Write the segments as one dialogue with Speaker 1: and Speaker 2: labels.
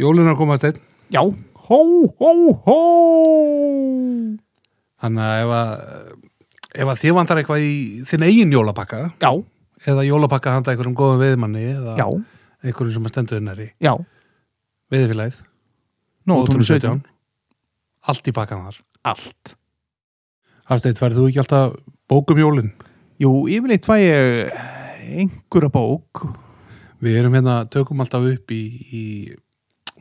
Speaker 1: Jólunar komast einn
Speaker 2: Já, hó, hó, hó
Speaker 1: Þannig að ef að, ef að þið vantar eitthvað í þinn eigin jólapakka
Speaker 2: Já,
Speaker 1: eða jólapakka handa einhverjum góðum veðmanni eða
Speaker 2: já,
Speaker 1: einhverjum sem að stendur hennar í
Speaker 2: já
Speaker 1: veðfélagið
Speaker 2: Nú, tónu 17
Speaker 1: Allt í pakkan þar
Speaker 2: Allt
Speaker 1: Hafsteinn, færðu þú ekki alltaf bókum jólin?
Speaker 2: Jú, yfirleitt fæ ég eh, einhverja bók
Speaker 1: Við erum hérna, tökum alltaf upp í, í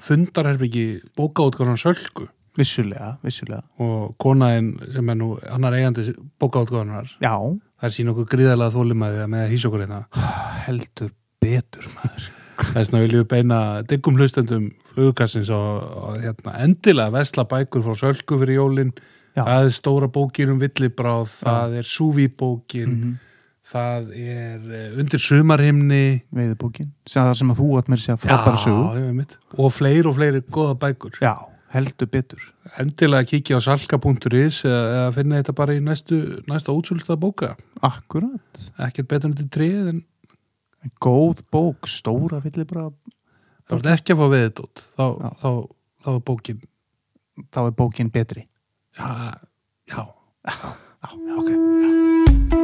Speaker 1: fundarherbyggi bókaútgáðan Sölku
Speaker 2: Vissulega, vissulega
Speaker 1: og konaðin sem er nú annar eigandi bókaútgáðanar
Speaker 2: Já,
Speaker 1: þær sín okkur gríðarlega þólimaði með að hýsa okkur hérna
Speaker 2: heldur betur maður
Speaker 1: þess vegna viljum við beina diggum hlustendum flugkassins og, og hérna, endilega vesla bækur frá Sölku fyrir jólin
Speaker 2: Já.
Speaker 1: það er stóra bókin um villibráð það er súvíbókin
Speaker 2: Mhm.
Speaker 1: það er eh, undir sumarhimni
Speaker 2: Veiðbókin, sem það sem að þú átt mér segja frábæra sögur
Speaker 1: Já, ég veit. og fleiri og fleiri góða bækur
Speaker 2: Já, heldur betur
Speaker 1: endilega kíkja á salka.is eða, eða finna þetta bara í næstu, næsta útsölda bóka
Speaker 2: Akkurat
Speaker 1: ekkert betur en þetta tríð en
Speaker 2: Góð bók, stóra villibra
Speaker 1: það voru ekki að fá við þetta út þá,
Speaker 2: Já.
Speaker 1: þá, þá var bókin
Speaker 2: þá er bókin betri
Speaker 1: já, já,
Speaker 2: Já, ok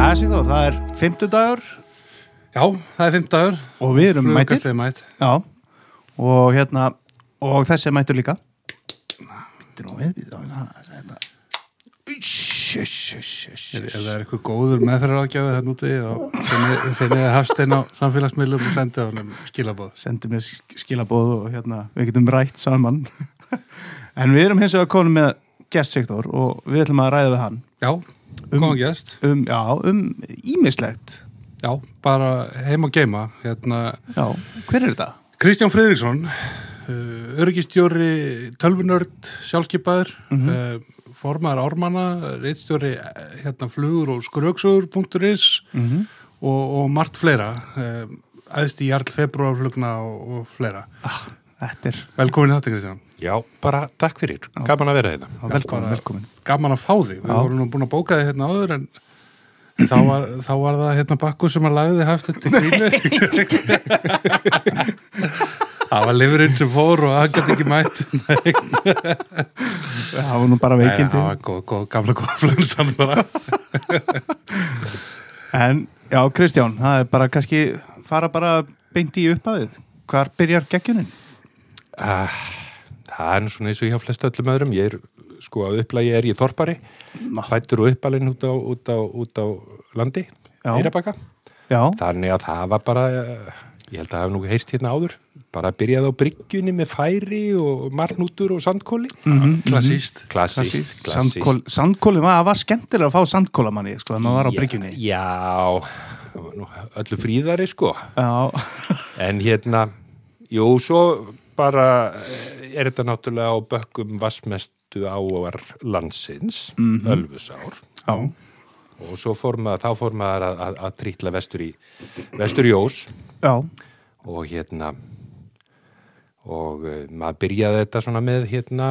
Speaker 2: Já, Sigþór, það er fimmtudagur
Speaker 1: já, það er fimmtagur
Speaker 2: og við erum mættir
Speaker 1: mætt
Speaker 2: Já, og hérna og þessi er mættur líka Býttu nú við, býttu nú við það er hérna. Uss, uss, uss, uss,
Speaker 1: ef
Speaker 2: uss.
Speaker 1: það er eitthvað góður meðferðaráðgjafi þann úti þá finnið finni hafstein á samfélagsmiðlum og sendið honum skilabóð
Speaker 2: Sendi mér sk- skilaboð og hérna við getum rætt saman En við erum hins vegar konum með gest Sigþór og við ætlum að ræða við hann
Speaker 1: já, góðan gæst
Speaker 2: um, já, um ímislegt
Speaker 1: já, bara heim og geima hérna,
Speaker 2: Já, hver er þetta?
Speaker 1: Kristján Friðriksson öryggistjóri tölvunörd sjálfskeipaður mm formaður ármanna reittstjóri hérna, flugur og skröksugur.is
Speaker 2: -hmm.
Speaker 1: og, og margt fleira eh, æðst í jarl februarflugna og, og fleira
Speaker 2: ah, Þetta er
Speaker 1: velkomin þetta Kristján
Speaker 3: Já, bara takk fyrir, gaman að vera hérna. þetta
Speaker 2: já, velkomin,
Speaker 1: bara-
Speaker 2: velkomin
Speaker 1: gaman að fá þig, við
Speaker 2: Já.
Speaker 1: vorum nú búin að bóka þig hérna áður en þá var, þá var það hérna bakku sem að lagði þig haft þetta grínu það var lifurinn sem fór og hann gæti ekki mætt
Speaker 2: Það var nú bara
Speaker 1: Nei, það
Speaker 2: veikindi
Speaker 1: var góð, góð, gamla góð flensan bara
Speaker 2: En já, Kristján, það er bara kannski fara bara beint í upphafið. Hvar byrjar geggjunin?
Speaker 3: uh, Það er nú svona eins og hjá flest öllum öðrum Ég er, sko, að upplægi er ég þorpari
Speaker 2: Ná.
Speaker 3: Fættur og uppalinn út á, út á, út á landi
Speaker 2: Já.
Speaker 3: Eyrabakka
Speaker 2: Já,
Speaker 3: Þannig að það var bara eh, Ég held að það hef nú heyrst hérna áður Bara byrjaði á bryggjunni með færi og marnútur og sandkóli
Speaker 1: Mhm, klassíst
Speaker 3: Klassíst, klassíst
Speaker 2: sandkól, sandkóli, maður var skemmtilega að fá sandkóla manni, sko, þegar maður var á bryggjunni.
Speaker 3: Já, já það var nú öllu fríðari, sko
Speaker 2: Já,
Speaker 3: En hérna, jú, svo bara eh, er þetta náttúrulega á bökkum vassmestu áar landsins, Ölfusár.
Speaker 2: já,
Speaker 3: Og svo fór maður, þá fór maður að, að, að trýtla vestur í, vestur í Ós
Speaker 2: já,
Speaker 3: og hérna, og eh, maður byrjaði þetta svona með hérna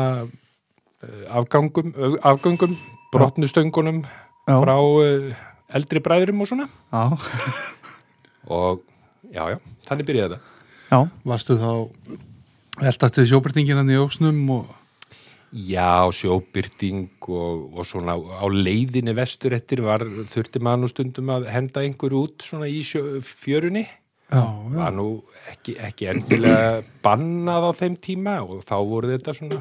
Speaker 3: eh, afgangum, ö- afgöngum, brotnustöngunum
Speaker 2: Já.
Speaker 3: frá eh, eldri bræðurum og svona.
Speaker 2: já,
Speaker 3: Og já, já, þannig byrjaði þetta.
Speaker 2: já,
Speaker 1: varstu þá eldastu sjóbyrtinginan í ósnum og
Speaker 3: Já, sjóbyrting og, og svona á leiðinni vestur eftir var, þurfti maður nú stundum að henda einhverju út svona í sjö, fjörunni.
Speaker 1: já, já,
Speaker 3: Var nú ekki, ekki endilega bannað á þeim tíma og þá voru þetta svona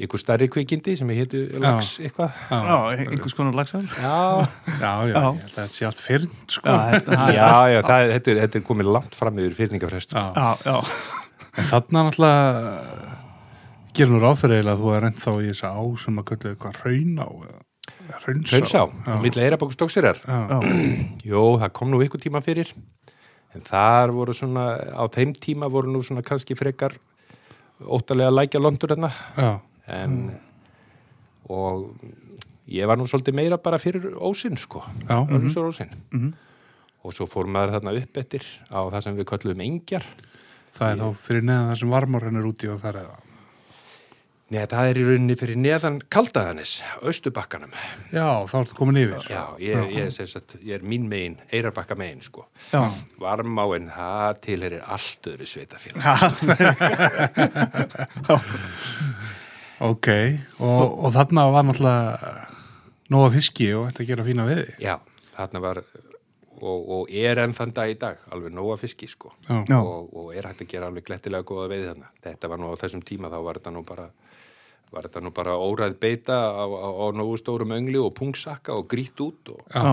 Speaker 3: ykkur starri kvikindi sem hétu lags eitthvað.
Speaker 2: já, einhvers konar lagsar.
Speaker 3: Já,
Speaker 1: já, já,
Speaker 2: Já.
Speaker 1: já. þetta sé allt fyrnt
Speaker 2: Já,
Speaker 1: sko.
Speaker 2: þetta,
Speaker 3: já,
Speaker 2: það er-
Speaker 3: já, það, þetta, er, þetta er komið langt fram yfir fyrningafrest.
Speaker 1: já.
Speaker 2: já, já,
Speaker 1: En þarna náttúrulega gerir nú ráðfyrir að þú er ennþá í þessa á sem að köllu eitthvað hraun á hraunsá.
Speaker 3: Haunsá, mittlega eirabokk stóksirjar.
Speaker 1: Já.
Speaker 3: Jó, það kom nú ykkur tíma fyrir en þar voru svona, á þeim tíma voru nú svona kannski frekar óttalega lækja londur hérna
Speaker 1: já,
Speaker 3: en og ég var nú svolítið meira bara fyrir ósinn sko,
Speaker 1: já,
Speaker 3: Ölfusar ósinn
Speaker 2: Mhm.
Speaker 3: og svo fór maður þarna upp eftir á það sem við köllum engjar
Speaker 1: það er þá fyrir neðan það sem varmorinn er úti og það er það.
Speaker 3: Nei, það er í rauninni fyrir neðan kaldaðanis, austubakkanum
Speaker 1: Já, þá ertu komin yfir.
Speaker 3: Já, ég, ég, sem sagt, ég er mín megin, eirabakka megin sko
Speaker 2: Já.
Speaker 3: Varmáin, það tilherir allt öðru sveitafélag
Speaker 1: Ok, og, og þarna var náttúrulega nóga fiski og þetta gera fína veiði.
Speaker 3: Já, þarna var og, og er enn þann dag í dag alveg nóga fiski sko
Speaker 1: Já.
Speaker 2: Já.
Speaker 3: og, og er hægt að gera alveg glettilega góða veið þarna þetta var nú á þessum tíma þá var þetta nú bara var þetta nú bara óræð beita á, á, á nógu stórum öngli og pungsakka og grýtt út og
Speaker 2: Já.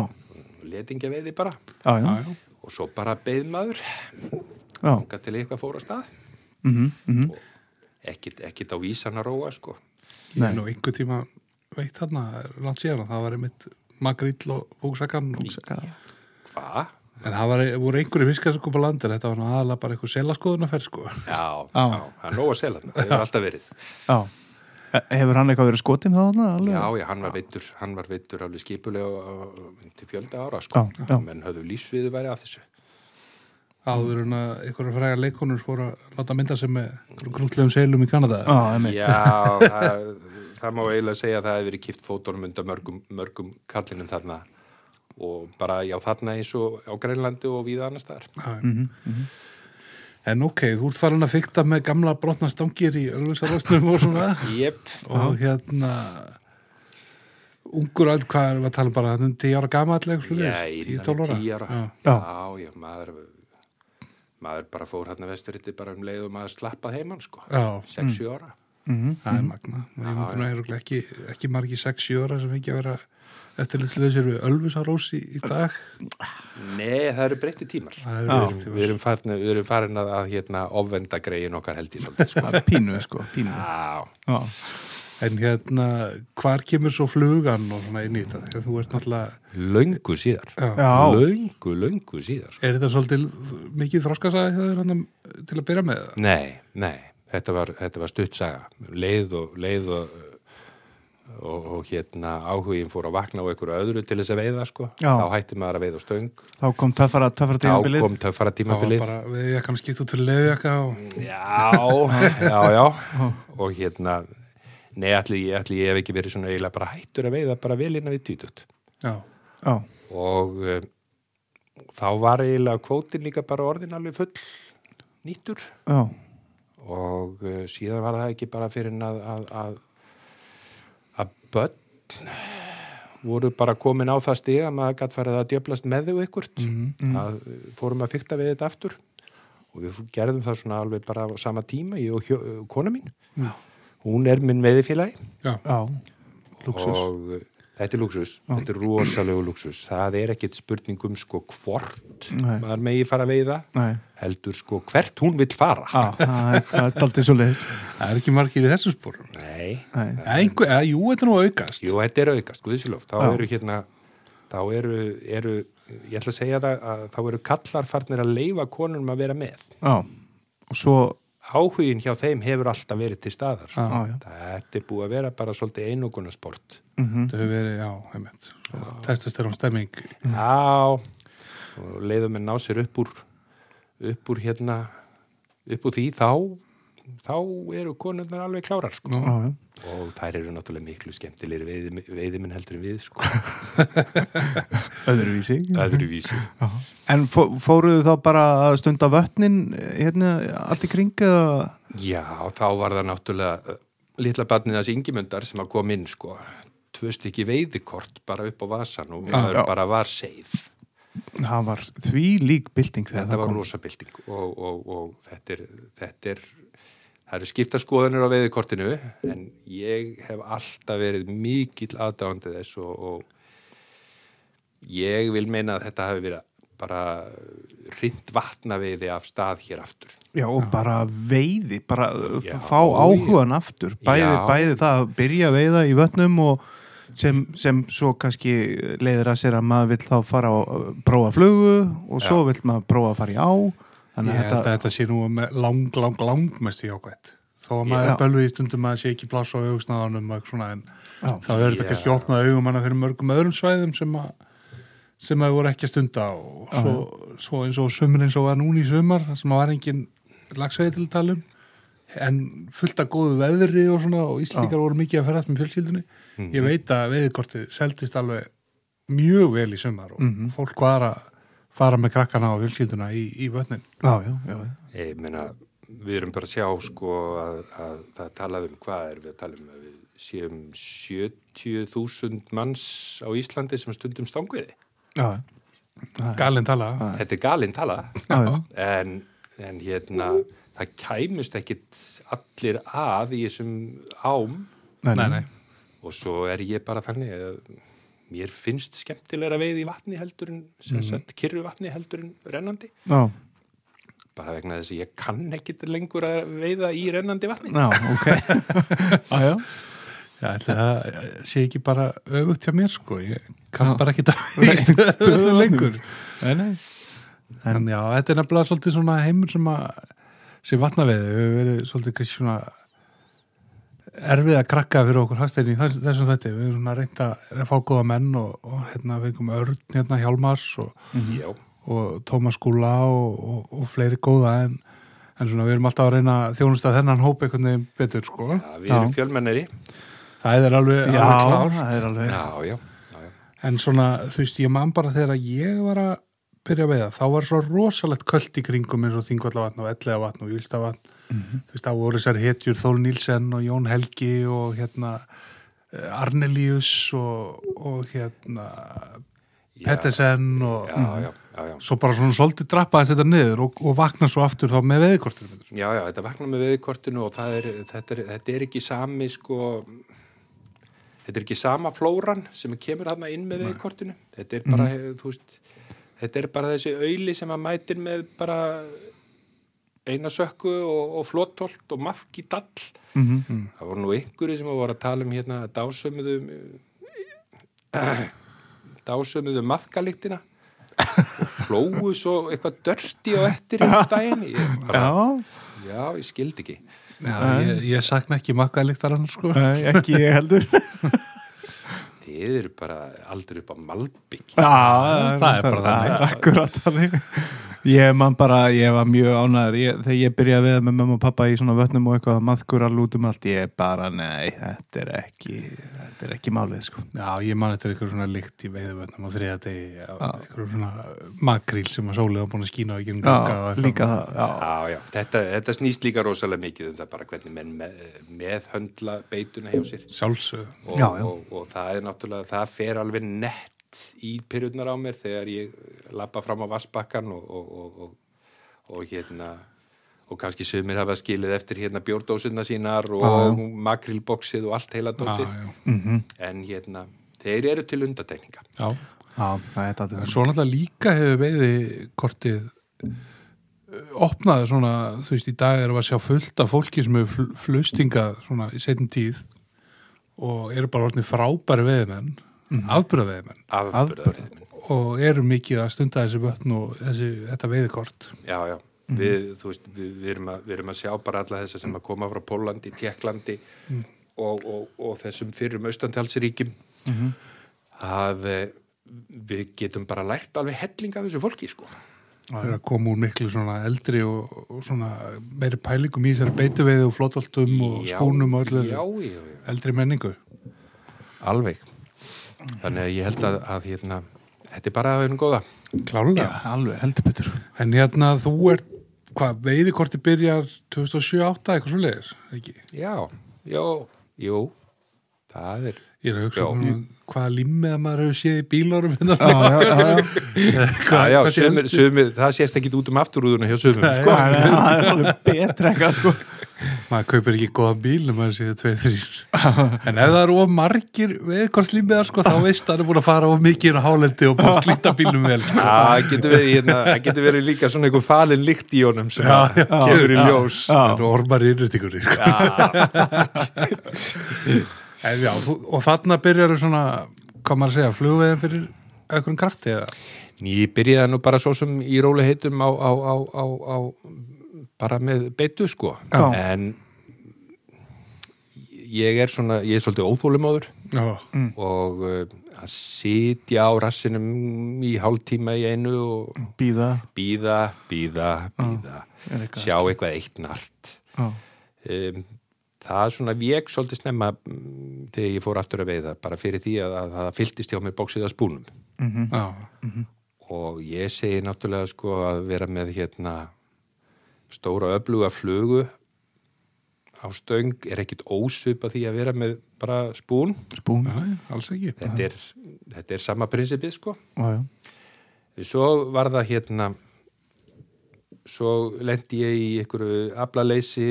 Speaker 3: letingja veiði bara
Speaker 2: Já, já.
Speaker 1: Já, já.
Speaker 3: og svo bara beið maður
Speaker 2: Já.
Speaker 3: þangað til eitthvað fór á stað
Speaker 2: Mhm, mhm.
Speaker 3: ekkit, ekkit á vísan að róa sko
Speaker 1: Ég er
Speaker 2: Nei.
Speaker 1: nú einhver tíma veitt þarna, það er langt síðan að það var einmitt makrill og búksakan. Og,
Speaker 2: Hugsa-
Speaker 3: hva?
Speaker 1: en það var, voru einhverju fiskar sem kom á landin, þetta var nú aðalega bara einhver selaskoðunarferð sko.
Speaker 3: Já,
Speaker 2: Já.
Speaker 3: já, það er nóg að selja þarna, það hefur alltaf verið
Speaker 2: Já. E- Hefur hann eitthvað verið skotin þá? þarna, alveg?
Speaker 3: Já, já, hann var veittur, hann var veittur alveg skipulega uh, til fjölda ára, sko.
Speaker 2: Já, já.
Speaker 3: Menn höfðu lífsviðu væri af þessu.
Speaker 1: Áður en að einhverju fræga leikonur fóru að láta mynda sem með einhverjum krútlegum selum í Kanada.
Speaker 2: Já, einmitt.
Speaker 3: Já, það, það má eiginlega segja að það hefur verið kipt fótunum undan mörgum, mörgum kallinum þarna og bara, já, þarna eins og á Grænlandi og víða annars þar.
Speaker 1: Já. En ok, þú ert farin að fykta með gamla brotna stangir í Ölfusarvastnum og svona
Speaker 3: Jep,
Speaker 1: og hérna ungur öll, hvað erum við að tala um bara þetta er 10 ára gamall
Speaker 3: já,
Speaker 1: eitthvað
Speaker 3: innan
Speaker 1: 10-12 ára,
Speaker 3: tíu ára.
Speaker 1: Já.
Speaker 2: Já.
Speaker 3: já, já, maður, maður bara fór hérna vesturiti bara um leið og maður slappað heimann, sko.
Speaker 1: Já,
Speaker 3: 6-7 ára.
Speaker 2: Mhm.
Speaker 1: það er magna og ég myndi nú er ekki, ekki margi 6-7 ára sem ekki að vera eftirlitsleysir við Ölfusarós í, í dag
Speaker 3: Nei, það eru breytti tímar.
Speaker 1: það er
Speaker 2: Já.
Speaker 1: verið til
Speaker 3: Við erum farin, við erum farin að, að hérna, ofvenda greiðin okkar held í svolítið, sko.
Speaker 2: Það er Pínu, sko, pínu.
Speaker 3: Já,
Speaker 2: Já.
Speaker 1: En hérna, hvar kemur svo flugan og svona inn í þetta? Þegar Þú ert náttúrulega,
Speaker 3: löngu síðar.
Speaker 1: já.
Speaker 2: Já.
Speaker 3: Löngu, löngu síðar. sko.
Speaker 1: Er þetta svolítið mikið þroskasaði þegar hann eh, til að byrja með það?
Speaker 3: Nei, nei, þetta var, þetta var stuttsaga. Leið og, leið og, og, og hérna áhugin fór að vakna á einhverju öðru til þess að veiða, sko.
Speaker 2: Já.
Speaker 3: Þá hætti maður að veiða á stöng.
Speaker 2: Þá kom töffara, töffara
Speaker 3: Þá
Speaker 2: tímabilið.
Speaker 3: kom
Speaker 1: Það
Speaker 3: töffara
Speaker 1: var
Speaker 3: tímabilið.
Speaker 1: bara, við ég kannski skipt út til leðjaka
Speaker 3: Mm.
Speaker 1: og
Speaker 3: Já, já, já. og hérna, nei, allir ég, allir ég hef ekki verið svona eiginlega bara hættur að veiða bara vel innan við týtut.
Speaker 1: já,
Speaker 2: Já.
Speaker 3: og um, þá var eiginlega kvótin líka bara orðin alveg full nýttur
Speaker 2: Já.
Speaker 3: og uh, síðan var það ekki bara fyrir en að að, að, að börn voru bara komin á það stiga að maður gætt farið að djöflast með þau ykkurt að uh, fórum að fykta við þetta aftur og við gerðum það svona alveg bara á sama tíma, ég og hjó, kona mín
Speaker 1: Já.
Speaker 3: hún er minn veðifélagi
Speaker 1: já,
Speaker 2: Já. Lúxus.
Speaker 3: og uh, þetta er luxus, þetta er rosalegu luxus það er ekkit spurning um sko hvort
Speaker 2: Nei.
Speaker 3: maður megi fara að veiða
Speaker 2: Nei.
Speaker 3: heldur sko hvert hún vill fara
Speaker 2: Já, það er- það er daldið svo leiðis.
Speaker 1: það er ekki margir í þessum spórum.
Speaker 3: nei,
Speaker 2: Nei.
Speaker 1: Einhver, eða, jú, þetta er nú að aukast.
Speaker 3: jú þetta er aukast guðsilof, þá
Speaker 2: Já.
Speaker 3: eru hérna þá eru, eru, ég ætla að segja það að þá eru kallar farnir að leifa konunum að vera með
Speaker 2: Já. Og svo,
Speaker 3: áhugin hjá þeim hefur alltaf verið til staðar sko.
Speaker 2: Já, já.
Speaker 3: þetta er búið að vera bara svolítið einogunarsport
Speaker 2: mhm.
Speaker 1: Þetta hefur verið, já, heimitt, testosterón stemming.
Speaker 2: Mm.
Speaker 3: Já, og leiðum en ná sér upp úr, upp úr hérna, upp úr því þá, þá eru konurnar alveg klárar, sko.
Speaker 2: Já, já.
Speaker 3: Og þær eru náttúrulega miklu skemmtilegri veiði, veiðiminn heldur en við, sko,
Speaker 2: Öðruvísi.
Speaker 3: öðruvísi.
Speaker 2: Já. En fó, fóruðu þá bara að stunda vötnin hérna allt í kring eða?
Speaker 3: Já, þá var það náttúrulega uh, litla barnið þess yngimundar sem að kom inn, sko, tvö stykki veiðikort bara upp á vasan og maður
Speaker 2: já.
Speaker 3: bara var safe.
Speaker 2: Það var því lík bylting þegar
Speaker 3: þetta
Speaker 2: það
Speaker 3: var
Speaker 2: kom.
Speaker 3: rosabilding og, og, og þetta er, þetta er það eru skipta skoðanir á veiðikortinu en ég hef alltaf verið mikill aðdáandi þess og, og ég vil meina að þetta hafi verið bara rind vatnaveiði af stað hér aftur
Speaker 2: Já, og bara veiði, bara uh,
Speaker 3: Já,
Speaker 2: fá áhugan aftur. Bæði,
Speaker 3: Já.
Speaker 2: bæði það að byrja að veiða í vötnum og sem, sem svo kannski leiðir að sér að maður vill þá fara að prófa flugu og svo vill maður prófa að fara í á.
Speaker 1: Ég
Speaker 2: Þannig
Speaker 1: held að
Speaker 2: að þetta,
Speaker 1: þetta sé nú með lang, lang, lang mestu jákvætt. þó að maður
Speaker 2: Já.
Speaker 1: er bölvið í stundum að það sé ekki pláss á augsnáðanum og eitthvað svona en
Speaker 2: Já.
Speaker 1: þá er þetta
Speaker 3: Já.
Speaker 1: kannski opnað augum hana fyrir mörgum öðrum svæðum sem að sem að voru ekki að stunda á og svo, svo eins og sömur eins og var núna í sömar þar sem að var engin lagsvegi til að tala um en fullt af góðu veðri og svona og Íslíkar voru mikið að ferðast með fjölskyldunni ég veit að veðikortið seldist alveg mjög vel í sömar og
Speaker 2: Mhm.
Speaker 1: fólk var að fara með krakkana og fjölskylduna í, í vötnin
Speaker 2: já, já, já, já.
Speaker 3: Ég meina, við erum bara að sjá sko að, að það talað um hvað er við að tala um að við séum 70.000 manns á Íslandi sem stundum stanguði.
Speaker 2: já.
Speaker 1: galin tala
Speaker 3: Þetta er galinn tala
Speaker 2: Já, já.
Speaker 3: en, en hérna það kæmust ekkit allir að í þessum ám
Speaker 2: Nei,
Speaker 1: nei, nei.
Speaker 3: og svo er ég bara þannig að mér finnst skemmtilega að veiði í vatni heldur en sem sagt kyrru vatni heldur en rennandi
Speaker 2: Já,
Speaker 3: bara vegna þess að ég kann ekkit lengur að veiða í rennandi vatni
Speaker 2: já, ok. já, já.
Speaker 1: Já, ætli það sé ekki bara öfugt hjá mér sko, ég kann
Speaker 2: Já.
Speaker 1: bara ekki það í stöðu lengur.
Speaker 2: Nei, nei.
Speaker 1: En já, þetta er nefnilega svolítið svona heimur sem að sem vatnaveið, við höfum verið svolítið kannski svona erfið að krakka fyrir okkur hagstæðin í þess- þessum þetta við höfum svona reynt að, reynt að fá góða menn og, og hérna fengum Örn hérna Hjálmars og,
Speaker 3: Já,
Speaker 1: og Tómas Skúla og, og, og fleiri góða en, en svona við erum alltaf að reyna að þjónusta þennan hóp einhvern veginn betur sko
Speaker 3: já, við erum
Speaker 2: Já.
Speaker 3: fjölmennari
Speaker 1: það er alveg,
Speaker 2: Já,
Speaker 1: alveg klárt
Speaker 2: það er alveg.
Speaker 3: Já, já, já, já.
Speaker 1: En svona, þú veist, ég man bara þegar að ég var að byrja að veiða, þá var svo rosalegt köld í kringum eins og Þingvallavatn og Ellegavatn og Júlstavatn. Þú veist, þá voru þessar hetjur Þól Nílsen og Jón Helgi og hérna eh, Arnelius og, og hérna
Speaker 3: Já,
Speaker 1: Pettersen og
Speaker 3: Já, já, já, já.
Speaker 1: svo bara svona svolítið drappaðist þetta niður og, og vakna svo aftur þá með veiðkortinu.
Speaker 3: Já, já, þetta vaknar með veðkortinu og það er, þetta, er, þetta er ekki sami sko þetta er ekki sama flóran sem kemur þarna inn með veðkortinu þetta er bara,
Speaker 2: Mhm.
Speaker 3: þú veist þetta er bara þessi auðli sem að mætir með bara eina sökku og, og flottolt og mafk í dall
Speaker 2: Mhm.
Speaker 3: það voru nú einhverju sem voru að tala um hérna dásömuðu dásömuðu maðkalíktina og flóu svo eitthvað dörti og eftir um daginn ég bara,
Speaker 2: Já,
Speaker 3: Já, ég skildi ekki.
Speaker 1: Já, ég, ég sakna ekki makkaðlíktar annars sko.
Speaker 2: nei, ekki ég heldur.
Speaker 3: Þið eru bara aldrei upp á Malbygg.
Speaker 2: Já,
Speaker 1: Það er bara þannig.
Speaker 2: Akkurat þannig. Ég man bara, ég var mjög ánæður ég, þegar ég byrjaði að veða með mamma og pappa í svona vötnum og eitthvað maðkur að lútum allt ég bara, nei, þetta er ekki þetta er ekki málið, sko.
Speaker 1: Já, ég man eftir eitthvað svona lykt í veiðvötnum á þriða degi, eitthvað svona makríl sem að sólið var búin að skína á ekki um
Speaker 2: Já, líka það, já.
Speaker 3: Já, já, þetta, þetta snýst líka rosalega mikið um það bara hvernig menn með, meðhöndla beituna hjá sér.
Speaker 1: Sjálfsög.
Speaker 3: Og,
Speaker 2: Já, já.
Speaker 3: Og, og það er náttúrulega, það fer alveg nett í pyrjurnar á mér þegar ég lappa fram á vassbakkan og, og, og, og, og hérna og kannski sömur hafa skilið eftir hérna bjórdósuna sínar og makrilboksið og allt heila
Speaker 1: Já,
Speaker 3: dótið.
Speaker 1: já.
Speaker 3: En hérna, þeir eru til undatekninga.
Speaker 1: já.
Speaker 2: Já, það er þetta.
Speaker 1: En Svo náttúrulega líka hefur veiðikortið eh, opnaði svona, þú veist, í dag erum við að sjá fullt af fólki sem hefur fl- flustinga svona í setjum tíð og eru bara orðinni frábæri veiðimenn,
Speaker 2: Mhm.
Speaker 1: mm. afbyrðaveiðimenn
Speaker 3: Afbyrðarið minn.
Speaker 1: og eru mikið að stunda þessi vötn og þessi, þetta veiðikort.
Speaker 3: Já, já,
Speaker 1: Mhm.
Speaker 3: við, þú veist, við, við, erum að, við erum að sjá bara alla þessa sem að koma frá Pólandi, Tjekklandi
Speaker 1: Mhm.
Speaker 3: og, og, og þessum fyrrum austantalsiríkjum
Speaker 1: Mhm.
Speaker 3: að eh, við getum bara lært alveg helling af þessu fólki, sko.
Speaker 1: Það er að koma úr miklu svona eldri og, og svona meiri pælingum í þessari beituveiði og flótoltum og
Speaker 3: Já,
Speaker 1: skónum og öllu
Speaker 3: Já,
Speaker 1: þessu
Speaker 3: já, já,
Speaker 1: eldri menningu.
Speaker 3: alveg. Þannig að ég held að, að hérna, þetta er bara að vera góða.
Speaker 1: Klálega.
Speaker 2: Alveg, heldur betur.
Speaker 1: En hérna þú ert, hvað, veiðikorti byrjar 2007-2008 eitthvað svo leiðis, ekki?
Speaker 3: Já, já, jú, það er...
Speaker 1: Ég er að hugsa
Speaker 3: Já.
Speaker 1: um hvaða limmið að maður hefur séð í bílarum hérna.
Speaker 2: Já, já, já, já.
Speaker 3: Já, já,
Speaker 1: hvað sé
Speaker 3: sumir,
Speaker 1: helstu?
Speaker 3: sumir, það sést ekki út um afturúðuna hjá sömum, sko.
Speaker 2: Sko, nei, það er alveg betra eitthvað, sko.
Speaker 1: Maður kaupir ekki góðan bíl en maður séð tveir, þrýr. En ef það eru of margir veiðikortslimmiðar, sko, þá veist það er búin að fara of mikið inn á hálendi og búin að slíta bílum vel. sko.
Speaker 3: Já, það getur verið, hérna, það getur verið líka svona einhver falin líkt í honum sem já, já, kemur í ljós.
Speaker 1: Það eru ormar innrýtingur, sko. En já, þú, og þarna byrjar svona, hvað maður að segja, flugveiðin fyrir einhverjum krafti eða?
Speaker 3: Ég byrjaði nú bara svo sem í róli heitum á, á, á, á, á bara með beitu sko.
Speaker 2: Já.
Speaker 3: En ég er svona, ég er svolítið óþólumáður
Speaker 1: já,
Speaker 3: og uh, að sitja á rassinum í hálftíma í einu og
Speaker 2: býða
Speaker 3: býða, býða,
Speaker 2: Mm.
Speaker 3: býða
Speaker 2: er eitthvað
Speaker 3: sjá eitthvað eitt nart
Speaker 2: Já.
Speaker 3: um, það svona vek svolítið snemma mm, þegar ég fór aftur að veiða bara fyrir því að, að það fylltist hjá mér bóksið að spúnum
Speaker 1: já,
Speaker 3: og ég segi náttúrulega sko að vera með hérna stóra öfluga flugu á stöng er ekkit ósvipa því að vera með bara spún
Speaker 2: spún
Speaker 1: já, alls ekki
Speaker 3: þetta er, þetta er sama prinsipið sko
Speaker 2: Já, já.
Speaker 3: svo var það hérna svo lendi ég í einhverju aflaleysi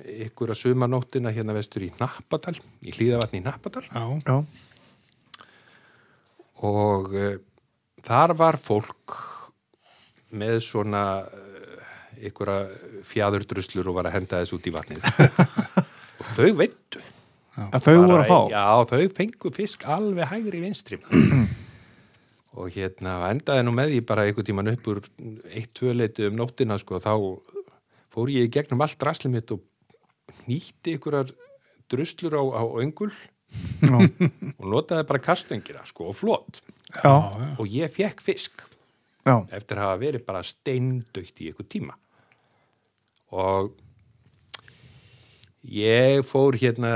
Speaker 3: einhverja sumanóttina hérna vestur í Nappadal í hlýðavatni í Nappadal
Speaker 1: já,
Speaker 2: Já.
Speaker 3: og uh, þar var fólk með svona uh, einhverja fjadurdruslur og var að henda þessu út í vatnið og þau veittu
Speaker 2: að þau voru að fá
Speaker 3: Já, þau fengu fisk alveg hægri vinstri og hérna endaði nú með ég bara einhvern tíman upp úr eitt, tvö leiti um nóttina sko, þá fór ég í gegnum allt raslið mitt og nýtti einhverjar druslur á, á öngul
Speaker 2: já,
Speaker 3: og notaði bara kastöngira sko, og flott
Speaker 2: já,
Speaker 1: já,
Speaker 3: og ég fekk fisk
Speaker 2: já.
Speaker 3: eftir að hafa verið bara steindaukt í einhver tíma og ég fór hérna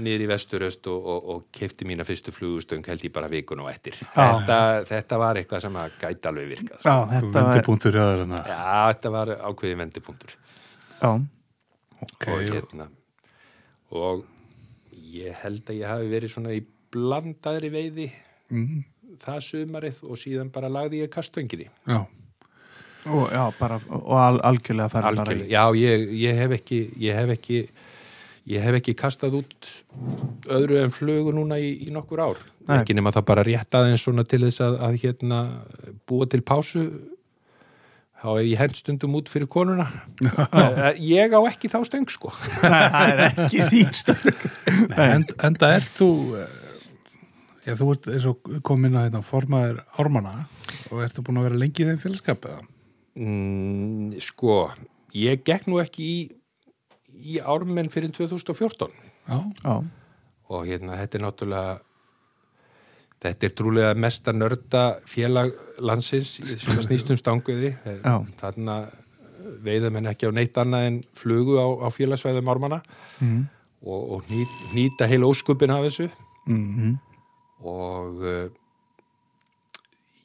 Speaker 3: niður í vesturöst og, og, og kefti mína fyrstu flugustöng held ég bara vikun og eftir þetta, þetta var eitthvað sem að gæta alveg
Speaker 2: já
Speaker 3: virkað sko.
Speaker 2: þetta var
Speaker 1: vendipunktur hjá þér en það
Speaker 3: já, þetta var ákveði vendipunktur
Speaker 2: já,
Speaker 3: og
Speaker 1: ok,
Speaker 3: hérna og ég held að ég hafi verið svona í blandaðri veiði
Speaker 1: Mm,
Speaker 3: það sumarið og síðan bara lagði ég kastönginni
Speaker 1: já,
Speaker 2: og, já, bara, og al, algjörlega færi bara
Speaker 3: Algjörlega,
Speaker 2: í
Speaker 3: já, ég, ég hef ekki ég hef ekki ég hef ekki kastað út öðru en flugu núna í, í nokkur ár
Speaker 2: Nei.
Speaker 3: ekki nema það bara rétt aðeins svona til þess að, að hérna búa til pásu þá hef ég hent stundum út fyrir konuna Eh, ég á ekki þá stöng sko
Speaker 2: Nei, það er ekki þín stöng
Speaker 1: en, enda ert þú eh, já, þú ert eins og komin að hérna, formaður ármana og ertu búin að vera lengi í þeim félagskap eða?
Speaker 3: mm, sko, ég gekk nú ekki í, í ármenn fyrir 2014
Speaker 1: Já,
Speaker 2: já,
Speaker 3: og hérna þetta er náttúrulega þetta er trúlega mesta nörda félag landsins sem að snýst um stanguði
Speaker 2: Já.
Speaker 3: þarna veiða menn ekki á neitt annað en flugu á, á félagsvæðum ármanna
Speaker 2: Mhm.
Speaker 3: og, og ný, nýta heil óskupin af þessu
Speaker 2: Mhm.
Speaker 3: og uh,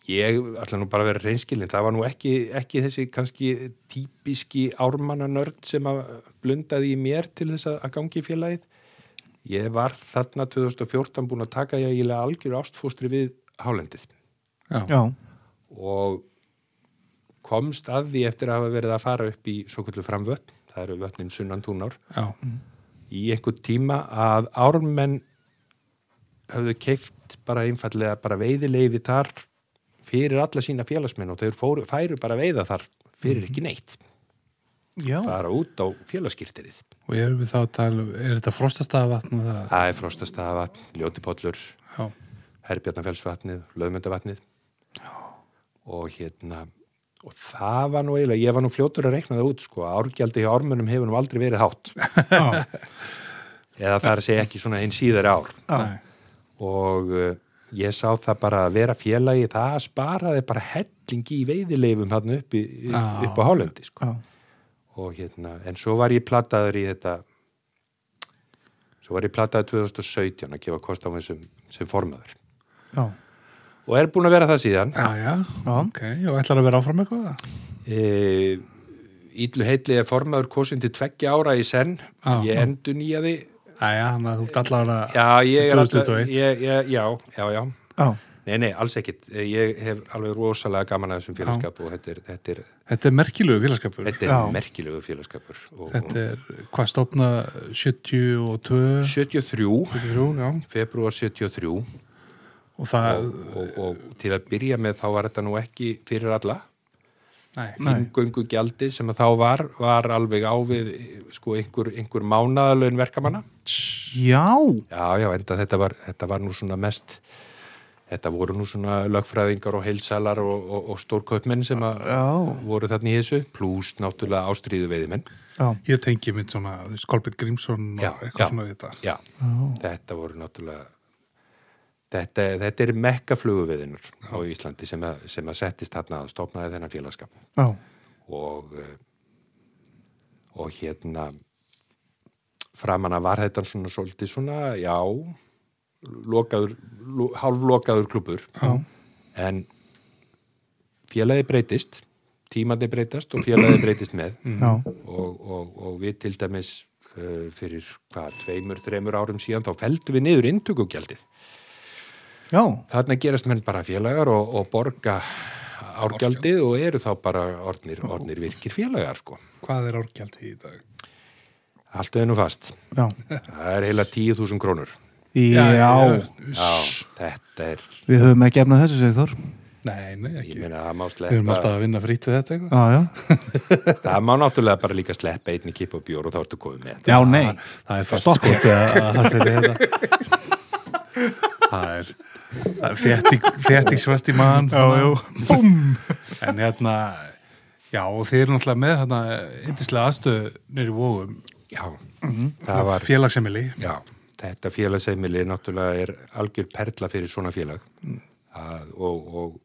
Speaker 3: ég ætla nú bara að vera reynskilin það var nú ekki, ekki þessi kannski típiski ármannanörd sem að blundaði í mér til þess að, að gangi í félagið ég var þarna 2014 búin að taka ég eiginlega algjör ástfóstri við hálendið
Speaker 1: já, já,
Speaker 2: já,
Speaker 3: og komst að því eftir að hafa verið að fara upp í svo kvöldu framvötn, það eru vötnin sunnan túnár
Speaker 1: já,
Speaker 3: í einhver tíma að ármenn höfðu keift bara einfallega bara veiðileifi þar fyrir alla sína félagsmenn og þau fóru, færu bara að veiða þar fyrir ekki neitt,
Speaker 2: já.
Speaker 3: bara út á félagskýrtirið.
Speaker 1: og erum við þá að tala um- er þetta frostastafatn og það?
Speaker 3: Það er frostastafatn, ljótipollur,
Speaker 1: Já,
Speaker 3: herbjarnafellsvatnið, lögmyndavatnið og hérna og það var nú eiginlega, ég var nú fljótur að reikna það út sko, að árgjaldi hjá ármönnum hefur nú aldrei verið hátt
Speaker 2: já.
Speaker 3: eða það er að segja ekki svona einn síðar ár
Speaker 2: já.
Speaker 1: nei,
Speaker 3: og uh, ég sá það bara að vera félagi, það sparaði bara hellingi í veiðileifum hann upp, í,
Speaker 1: Já.
Speaker 3: upp á hálendi sko.
Speaker 2: já.
Speaker 3: og hérna, en svo var ég plattaður í þetta svo var ég plattaður 2017 að gefa kost á mig sem, sem formaður
Speaker 2: Já,
Speaker 3: og er búin að vera það síðan
Speaker 1: já, já, ok og ætlar að vera áfram eitthvað? eða?
Speaker 3: e, Ídlu heitli er formaður kosin til tveggja ára í senn
Speaker 1: Já.
Speaker 3: ég endur nýjaði
Speaker 1: Jæja, þannig að þú ert allavega
Speaker 3: já, ég er alltaf
Speaker 1: 2021.
Speaker 3: ég, ég, já, já, já
Speaker 2: já,
Speaker 3: Nei, nei, alls ekkit. Ég hef alveg rosalega gaman að þessum félagskap og þetta er, þetta er,
Speaker 1: Þetta er merkilegu félagskapur.
Speaker 3: þetta er
Speaker 2: Já.
Speaker 3: merkilegu félagskapur. Og,
Speaker 1: Þetta er hvað stofna 72,
Speaker 3: 73,
Speaker 1: 73, já,
Speaker 3: februar 73 og,
Speaker 1: og það,
Speaker 3: og, og til að byrja með þá var þetta nú ekki fyrir alla.
Speaker 1: nei,
Speaker 2: Nei.
Speaker 3: Ingöngu gjaldi sem að þá var, var alveg á við sko einhver, einhver mánaðalögn verkamanna.
Speaker 2: já,
Speaker 3: Já, já, enda þetta var, þetta var nú svona mest þetta voru nú svona lögfræðingar og heilsalar og, og, og stórkaupmenn sem að
Speaker 2: Já.
Speaker 3: voru þarna í þessu pluss náttúrulega ástríðu veiðimenn
Speaker 2: já,
Speaker 1: Ég tengi mynd svona Skolbjörn Grímsson og
Speaker 3: Já,
Speaker 1: eitthvað
Speaker 3: já.
Speaker 1: svona þetta.
Speaker 3: já, þetta voru náttúrulega þetta, þetta er mekka fluguveiðinur á Íslandi sem að, sem að settist þarna að stopnaði þennan félagskap
Speaker 2: já,
Speaker 3: og eh, og hérna framan að var þetta svona svolítið svona, já lokaður, lo, hálflokaður klubur já. en félagi breytist tímandi breytast og félagi breytist með
Speaker 2: já,
Speaker 3: og, og, og við til dæmis uh, fyrir hvað, tveimur, þreimur árum síðan þá feldum við niður inntökugjaldið
Speaker 2: já,
Speaker 3: þarna gerast menn bara félagar og, og borga árgjaldið og eru þá bara orðnir, orðnir virkir félagar sko.
Speaker 1: Hvað er árgjaldið í dag?
Speaker 3: Haltu þið nú fast.
Speaker 2: já,
Speaker 3: Það er heila 10.000 krónur.
Speaker 2: já,
Speaker 3: Já, þetta er,
Speaker 2: Við höfum ekki efnað þessu, segir Þór.
Speaker 1: Nei, nei,
Speaker 3: ég
Speaker 1: ekki.
Speaker 3: meina það má
Speaker 1: Við erum alltaf
Speaker 3: sleppa,
Speaker 1: að vinna frýtt við þetta eitthvað.
Speaker 2: Já, já.
Speaker 3: það má náttúrulega bara líka sleppa einni kipp og bjór og þá ertu komið með.
Speaker 2: Já, nei.
Speaker 1: Það er fast
Speaker 3: sko-
Speaker 1: skotið að að það sé við þetta. Það er, það er þétting, þéttingsvast í mann.
Speaker 2: Búm.
Speaker 1: En hérna, já, og þið eru náttúrulega með hérna yndislega aðstöðu nýri vóðum.
Speaker 3: Já, það var,
Speaker 1: Félagsemmili.
Speaker 3: já, þetta félagseimili náttúrulega er algjör perla fyrir svona félag að, og, og,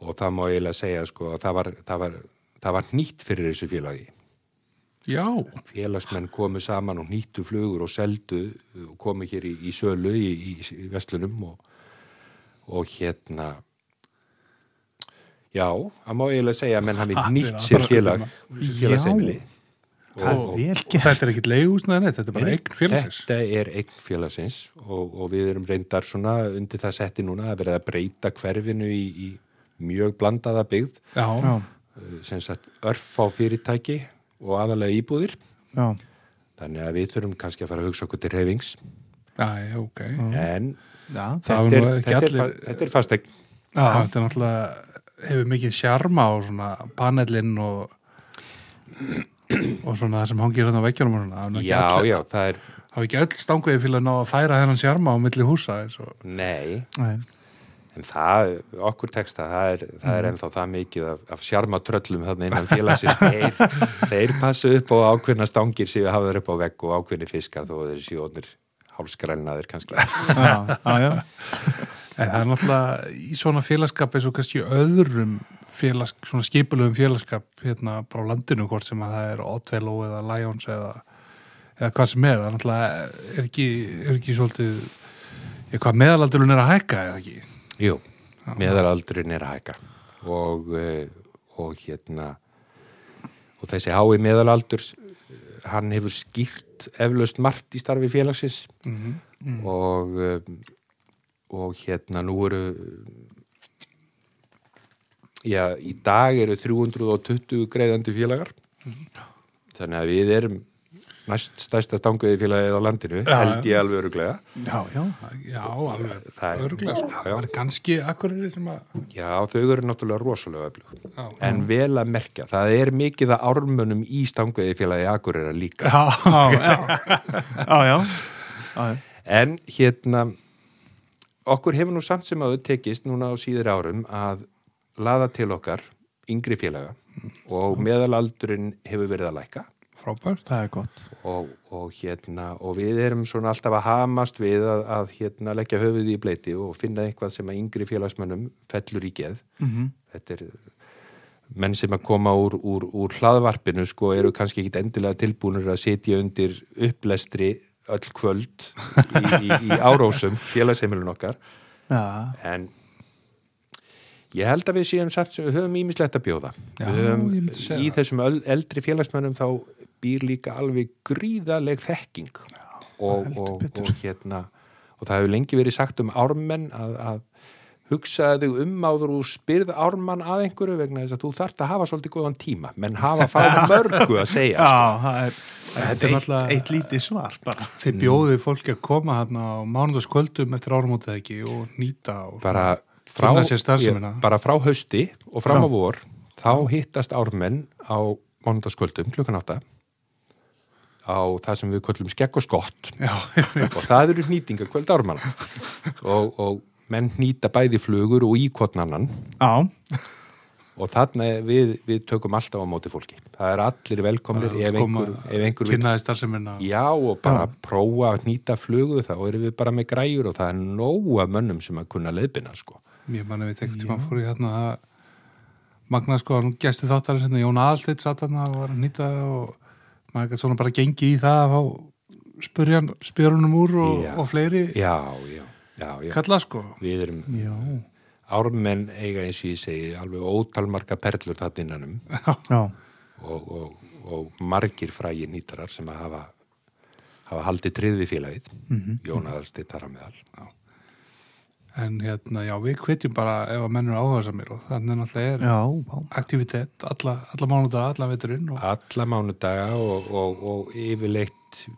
Speaker 3: og það má eiginlega segja sko að það var, það var, það var nýtt fyrir þessu félagi.
Speaker 1: Já.
Speaker 3: félagsmenn komu saman og nýttu flugur og seldu og komu hér í, í sölu í, í, í vestlunum og, og hérna já, það má eiginlega segja að menn hafi
Speaker 1: Ha,
Speaker 3: nýtt
Speaker 1: bara
Speaker 3: sér
Speaker 1: skuldum
Speaker 3: félag
Speaker 2: Já.
Speaker 3: félagseimili
Speaker 2: Það er
Speaker 1: Og-
Speaker 2: vel
Speaker 1: Og
Speaker 2: gert.
Speaker 1: þetta er ekkit leigúsnað, neitt, þetta er bara eign félagsins.
Speaker 3: þetta er eign félagsins og, og við erum reyndar svona undir það setti núna að verða að breyta hverfinu í, í mjög blandaða byggð
Speaker 1: Já,
Speaker 2: Já,
Speaker 3: eh, sem sagt örf á fyrirtæki og aðalega íbúðir
Speaker 2: já,
Speaker 3: þannig að við þurfum kannski að fara að hugsa okkur til reyfings
Speaker 1: já, ok.
Speaker 3: en
Speaker 2: já.
Speaker 1: Mm. Það
Speaker 3: þetta,
Speaker 1: var nú
Speaker 3: er,
Speaker 1: ekki
Speaker 3: þetta,
Speaker 1: allir-
Speaker 3: er, fa- þetta er fastegn
Speaker 1: Já, þetta er náttúrulega, hefur mikið sjarma á svona panelinn og og svona það sem hangir hérna á veggjónum og svona, hafa ekki
Speaker 3: já,
Speaker 1: öll-
Speaker 3: já, það er
Speaker 1: hafa ekki öll stanguði fyrir að ná að færa þennan sjarma á milli húsa eins og
Speaker 3: nei,
Speaker 2: Nei.
Speaker 3: en það okkur texta, það er, það er ennþá það mikið af, af sjarma tröllum þannig innan félagsins þeir, þeir passu upp á ákveðna stangir sem við hafaður upp á vegg og ákveðni fiskar þó að þeir séu orðnir hálsgrænnaðir kannski
Speaker 2: Já, já, já.
Speaker 1: en það er náttúrulega í svona félagskap eins og kannski öðrum félags, svona skipulegum félagskap hérna bara á landinu hvort sem að það er Othello eða Lions eða eða hvað sem er, það er náttúrulega er ekki, er ekki svolítið ég, hvað meðalaldurinn er að hækka eða ekki
Speaker 3: Jú, meðalaldurinn er að hækka og, eh, og hérna og þessi hái meðalaldur eh, hann hefur skýrt eflaust margt í starfi félagsins og eh, og hérna nú eru já, í dag eru 320 greiðandi félagar þannig að við erum næst stærsta stanguði félagið á landinu
Speaker 1: Já,
Speaker 3: held ég alveg öruglega
Speaker 2: Já, já.
Speaker 1: Já, alveg,
Speaker 3: Það er-
Speaker 1: örglega sko.
Speaker 3: Já, já.
Speaker 1: Það er kannski akkurir sem að
Speaker 3: Já, þau eru náttúrulega rosalega öflug.
Speaker 1: Já.
Speaker 3: En vel að merkja, það er mikið að ármönum í stangveiði félagi Akureyra líka.
Speaker 1: Já,
Speaker 2: Já, já. Já, já. Já, já.
Speaker 3: En hérna, okkur hefur nú samt sem aðu tekist núna á síður árum að laða til okkar yngri félaga
Speaker 1: Mm.
Speaker 3: og meðalaldurinn hefur verið að lækka
Speaker 1: frábært
Speaker 2: Það er gott.
Speaker 3: og, og hérna, og við erum svona alltaf að hamast við að, að hérna leggja höfuði í bleiti og finna eitthvað sem að yngri félagsmönnum fellur í geð.
Speaker 2: Mhm.
Speaker 3: þetta er menn sem að koma úr, úr, úr hlaðvarpinu sko eru kannski ekkit endilega tilbúinur að sitja undir upplestri öll kvöld í, í, í árósum félagseimilun okkar
Speaker 2: Já,
Speaker 3: en ég held að við séum samt sem við höfum ímislegt að bjóða
Speaker 1: Já,
Speaker 3: við
Speaker 1: ég
Speaker 3: höfum
Speaker 1: myndi segja
Speaker 3: Um, í
Speaker 1: það.
Speaker 3: þessum öl- eldri félagsmönnum þá býr líka alveg gríðaleg þekking og,
Speaker 2: heldur
Speaker 3: og,
Speaker 2: betur.
Speaker 3: og hérna og það hefur lengi verið sagt um ármenn að, að hugsaðu þig um áður og spyrð ármann að einhverju vegna þess að þú þarft að hafa svolítið góðan tíma menn hafa fáið mörgu að segja
Speaker 2: já það er, þetta er
Speaker 1: eitt-
Speaker 2: eitt,
Speaker 1: eitt
Speaker 2: lítið svar bara.
Speaker 1: Þeir bjóðu fólki að koma hérna á mánudagskvöldum eftir árumótið ekki og nýta og
Speaker 3: bara frá,
Speaker 1: Kynna sér starfsemina.
Speaker 3: ég- bara frá hausti og fram á vor þá hittast ármenn á mánudagskvöldum klukkan átta á það sem við köllum skegg og skott
Speaker 1: Já,
Speaker 3: og það eru nýtinga kvöld ármanna og, og menn nýta bæði flugur og íkotnannan
Speaker 2: á,
Speaker 3: og þarna er- við, við tökum alltaf á móti fólki. Það er allir velkomnir ef einhver, ef einhver vill
Speaker 1: kynnaði starfseminna
Speaker 3: Já og bara prófa að nýta flugu þá erum við bara með græjur og það er nóga mönnum sem að kunna leiðbina sko.
Speaker 1: Mér manna veit eitthvað tíma fór í þarna að Magna sko, hann gestu þáttarins hérna, Jón Aðalsteitt satt hann og var að nýta og maður gætt svona bara gengi í það að fá spyrjan, spjörunum úr og,
Speaker 3: Já.
Speaker 1: og fleiri
Speaker 3: Já, já, já, já.
Speaker 1: kalla sko.
Speaker 3: Við erum
Speaker 2: já,
Speaker 3: ármenn eiga eins og ég segi alveg ótalmarka perlur það innanum
Speaker 2: já,
Speaker 3: og, og, og margir frægir nýtarar sem að hafa, hafa haldið tryggð við félagið. Mm -hmm. Jón Aðalsteinn þar að meðal. Já.
Speaker 1: En hérna, já, við kvetjum bara ef að mennur áhersamir og þannig náttúrulega er
Speaker 2: já, já.
Speaker 1: aktivitet alla, alla mánuða, alla veturinn og
Speaker 3: alla mánudaga og, og, og yfirleitt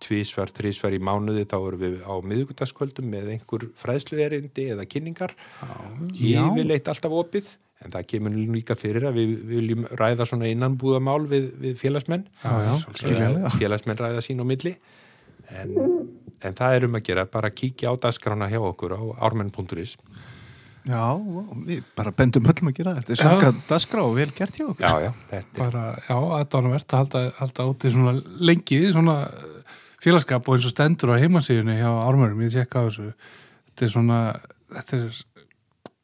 Speaker 3: tvísvar, þrísvar í mánuði þá erum við á miðvíkutaskvöldum með einhver fræðsluerindi eða kynningar
Speaker 2: Já.
Speaker 3: yfirleitt alltaf opið en það kemur nú líka fyrir að við, við viljum ræða svona innanbúðamál við, við félagsmenn
Speaker 2: Já, já, skiljanlega.
Speaker 3: Eða félagsmenn ræða sín á milli en, en það er um að gera bara kíkja á dagskrána hjá okkur á ármenn.is
Speaker 2: Já, vá, við bara bendum öllum að gera þetta. Þetta er svaka dasgrá og vel gert hjá okkur.
Speaker 3: já, já, þetta er
Speaker 1: bara, já, aðdánavert að halda, halda úti svona lengi svona eh, félagskap og eins og stendur á heimasíðunni hjá ármörum, ég tjekka á þessu þetta er svona, þetta er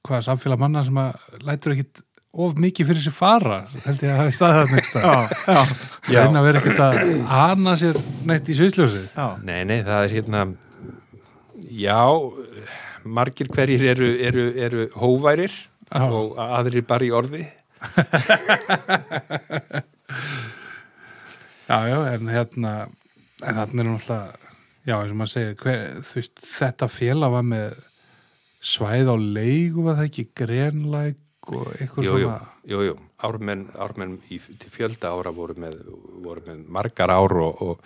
Speaker 1: hvaða samfélag manna sem að lætur ekkit of mikið fyrir sér fara held ég að hafa í staðið nægsta
Speaker 2: já,
Speaker 3: Já.
Speaker 1: reyna að vera ekkit að hana sér neitt í sviðsljósi
Speaker 2: já.
Speaker 3: Nei, nei, það er hérna já, margir hverjir eru, eru, eru hóværir
Speaker 1: Já.
Speaker 3: og aðrir bara í orði
Speaker 1: Já, já, en hérna en þarna er náttúrulega já, eins og maður segir, hver, þú veist þetta félag var með svæð á leigu, var það ekki grenlæk og eitthvað
Speaker 3: Jú, jú,
Speaker 1: svona
Speaker 3: jú, jú. Ármenn, ármenn í, til fjölda ára voru með, voru með margar ár og, og,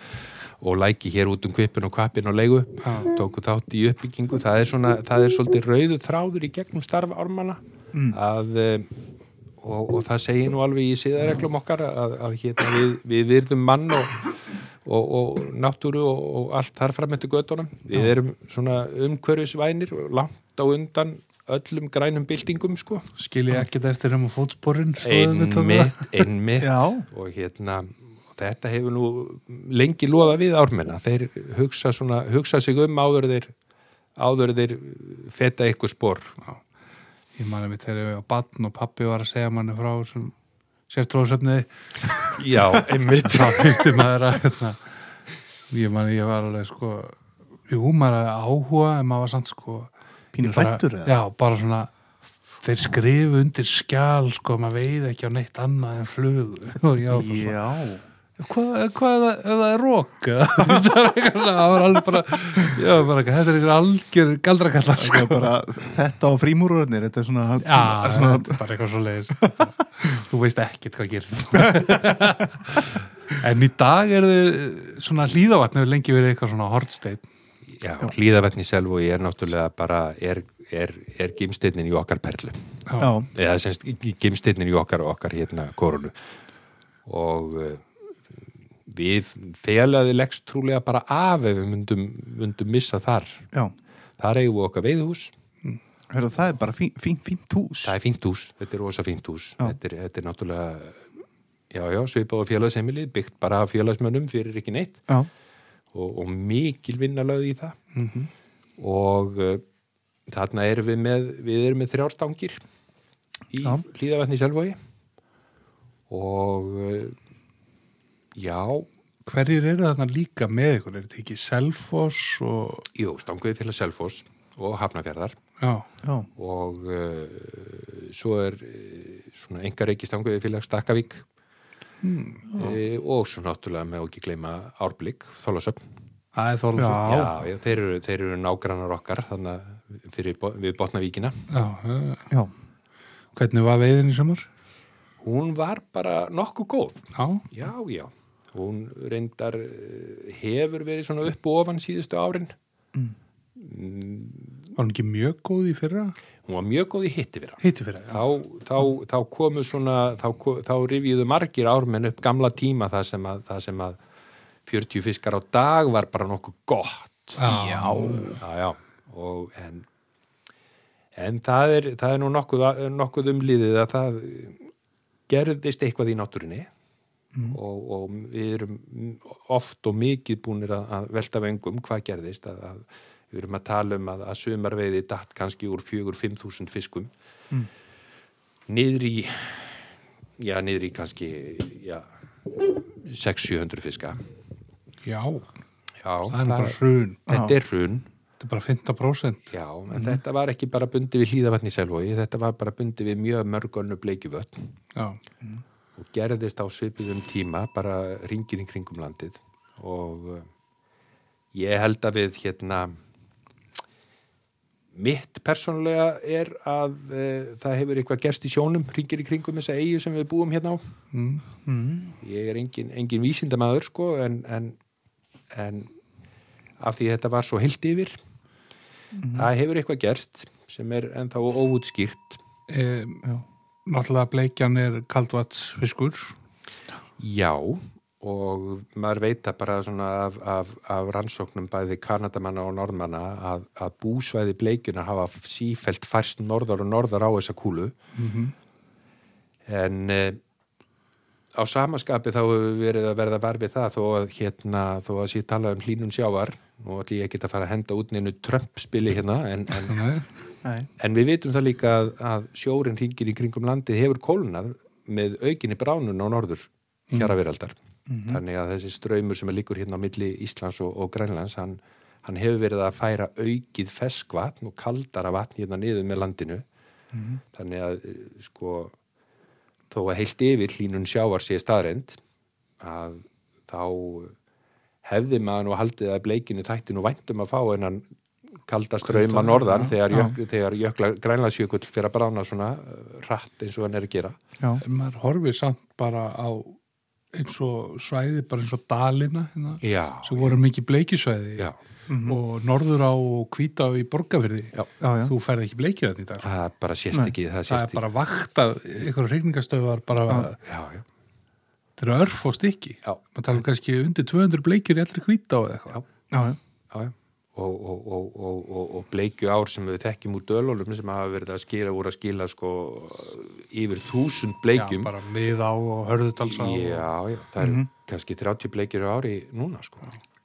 Speaker 3: og læki hér út um kvipin og kvapin og leigu
Speaker 1: Já.
Speaker 3: tóku þátt í uppbyggingu það er, svona, það er svolítið rauðu þráður í gegnum starf ármanna
Speaker 1: Mm.
Speaker 3: að, eh, og, og það segir nú alveg í siðareglum okkar að, að hérna við, við virðum mann og, og, og náttúru og, og allt þar fram eftir göttunum við erum svona umhverfisvænir og langt á undan öllum grænum byltingum sko
Speaker 1: skil ég ekkert eftir um fótsporin
Speaker 3: einmitt, einmitt
Speaker 2: Já.
Speaker 3: og hérna og þetta hefur nú lengi loða við ármenna þeir hugsa, svona, hugsa sig um áður þeir áður þeir feta eitthvað spór
Speaker 1: ég mani mitt þegar ég var batn og pappi var að segja manni frá sem sérstróðsöfniði
Speaker 3: já, einmitt
Speaker 1: þá fyrstu maður að hérna, ég mani ég var alveg sko jú, maður hafði áhuga en maður var samt sko
Speaker 2: Pínur
Speaker 1: ég bara-
Speaker 2: hræddur eða?
Speaker 1: Já, bara svona þeir skrifu undir skjál sko, maður veið ekki á neitt annað en flug og já, yeah.
Speaker 2: Já.
Speaker 1: hvað hva er það, ef það er rók það var alveg bara, já, bara eitthvað, þetta er einhver algjör galdrakallar
Speaker 2: Sko
Speaker 1: sko
Speaker 2: bara þetta á frímúrurnir, þetta er svona...
Speaker 1: Já,
Speaker 2: svona
Speaker 1: þetta er bara eitthvað svo leiðis Þú veist ekkert hvað gerst En í dag er þau svona hlýðavatn hefur lengi verið eitthvað svona hortsteinn
Speaker 3: já, hlýðavetni selvo ég er náttúrulega bara er, er, er gimsteinnin í okkar perlu
Speaker 2: já,
Speaker 3: eða semst gimsteinnin í okkar og okkar hérna korunu og eh, við felaði leggst trúlega bara af ef við myndum, myndum missa þar
Speaker 2: já.
Speaker 3: þar eigum við okkar veiðhús
Speaker 2: Hörru, það er bara fínt fín, fín hús.
Speaker 3: Það er fínt hús, þetta er rosa fínt hús
Speaker 2: Já.
Speaker 3: þetta er, þetta er náttúrulega já, já, svipað á félagseimili byggt bara af félagsmönnum fyrir ekki neitt
Speaker 2: Já,
Speaker 3: og, og mikil vinnalöð í það
Speaker 2: Mhm.
Speaker 3: og uh, þarna erum við með við erum með þrjárstangir í
Speaker 2: Já.
Speaker 3: hlýðavatni sjálfói og uh, já,
Speaker 1: Hverjir eru þarna líka með ykkur? Er þetta ekki Selfoss og
Speaker 3: jú, stanguði félag Selfoss og Hafnafjörðar
Speaker 1: Já,
Speaker 2: já,
Speaker 3: og uh, svo er uh, svona engar ekki stanguði félag Stakkavík uh, og svo náttúrulega með ekki gleyma Árblík, Þólasöfn
Speaker 1: það er Þorlur
Speaker 2: Já.
Speaker 3: já, já, þeir, eru, þeir eru nágrannar okkar þannig að fyrir, bo- við Botnavíkina
Speaker 1: Já, eh,
Speaker 2: já.
Speaker 1: Hvernig var veiðin í sumar?
Speaker 3: hún var bara nokkuð góð
Speaker 1: Já,
Speaker 3: já, já, hún reyndar eh, hefur verið svona upp og ofan síðustu árin
Speaker 1: var hann ekki mjög góð í fyrra?
Speaker 3: hún var mjög góð í hitti vera
Speaker 1: Hitti fyrra, já
Speaker 3: þá, þá, þá komu svona þá, ko- þá rifjuðu margir ármenn upp gamla tíma það sem að, það sem að 40 fiskar á dag var bara nokkuð gott
Speaker 1: Já,
Speaker 3: já, já og en en það er, það er nú nokkuð, nokkuð umlýðið að það gerðist eitthvað í náttúrinni
Speaker 1: Mm.
Speaker 3: og, og við erum oft og mikið búinir að, að velta vöngum hvað gerðist að, að við erum að tala um að, að sumarveiði datt kannski úr 4-5 þúsund fiskum
Speaker 1: Mm.
Speaker 3: niður í já, niður í kannski já, 6-700 fiska
Speaker 1: Já,
Speaker 3: já,
Speaker 1: það er nú bara hrun.
Speaker 3: þetta er hrun
Speaker 1: Þetta er bara 50%.
Speaker 3: Já, en þetta var ekki bara bundi við hlýðavatn í selvogi, þetta var bara bundi við mjög mörgönnu bleikjuvötn
Speaker 1: Já,
Speaker 3: og gerðist á svipiðum tíma, bara ringin í kringum landið og uh, ég held að við hérna mitt persónulega er að uh, það hefur eitthvað gerst í sjónum ringir í kringum þessa eigu sem við búum hérna á
Speaker 1: Mm.
Speaker 2: Mm.
Speaker 3: ég er engin, engin vísindamaður sko en, en, en af því þetta var svo heilt yfir það hefur eitthvað gerst sem er ennþá óútskýrt
Speaker 1: e, náttúrulega bleikjan er kaldvatsfiskur.
Speaker 3: já og maður veit það bara svona af, af, af rannsóknum bæði kanadamanna og norðmanna að, að búsvæði bleikjuna hafa sífelt færst norðar og norðar á þessa kúlu en eh, á samaskapi þá hefur verið að verða varfið það þó að hérna, þó að sé tala um hlínun sjávar nú ætlum ég ekki að fara að henda út neinu trömpspili hérna en, en
Speaker 1: Þannig,
Speaker 2: Nei.
Speaker 3: En við vitum það líka að, að sjórin hringir í kringum landið hefur kólnað með aukinni bránun á norður hjara veraldar. Þannig að þessi ströymur sem er líkur hérna á milli Íslands og, og Grænlands, hann, hann hefur verið að færa aukið feskvatn og kaldara vatn hérna niður með landinu. Þannig að eh, sko þó að heilt yfir hlínun sjávar sé staðreind að þá hefði maður nú haldið að bleikinu þætti nú væntum að fá hennan kalda ströym að norðan þegar, jök, þegar jökla grænlandsjökull fyrir að brána svona eh, hratt eins og hann er að gera.
Speaker 2: Já.
Speaker 1: en maður horfið samt bara á eins og svæði, bara eins og dalina, hérna,
Speaker 3: Já,
Speaker 1: sem voru mikið bleikisvæði
Speaker 3: já,
Speaker 1: og norður á og hvítá í borgarfyrði.
Speaker 2: Já, já.
Speaker 1: Þú ferð ekki bleikið þannig í dag.
Speaker 3: það bara sést ekki, það
Speaker 1: Það
Speaker 3: sést
Speaker 1: er
Speaker 3: ekki.
Speaker 1: bara vaktað, einhverjum regningastöðar bara,
Speaker 3: Já, já,
Speaker 1: þeir eru örf og stykki.
Speaker 3: Já.
Speaker 1: Maður tala um kannski undir 200 bleikir í allri hvítá eða eitthvað.
Speaker 3: Já.
Speaker 2: Já, já.
Speaker 3: já, já. Og, og, og, og, og, og bleikju ár sem við þekkjum úr dölólum sem hafa verið að skýra úr að skila sko yfir þúsund bleikjum.
Speaker 1: Já, bara miðá og hörðutalsá. og-
Speaker 3: Já, já, það eru kannski 30 bleikir á ári núna sko.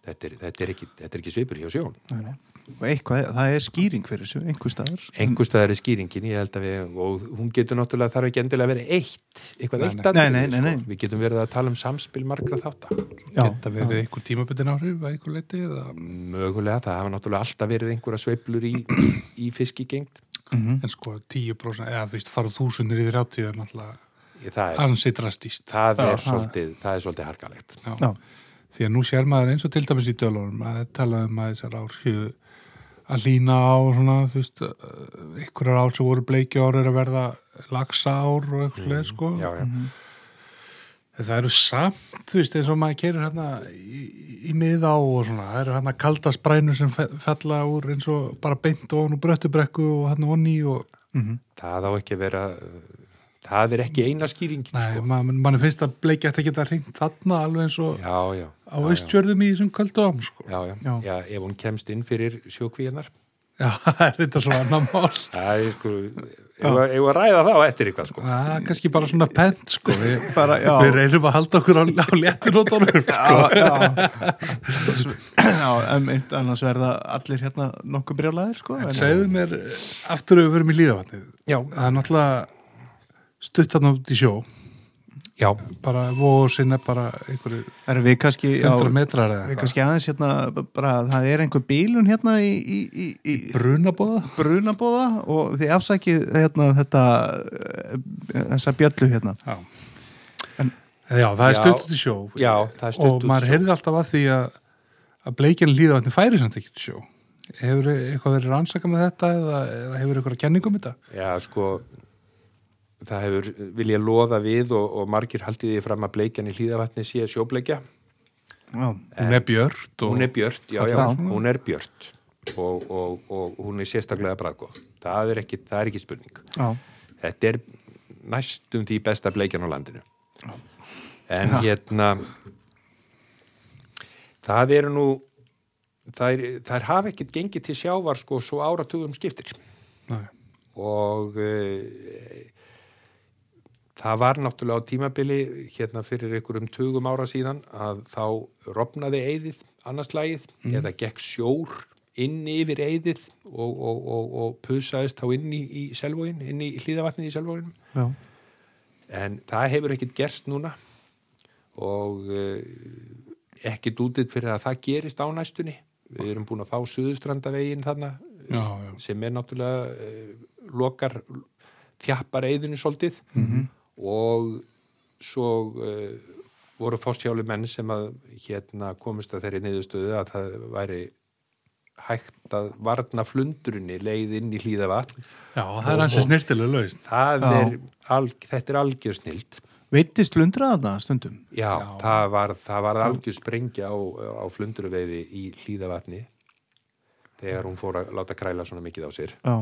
Speaker 3: Þetta er, þetta, er ekki, þetta er ekki svipur hjá sjón.
Speaker 2: Nei, nei. Og eitthvað, það er skýring fyrir þessu, einhver staðar.
Speaker 3: Engu staðar er skýringin, ég held að við, og hún getur náttúrulega þarf ekki endilega að vera eitt, eitthvað eitt
Speaker 2: nei.
Speaker 3: atriði, sko.
Speaker 2: Nei, nei, nei, nei.
Speaker 3: Við getum verið að tala um samspil margra þátta.
Speaker 1: Geta verið einhver tímabutin áhrif að einhver leiti eða...
Speaker 3: Mögulega, það hafa náttúrulega alltaf verið einhverja sveiflur í, í fiskigengt. Mhm.
Speaker 1: En sko 10% eða þú veist fara þúsundir í 30 er náttúrulega
Speaker 3: Það er,
Speaker 1: ansi drastist.
Speaker 3: það er, svolítið, það er svolítið harkalegt.
Speaker 2: Já.
Speaker 1: Því að nú sér maður eins og til dæmis í dölunum að tala um að þessar ár séu að lína á svona, þú veist, einhverjar ár sem voru bleiki ár er að verða lagsa ár og eitthvað mm, sko.
Speaker 3: Mhm. Já, já.
Speaker 2: Mhm.
Speaker 1: En Það eru samt, þú veist, eins og maður kerur hérna í, í miðá og svona, það eru hérna kaldasprænu sem fe- fella úr eins og bara beint ofan og bröttubrekku og hérna onni og
Speaker 3: Það á ekki að vera, það er ekki eina skýringin,
Speaker 1: nei,
Speaker 3: sko.
Speaker 1: ma- mann er finnst að bleikja þetta geta hringt þarna alveg eins og
Speaker 3: Já, já.
Speaker 1: á austjörðum í þessum köldu ám, sko.
Speaker 3: Já, já.
Speaker 2: Já.
Speaker 3: já. ef hún kemst inn fyrir sjókvíðanar.
Speaker 1: Já, það er þetta svo annar mál.
Speaker 3: Það er sko, ef að eigum að ræða það á eftir eitthvað sko.
Speaker 1: Það er kannski bara svona pent, sko. Við,
Speaker 2: Bara, já.
Speaker 1: við reynum að halda okkur á, á léttunóttunum, sko.
Speaker 2: Já, já. já, en einn annars verða allir hérna nokkuð brjálæðir, sko. en-
Speaker 1: Segðu mér eh, aftur ef við förum í líðavatnið.
Speaker 3: Já.
Speaker 1: Það er náttúrulega stutt þarna út í sjó.
Speaker 3: Já,
Speaker 1: Bara vóðu sinna bara einhverju
Speaker 2: Það eru við kannski, já,
Speaker 1: 100 metrar eða
Speaker 2: við
Speaker 1: eitthvað.
Speaker 2: kannski aðeins hérna, bara, það er einhver bílun hérna í, í, í, í
Speaker 1: Brunabóða?
Speaker 2: brunabóða og þið afsakið hérna þetta, eh, þessa bjöllu hérna.
Speaker 1: Já. já, það er
Speaker 3: Já.
Speaker 1: stutt út í sjó.
Speaker 3: já, það er stutt út
Speaker 1: Og maður heyrði alltaf að því að, að bleikjan líðavatni færi samt ekki út í sjó. Hefur eitthvað verið rannsaka með þetta eða, eða hefur eitthvað kenningum þetta?
Speaker 3: Já, sko, það hefur viljað loða við og, og margir haldið því fram að bleikjan í hlýðavatni sé sjóbleikja.
Speaker 2: Já,
Speaker 1: Hún er björt og
Speaker 3: Eh, Hún er björt, já, já,
Speaker 2: Fallega.
Speaker 3: hún er björt og, og, og hún er sérstaklega bræðgóð. Það er ekki, það er ekki spurning.
Speaker 2: já,
Speaker 3: Þetta er næstum því besta bleikjan á landinu. En hérna, það eru nú, þær, þær hafa ekkert gengið til sjávar sko svo áratugum skiptir.
Speaker 1: Nei.
Speaker 3: og eh, það var náttúrulega á tímabili hérna fyrir einhverjum tugum ára síðan að þá rofnaði eyðið annarslagið mm. eða gekk sjór inn yfir eyðið og, og, og, og pusaðist þá inn í, í selvóin, inn í hlýðavatnið í selvóinum
Speaker 2: já,
Speaker 3: en það hefur ekkert gerst núna og uh, ekkert útitt fyrir að það gerist á næstunni við erum búin að fá suðustrandavegin þarna
Speaker 1: já, já.
Speaker 3: sem er náttúrulega uh, lokar þjappar eðinu svolítið -hmm. og svo uh, voru fórstjáli menn sem að hérna komist að þeirri niðurstöðu að það væri hægt að varna flundrunni leið inn í hlýða vatn
Speaker 1: Já, það er hansi snirtilega laust
Speaker 3: það
Speaker 2: Já.
Speaker 3: er, alg, þetta er algjör snild
Speaker 2: veittist lundraða þarna stundum
Speaker 3: Já, það var, það var algjör sprengja á, á flundurveiði í hlýðavatni þegar hún fór að láta kræla svona mikið á sér
Speaker 2: já,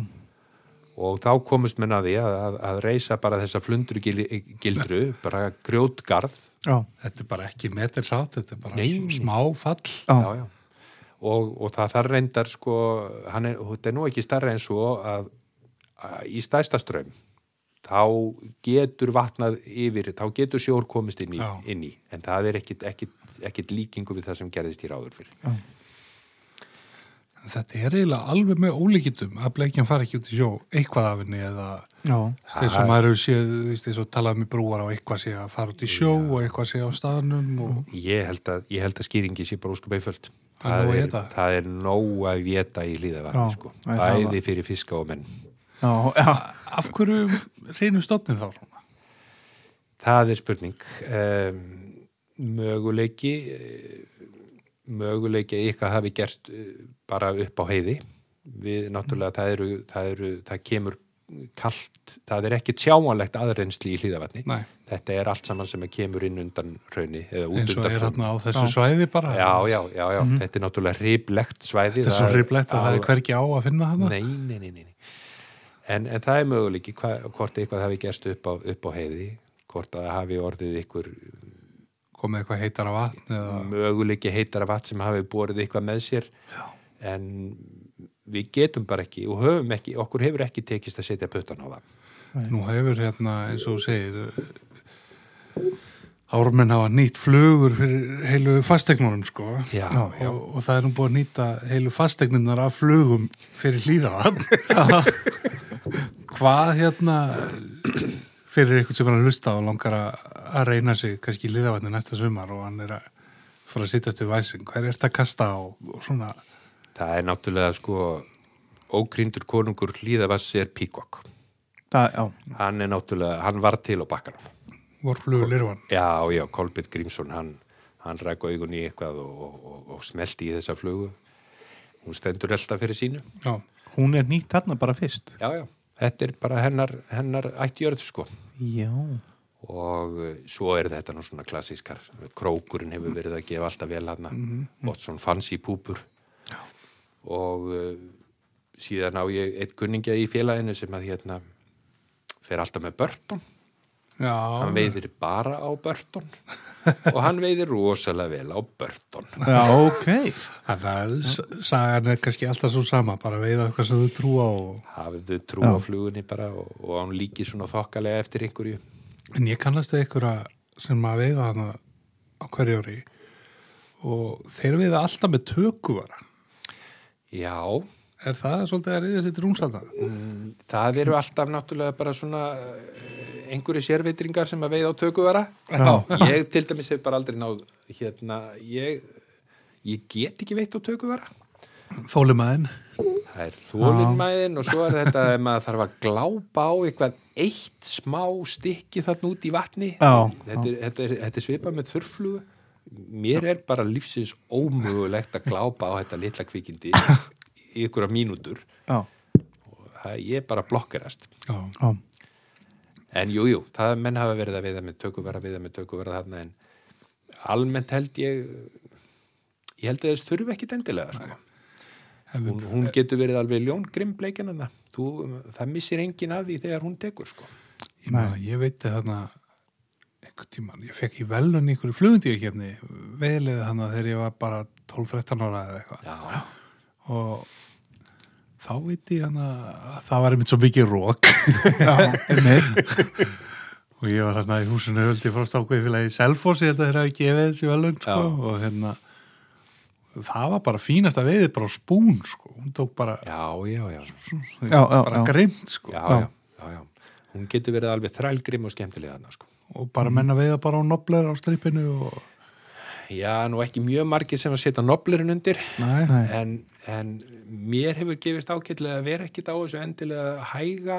Speaker 3: og þá komust menn að því að, að, að reysa bara þessa flundurgildru bara grjótgarð
Speaker 2: já,
Speaker 1: Þetta er bara ekki metersátt, þetta er bara
Speaker 3: Nei.
Speaker 1: smá fall
Speaker 2: já,
Speaker 3: já, já. Og, og það þar reyndar sko, hann er, þetta er nú ekki starra en svo að, að í stærsta strömm þá getur vatnað yfir, þá getur sjór komist inn í,
Speaker 1: Já.
Speaker 3: inn í. en það er ekkit, ekkit, ekkit líkingu við það sem gerðist hér áður fyrir
Speaker 2: já.
Speaker 1: Þetta er eiginlega alveg með ólíkitum að bleikjan fara ekki út í sjó eitthvað af henni eða
Speaker 2: já.
Speaker 1: þess að maður hefur séð, þú veist, þess að talað með brúar á eitthvað sé að fara út í sjó og eitthvað sé á staðnum og
Speaker 3: Ég held að, ég held að skýringi sé bara óskup einföld.
Speaker 1: Það er nóg að
Speaker 3: er,
Speaker 1: éta.
Speaker 3: það er nóg að veta í líðavatni,
Speaker 2: Já,
Speaker 3: sko.
Speaker 2: það er
Speaker 3: Bæði fyrir fiska og menn.
Speaker 2: Já, já,
Speaker 1: af hverju reynum stofnin þá svona?
Speaker 3: Það er spurning. Um, möguleiki, eh, möguleiki að ykkar hafi gerst eh, bara upp á heiði. Við, náttúrulega, það, eru, það, eru, það kemur kalt, það er ekki tjáanlegt aðreynsli í hlýðavatni.
Speaker 1: Nei.
Speaker 3: Þetta er allt saman sem kemur inn undan raunni eða út
Speaker 1: eins og
Speaker 3: undan
Speaker 1: er
Speaker 3: hrauni.
Speaker 1: hérna á þessu svæði bara
Speaker 3: Já, já, já, já, þetta er náttúrulega hriplegt svæði.
Speaker 1: þetta er svo
Speaker 3: Það-
Speaker 1: riflegt að það er
Speaker 3: á-
Speaker 1: hvergi á að finna hana
Speaker 3: Nei, nei, nei, nei. nei. En, en það er möguleiki hva, hvort eitthvað hafi gerst upp á, upp á heiði, hvort að það hafi orðið ykkur
Speaker 1: komið eitthvað heitar á vatn eða...
Speaker 3: möguleiki heitara vatn sem hafi borið eitthvað með sér. Já. En við getum bara ekki og höfum ekki, okkur hefur ekki tekist að setja puttan á það.
Speaker 1: nú hefur hérna eins og þú segir eh, ármenn hafa nýtt flugur fyrir heilu fastegnunum sko
Speaker 3: Já, já.
Speaker 1: Og, og það er nú búið að nýta heilu fastegnunar af flugum fyrir hlýðaðan hvað hérna fyrir eitthvað sem er að hlusta og langar að, að reyna sig kannski í hlýðavatni næsta sumar og hann er að fara að sittast við væsing hvað er þetta að kasta á og svona
Speaker 3: Það er náttúrulega sko ógrindur konungur hlýðavass er píkokk.
Speaker 2: það, já,
Speaker 3: Hann er náttúrulega, hann var til á bakkanum.
Speaker 1: vorflugur lirvan
Speaker 3: Já, já, Kolbjörn Grímsson, hann, hann ræk augun í eitthvað og, og, og, og smelti í þessa flugu. Hún stendur elda fyrir sínu.
Speaker 1: já
Speaker 2: hún er nýtt þarna bara fyrst.
Speaker 3: Já, já, þetta er bara hennar, hennar ættjörð, sko.
Speaker 2: Já,
Speaker 3: Og eh, svo er þetta nú svona klassískar. Krókurinn hefur verið að gefa alltaf vel hana. Bottsson fanns í púpur. Og uh, síðan á ég eitt kunningja í félaginu sem að hérna fer alltaf með börton.
Speaker 1: Já,
Speaker 3: Hann veiðir bara á börton. og hann veiðir rosalega vel á börton.
Speaker 2: já, ok.
Speaker 1: þannig að s- sagan er kannski alltaf svo sama, bara veiða eitthvað sem þú trúa og...
Speaker 3: hafðu trú á flugunni bara og, og hann líki svona þokkalega eftir einhverju
Speaker 1: En ég kannast við einhverja sem að veiða hana á hverju ári og þeir veiða alltaf með tökuvara.
Speaker 3: já,
Speaker 1: Er það svolítið að reyða sér rúmsaldan?
Speaker 3: það eru alltaf náttúrulega bara svona eh, einhverju sérvitringar sem að veið á tökuvara
Speaker 2: Já.
Speaker 3: ég til dæmis hef bara aldrei náð hérna, ég ég get ekki veitt á tökuvara
Speaker 1: Þólimaðin.
Speaker 3: það er þólinnmæðin og svo er þetta að maður þarf að glápa á eitthvað eitt smá stykki þarna út í vatni
Speaker 2: Já,
Speaker 3: þetta, er, þetta, er, þetta er svipað með þurflugu mér er bara lífsins ómögulegt að glápa á þetta litla kvikindi í ykkur mínútur
Speaker 2: Já,
Speaker 3: það, ég er bara blokkerast
Speaker 1: Já,
Speaker 2: já,
Speaker 3: en jújú, jú, það menn hafa verið að veiða með tökuvara veiða með tökuvara þarna en almennt held ég ég held að þess þurfi ekki endilega sko.
Speaker 1: Ef
Speaker 3: hún,
Speaker 1: við,
Speaker 3: hún getur verið alveg ljón grimbleikin en það missir engin að því þegar hún tekur sko.
Speaker 1: ég, meina, ég veit þarna einhvern tíman, ég fekk í velun einhverju flugundíkjefni, veilið hana þegar ég var bara 12-13 ára eða eitthvað.
Speaker 3: já,
Speaker 1: og þá veit ég hann að það var einmitt svo mikið rók
Speaker 2: Já, einmitt.
Speaker 1: og ég var hérna í húsinu höldi frá stákveifilegi Selfossi þetta þegar að gefa þessi velun sko,
Speaker 3: Já.
Speaker 1: og hérna það var bara fínasta veiði bara á spún sko. hún tók bara,
Speaker 3: já, já, já,
Speaker 2: Já, já,
Speaker 1: bara
Speaker 2: já.
Speaker 1: grimt sko.
Speaker 3: já,
Speaker 2: Já.
Speaker 3: já, já, já. Hún getur verið alveg þrælgrim og skemmtilega þarna, sko.
Speaker 1: og bara menna veiða bara á nobler á stripinu og
Speaker 3: Já, nú ekki mjög margir sem að setja noblerinn undir,
Speaker 1: Nei.
Speaker 2: Nei.
Speaker 3: en, en mér hefur gefist ákveðlega að vera ekkit á þessu endilega hæga,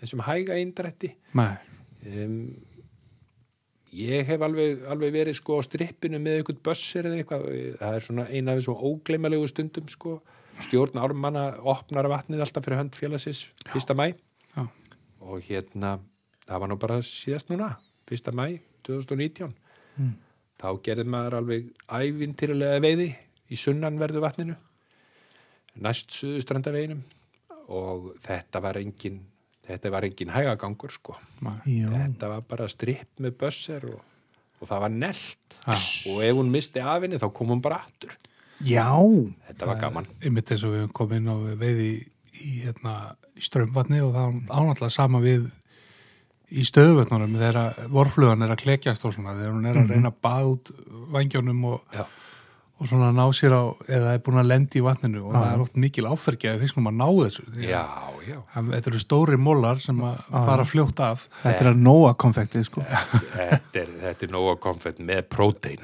Speaker 3: þessum hæga eindrætti.
Speaker 1: Nei.
Speaker 3: um, ég hef alveg, alveg verið sko á strippinu með einhvern bössir eða eitthvað það er svona eina af þessum ógleimalegu stundum sko. stjórn ármanna opnar vatnið alltaf fyrir hönd félagsins 1. mæ
Speaker 1: Já.
Speaker 3: og hérna, það var nú bara síðast núna 1. mæ 2019 þá gerði maður alveg ævintýrulega veiði í sunnanverðu vatninu næst suðustrandaveginum og þetta var engin þetta var engin hægagangur sko
Speaker 1: Nei.
Speaker 2: Já.
Speaker 3: þetta var bara stripp með bösser og, og það var nelt
Speaker 1: Ha.
Speaker 3: og ef hún misti af henni þá kom hún bara aftur
Speaker 2: Já,
Speaker 3: þetta var gaman
Speaker 1: einmitt eins og við höfum komið inn á veiði í, hérna, í strömbarni og það ánáttúrulega sama við í stöðuvötnunum þegar vorflugan er að klekjast og svona þegar hún
Speaker 2: Mhm.
Speaker 1: er að reyna að baða út vangjónum og,
Speaker 3: já,
Speaker 1: og svona ná sér á eða er búin að lendi í vatninu og það er oft mikil áfergja að fiskum að ná þessu Því að
Speaker 3: já, já.
Speaker 1: hann- þetta eru stóri mólar sem að fara fljótt af
Speaker 2: þetta er að nóa konfektið sko.
Speaker 3: þetta er, þetta er nóga komfett með prótein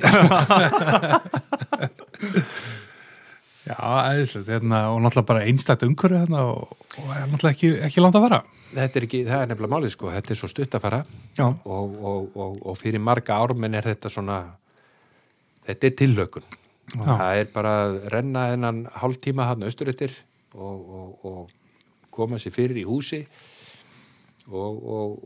Speaker 1: já, æðislegt, hérna, og náttúrulega bara einstætt umhverju hérna og, og er náttúrulega ekki, ekki langt að vera
Speaker 3: þetta er ekki, það er nefnilega málið sko þetta er svo stutt að fara
Speaker 2: Já,
Speaker 3: og, og, og, og fyrir marga ármenn er þetta svona þetta er tillökun
Speaker 1: Já.
Speaker 3: það er bara að renna þennan hálftíma hann austuröttir og, og, og koma sér fyrir í húsi og, og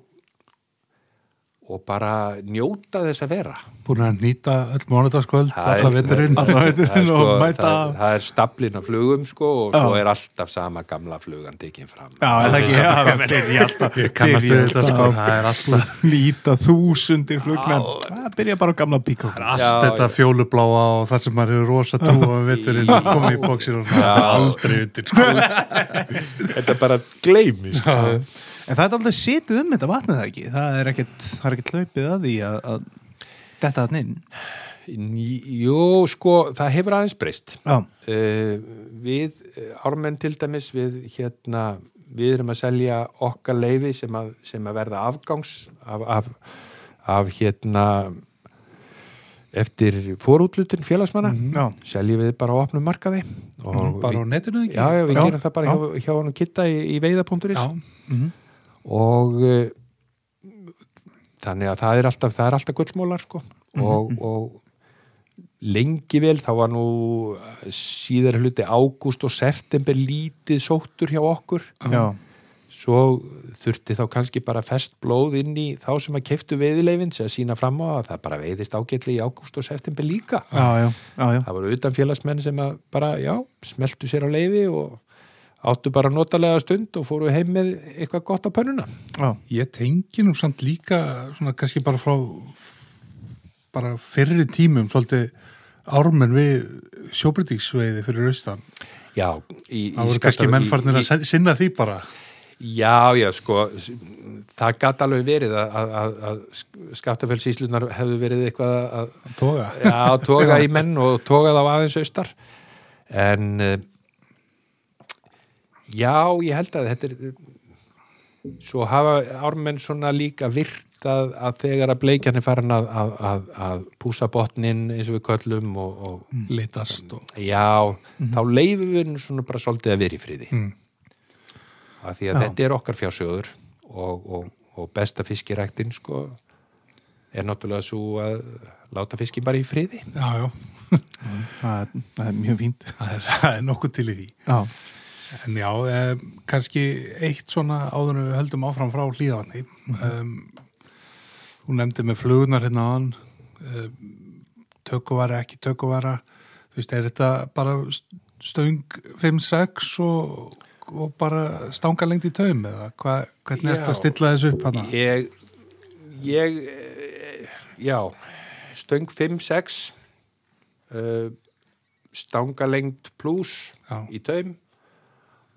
Speaker 3: og bara njóta þess að vera
Speaker 1: búin að nýta öll mánudagskvöld, alla veturinn
Speaker 3: það, það,
Speaker 2: veturinn
Speaker 3: það, er sko,
Speaker 2: og mæta.
Speaker 3: það, það er stablin af flugum sko og svo
Speaker 2: Já.
Speaker 3: er alltaf sama gamla flugan tekin fram
Speaker 2: já er það ekki, já, það byrja alltaf
Speaker 1: Ég kannast við
Speaker 2: byrja
Speaker 1: þetta sko,
Speaker 2: alltaf
Speaker 1: það er alltaf
Speaker 2: að Líta þúsundir flugmenn Það byrja bara á gamla píkó
Speaker 1: allt
Speaker 3: Já,
Speaker 1: þetta
Speaker 3: já.
Speaker 1: fjólubláa og það sem maður eru rosa trú á vetturinn og komið í bóksir og svona,
Speaker 3: Já.
Speaker 1: það er aldrei undir sko.
Speaker 3: þetta bara sko. gleymist já,
Speaker 2: En það er aldrei setið um þetta vatnið það ekki Það er ekkert, það er ekkert hlaupið að því að, að Detta þarna inn
Speaker 3: Jú, sko, það hefur aðeins breyst.
Speaker 2: Já,
Speaker 3: Uh, við, eh, ármenn til dæmis, við hérna, við erum að selja okkar leifi sem að, sem að verða afgangs af, af, af hérna eftir fórútlutin félagsmanna
Speaker 2: já,
Speaker 3: seljum við bara á opnum markaði og
Speaker 1: Mhm. bara á
Speaker 3: við,
Speaker 1: netinu ekki
Speaker 3: já, já, við
Speaker 2: Já,
Speaker 3: gerum það bara
Speaker 2: já.
Speaker 3: hjá, hjá hann og kitta í, í veiða.is
Speaker 1: Já,
Speaker 3: og uh, þannig að það er alltaf, það er alltaf gullmólar sko og, og lengi vel þá var nú síðar hluti ágúst og september lítið sóttur hjá okkur
Speaker 2: já
Speaker 3: svo þurfti þá kannski bara fest blóð inn í þá sem að keftu veiðileifin sem að sína fram á að það bara veiðist ágætli í ágúst og september líka
Speaker 2: Já, já, já, já.
Speaker 3: það voru utan félagsmenn sem að bara, já, smeltu sér á leifi og áttu bara notalega stund og fóru heim með eitthvað gott á pönnuna
Speaker 2: já.
Speaker 1: ég tengi nú samt líka svona kannski bara frá bara fyrri tímum svolítið ármenn við sjóbritíksveiði fyrir austan
Speaker 3: Já, í,
Speaker 1: það voru kannski mennfarnir að sen- sinna því bara
Speaker 3: Já, já, sko, s- það gat alveg verið að- að, að, að skaftafellsíslunar hefðu verið eitthvað að,
Speaker 1: að toga
Speaker 3: að toga í menn og toga þá aðeins austar. En eh, já, ég held að þetta er, svo hafa ármenn svona líka virt að, að þegar að bleikjan er farin að, að, að, að púsa botnin eins og við köllum og, og
Speaker 1: Mm. litast og
Speaker 3: Já, þá leifum við nú svona bara svolítið að vera í friði
Speaker 1: Mm.
Speaker 3: af því að þetta er okkar fjársjóður og, og, og besta fiskiræktin sko er náttúrulega svo að láta fiskin bara í friði
Speaker 1: já, já,
Speaker 2: Það, er, það er mjög fínt
Speaker 1: það er, það er nokkuð til í því
Speaker 2: Já,
Speaker 1: En já, eh, kannski eitt svona áður en við höldum áfram frá hlýðavanni. um, þú nefndi með flugunar hérna aðan, um, tökuvara, ekki tökuvara. Þú veist, er þetta bara st- stöng 5-6 og, og bara stanga lengt í taum eða hva, hvernig er
Speaker 3: Já.
Speaker 1: þetta að stilla þessu upp hana?
Speaker 3: Ég, ég eh, já, stöng eh, 5-6 uh, stangalengt plus
Speaker 1: Já.
Speaker 3: í taum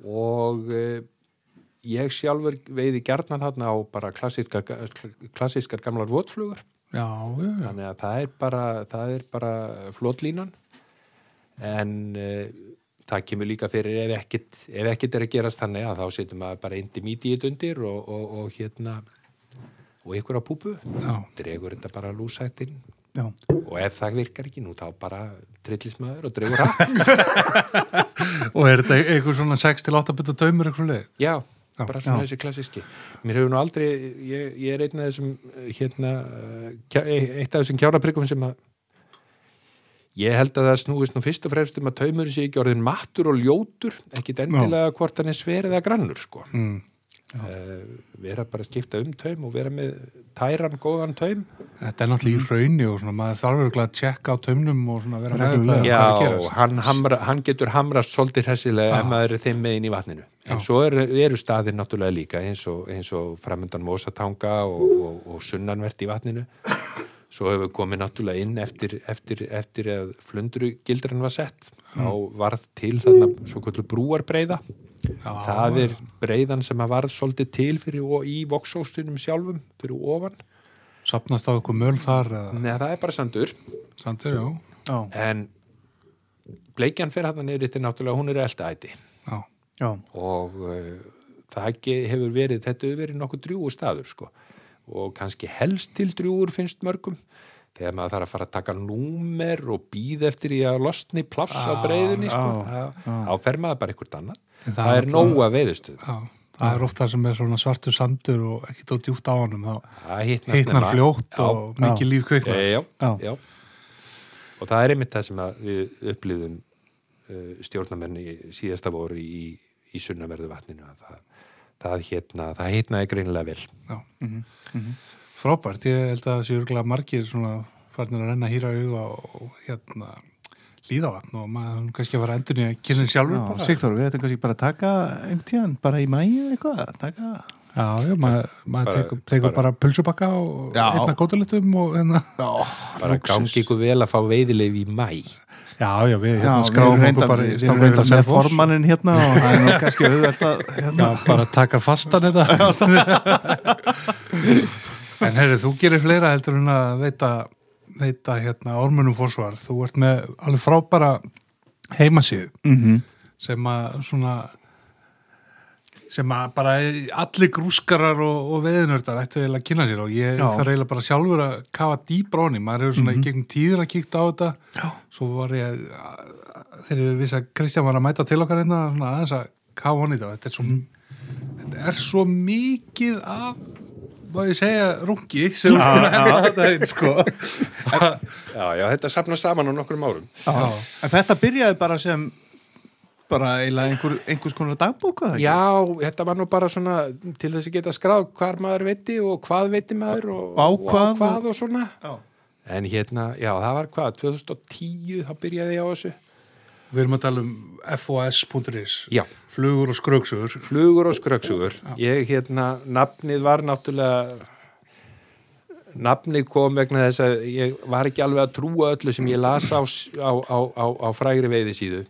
Speaker 3: og eh, ég sjálfur veiði gjarnan þarna á bara klassíska, klassískar gamlar votflugur
Speaker 1: já, já, já.
Speaker 3: þannig að það er bara, það er bara flotlínan en uh, það kemur líka fyrir ef ekkit, ef ekkit er að gerast þannig að þá setjum maður bara intermediate undir og, og, og hérna og ykkur á púpu
Speaker 1: Já.
Speaker 3: dregur þetta bara lúsættin
Speaker 2: já.
Speaker 3: og ef það virkar ekki nú þá bara trillismæður og dregur hatt
Speaker 1: og er þetta eitthvað svona 6-8 bita taumur eitthvað leið
Speaker 3: já,
Speaker 1: Já,
Speaker 3: bara svona
Speaker 2: já.
Speaker 3: þessi klassíski mér hefur nú aldrei, ég, ég er einn af þessum eh, hérna eh, kjá- eitt af þessum kjáraprikkum sem að ég held að það snúist nú fyrst og fremst um að taumurinn sé ekki orðin mattur og ljótur ekki endilega hvort hann er sverið eða grannur sko
Speaker 1: mm.
Speaker 3: uh, vera bara að skipta um taum og vera með tæran góðan taum
Speaker 1: þetta er náttúrulega í raunni og svona maður þarf örugglega að tjekka á taumnum og svona vera með
Speaker 2: Reglulega.
Speaker 1: þetta hvað er að
Speaker 3: Já,
Speaker 1: gerast.
Speaker 3: hann, hamra, hann getur hamrast svolítið hressilega ef maður er þeim megin í vatninu. En svo eru, eru staðir náttúrulega líka eins og, eins og framöndan Mósatanga og, og, og sunnanvert í vatninu. Svo hefur komið náttúrulega inn eftir, eftir, eftir að flundru gildran var sett. Þá varð til þarna svo kvöldu brúarbreiða. Það er breiðan sem að varð svolítið til fyrir og í voksóstunum sjálfum, fyrir ofan.
Speaker 1: sapnast á eitthvað möl þar eða,
Speaker 3: Nei, það er bara sandur.
Speaker 1: sandur, já,
Speaker 2: Já,
Speaker 3: En bleikjan fyrir hann niður þetta er náttúrulega, hún er eldaæti.
Speaker 1: já,
Speaker 2: já,
Speaker 3: og uh, það ekki hefur verið, þetta hefur verið nokkuð drjúur staður sko og kannski helst til drjúur finnst mörgum þegar maður þarf að fara að taka númer og býð eftir í að losni pláss á breiðinni sko,
Speaker 2: á,
Speaker 3: þá- þá fer maður bara eitthvað annað
Speaker 1: En
Speaker 3: það,
Speaker 1: það er
Speaker 3: er nóga veiðustuð
Speaker 1: já. það er oft það sem er svona svartur sandur og ekki tótt djúft á honum þá
Speaker 3: það hitnar
Speaker 1: hitnar
Speaker 3: snemma.
Speaker 1: fljótt
Speaker 3: Já,
Speaker 1: og mikið líf kviknar
Speaker 3: e, já,
Speaker 2: Já.
Speaker 3: já. og það er einmitt það sem að við upplýðum uh, stjórnamenni síðasta voru í, í sunnaverðu vatninu að það, það, hérna, það hitnaði greinilega vel
Speaker 1: Já. mhm. frábært, ég held að það sé örgulega margir svona farnir að renna hýra auga og hérna líðavatn og maður hann kannski að fara endur nýja kynnin sjálfur
Speaker 2: já.
Speaker 1: bara
Speaker 2: Sigþór, við ættum kannski bara að taka einhvern tíðan, bara í mæju eitthvað, taka
Speaker 1: já, já, maður, maður
Speaker 3: Bara-
Speaker 1: tekur, tekur bara, pulsubakka og
Speaker 2: Já.
Speaker 1: hérna kótalitum og hérna
Speaker 3: bara gangi ykkur vel að fá veiðileif í mæ
Speaker 1: já, já, við
Speaker 2: Já,
Speaker 1: hérna
Speaker 2: við erum
Speaker 1: skráum
Speaker 2: reyndar-
Speaker 1: okkur bara
Speaker 2: við erum reyndar með formannin hérna og það er nú kannski auðvelt að hérna.
Speaker 1: já, bara taka fastan þetta en herri, þú gerir fleira heldur en að veita, veita hérna ormunum fórsvar, þú ert með alveg frábæra heimasíðu
Speaker 2: Mhm.
Speaker 1: sem að svona sem að bara allir grúskarar og, og veðinördar ættu eiginlega að kynna sér og ég
Speaker 2: Já.
Speaker 1: þarf eiginlega bara sjálfur að kafa dýbra honni, maður hefur svona í gegnum tíður að kíkta á þetta Já. svo var ég þegar við vissi að Kristján var að mæta til okkar einna svona aðeins að kafa honni þetta þetta er svo, þetta er svo mikið af hvað ég segja, rungi sem við erum að þetta sko. einn sko
Speaker 3: já, já, þetta sapna saman á nokkrum árum
Speaker 1: Já.
Speaker 2: En þetta byrjaði bara sem bara eiginlega einhver, einhvers konar dagbóka það ekki?
Speaker 3: já, þetta var nú bara svona til þess að geta skráð hvar maður veiti og hvað veiti maður og,
Speaker 2: Á
Speaker 3: og
Speaker 2: hvað og-
Speaker 3: og, hvað og svona
Speaker 2: Já.
Speaker 3: en hérna, já, það var hvað 2010, þá byrjaði ég á þessu
Speaker 1: við erum að tala um fos.is
Speaker 3: Já.
Speaker 1: flugur og skröksugur
Speaker 3: flugur og skröksugur ég hérna, nafnið var náttúrulega nafnið kom vegna þess að ég var ekki alveg að trúa öllu sem ég las á, á, á, á, á frægri veiðisíðu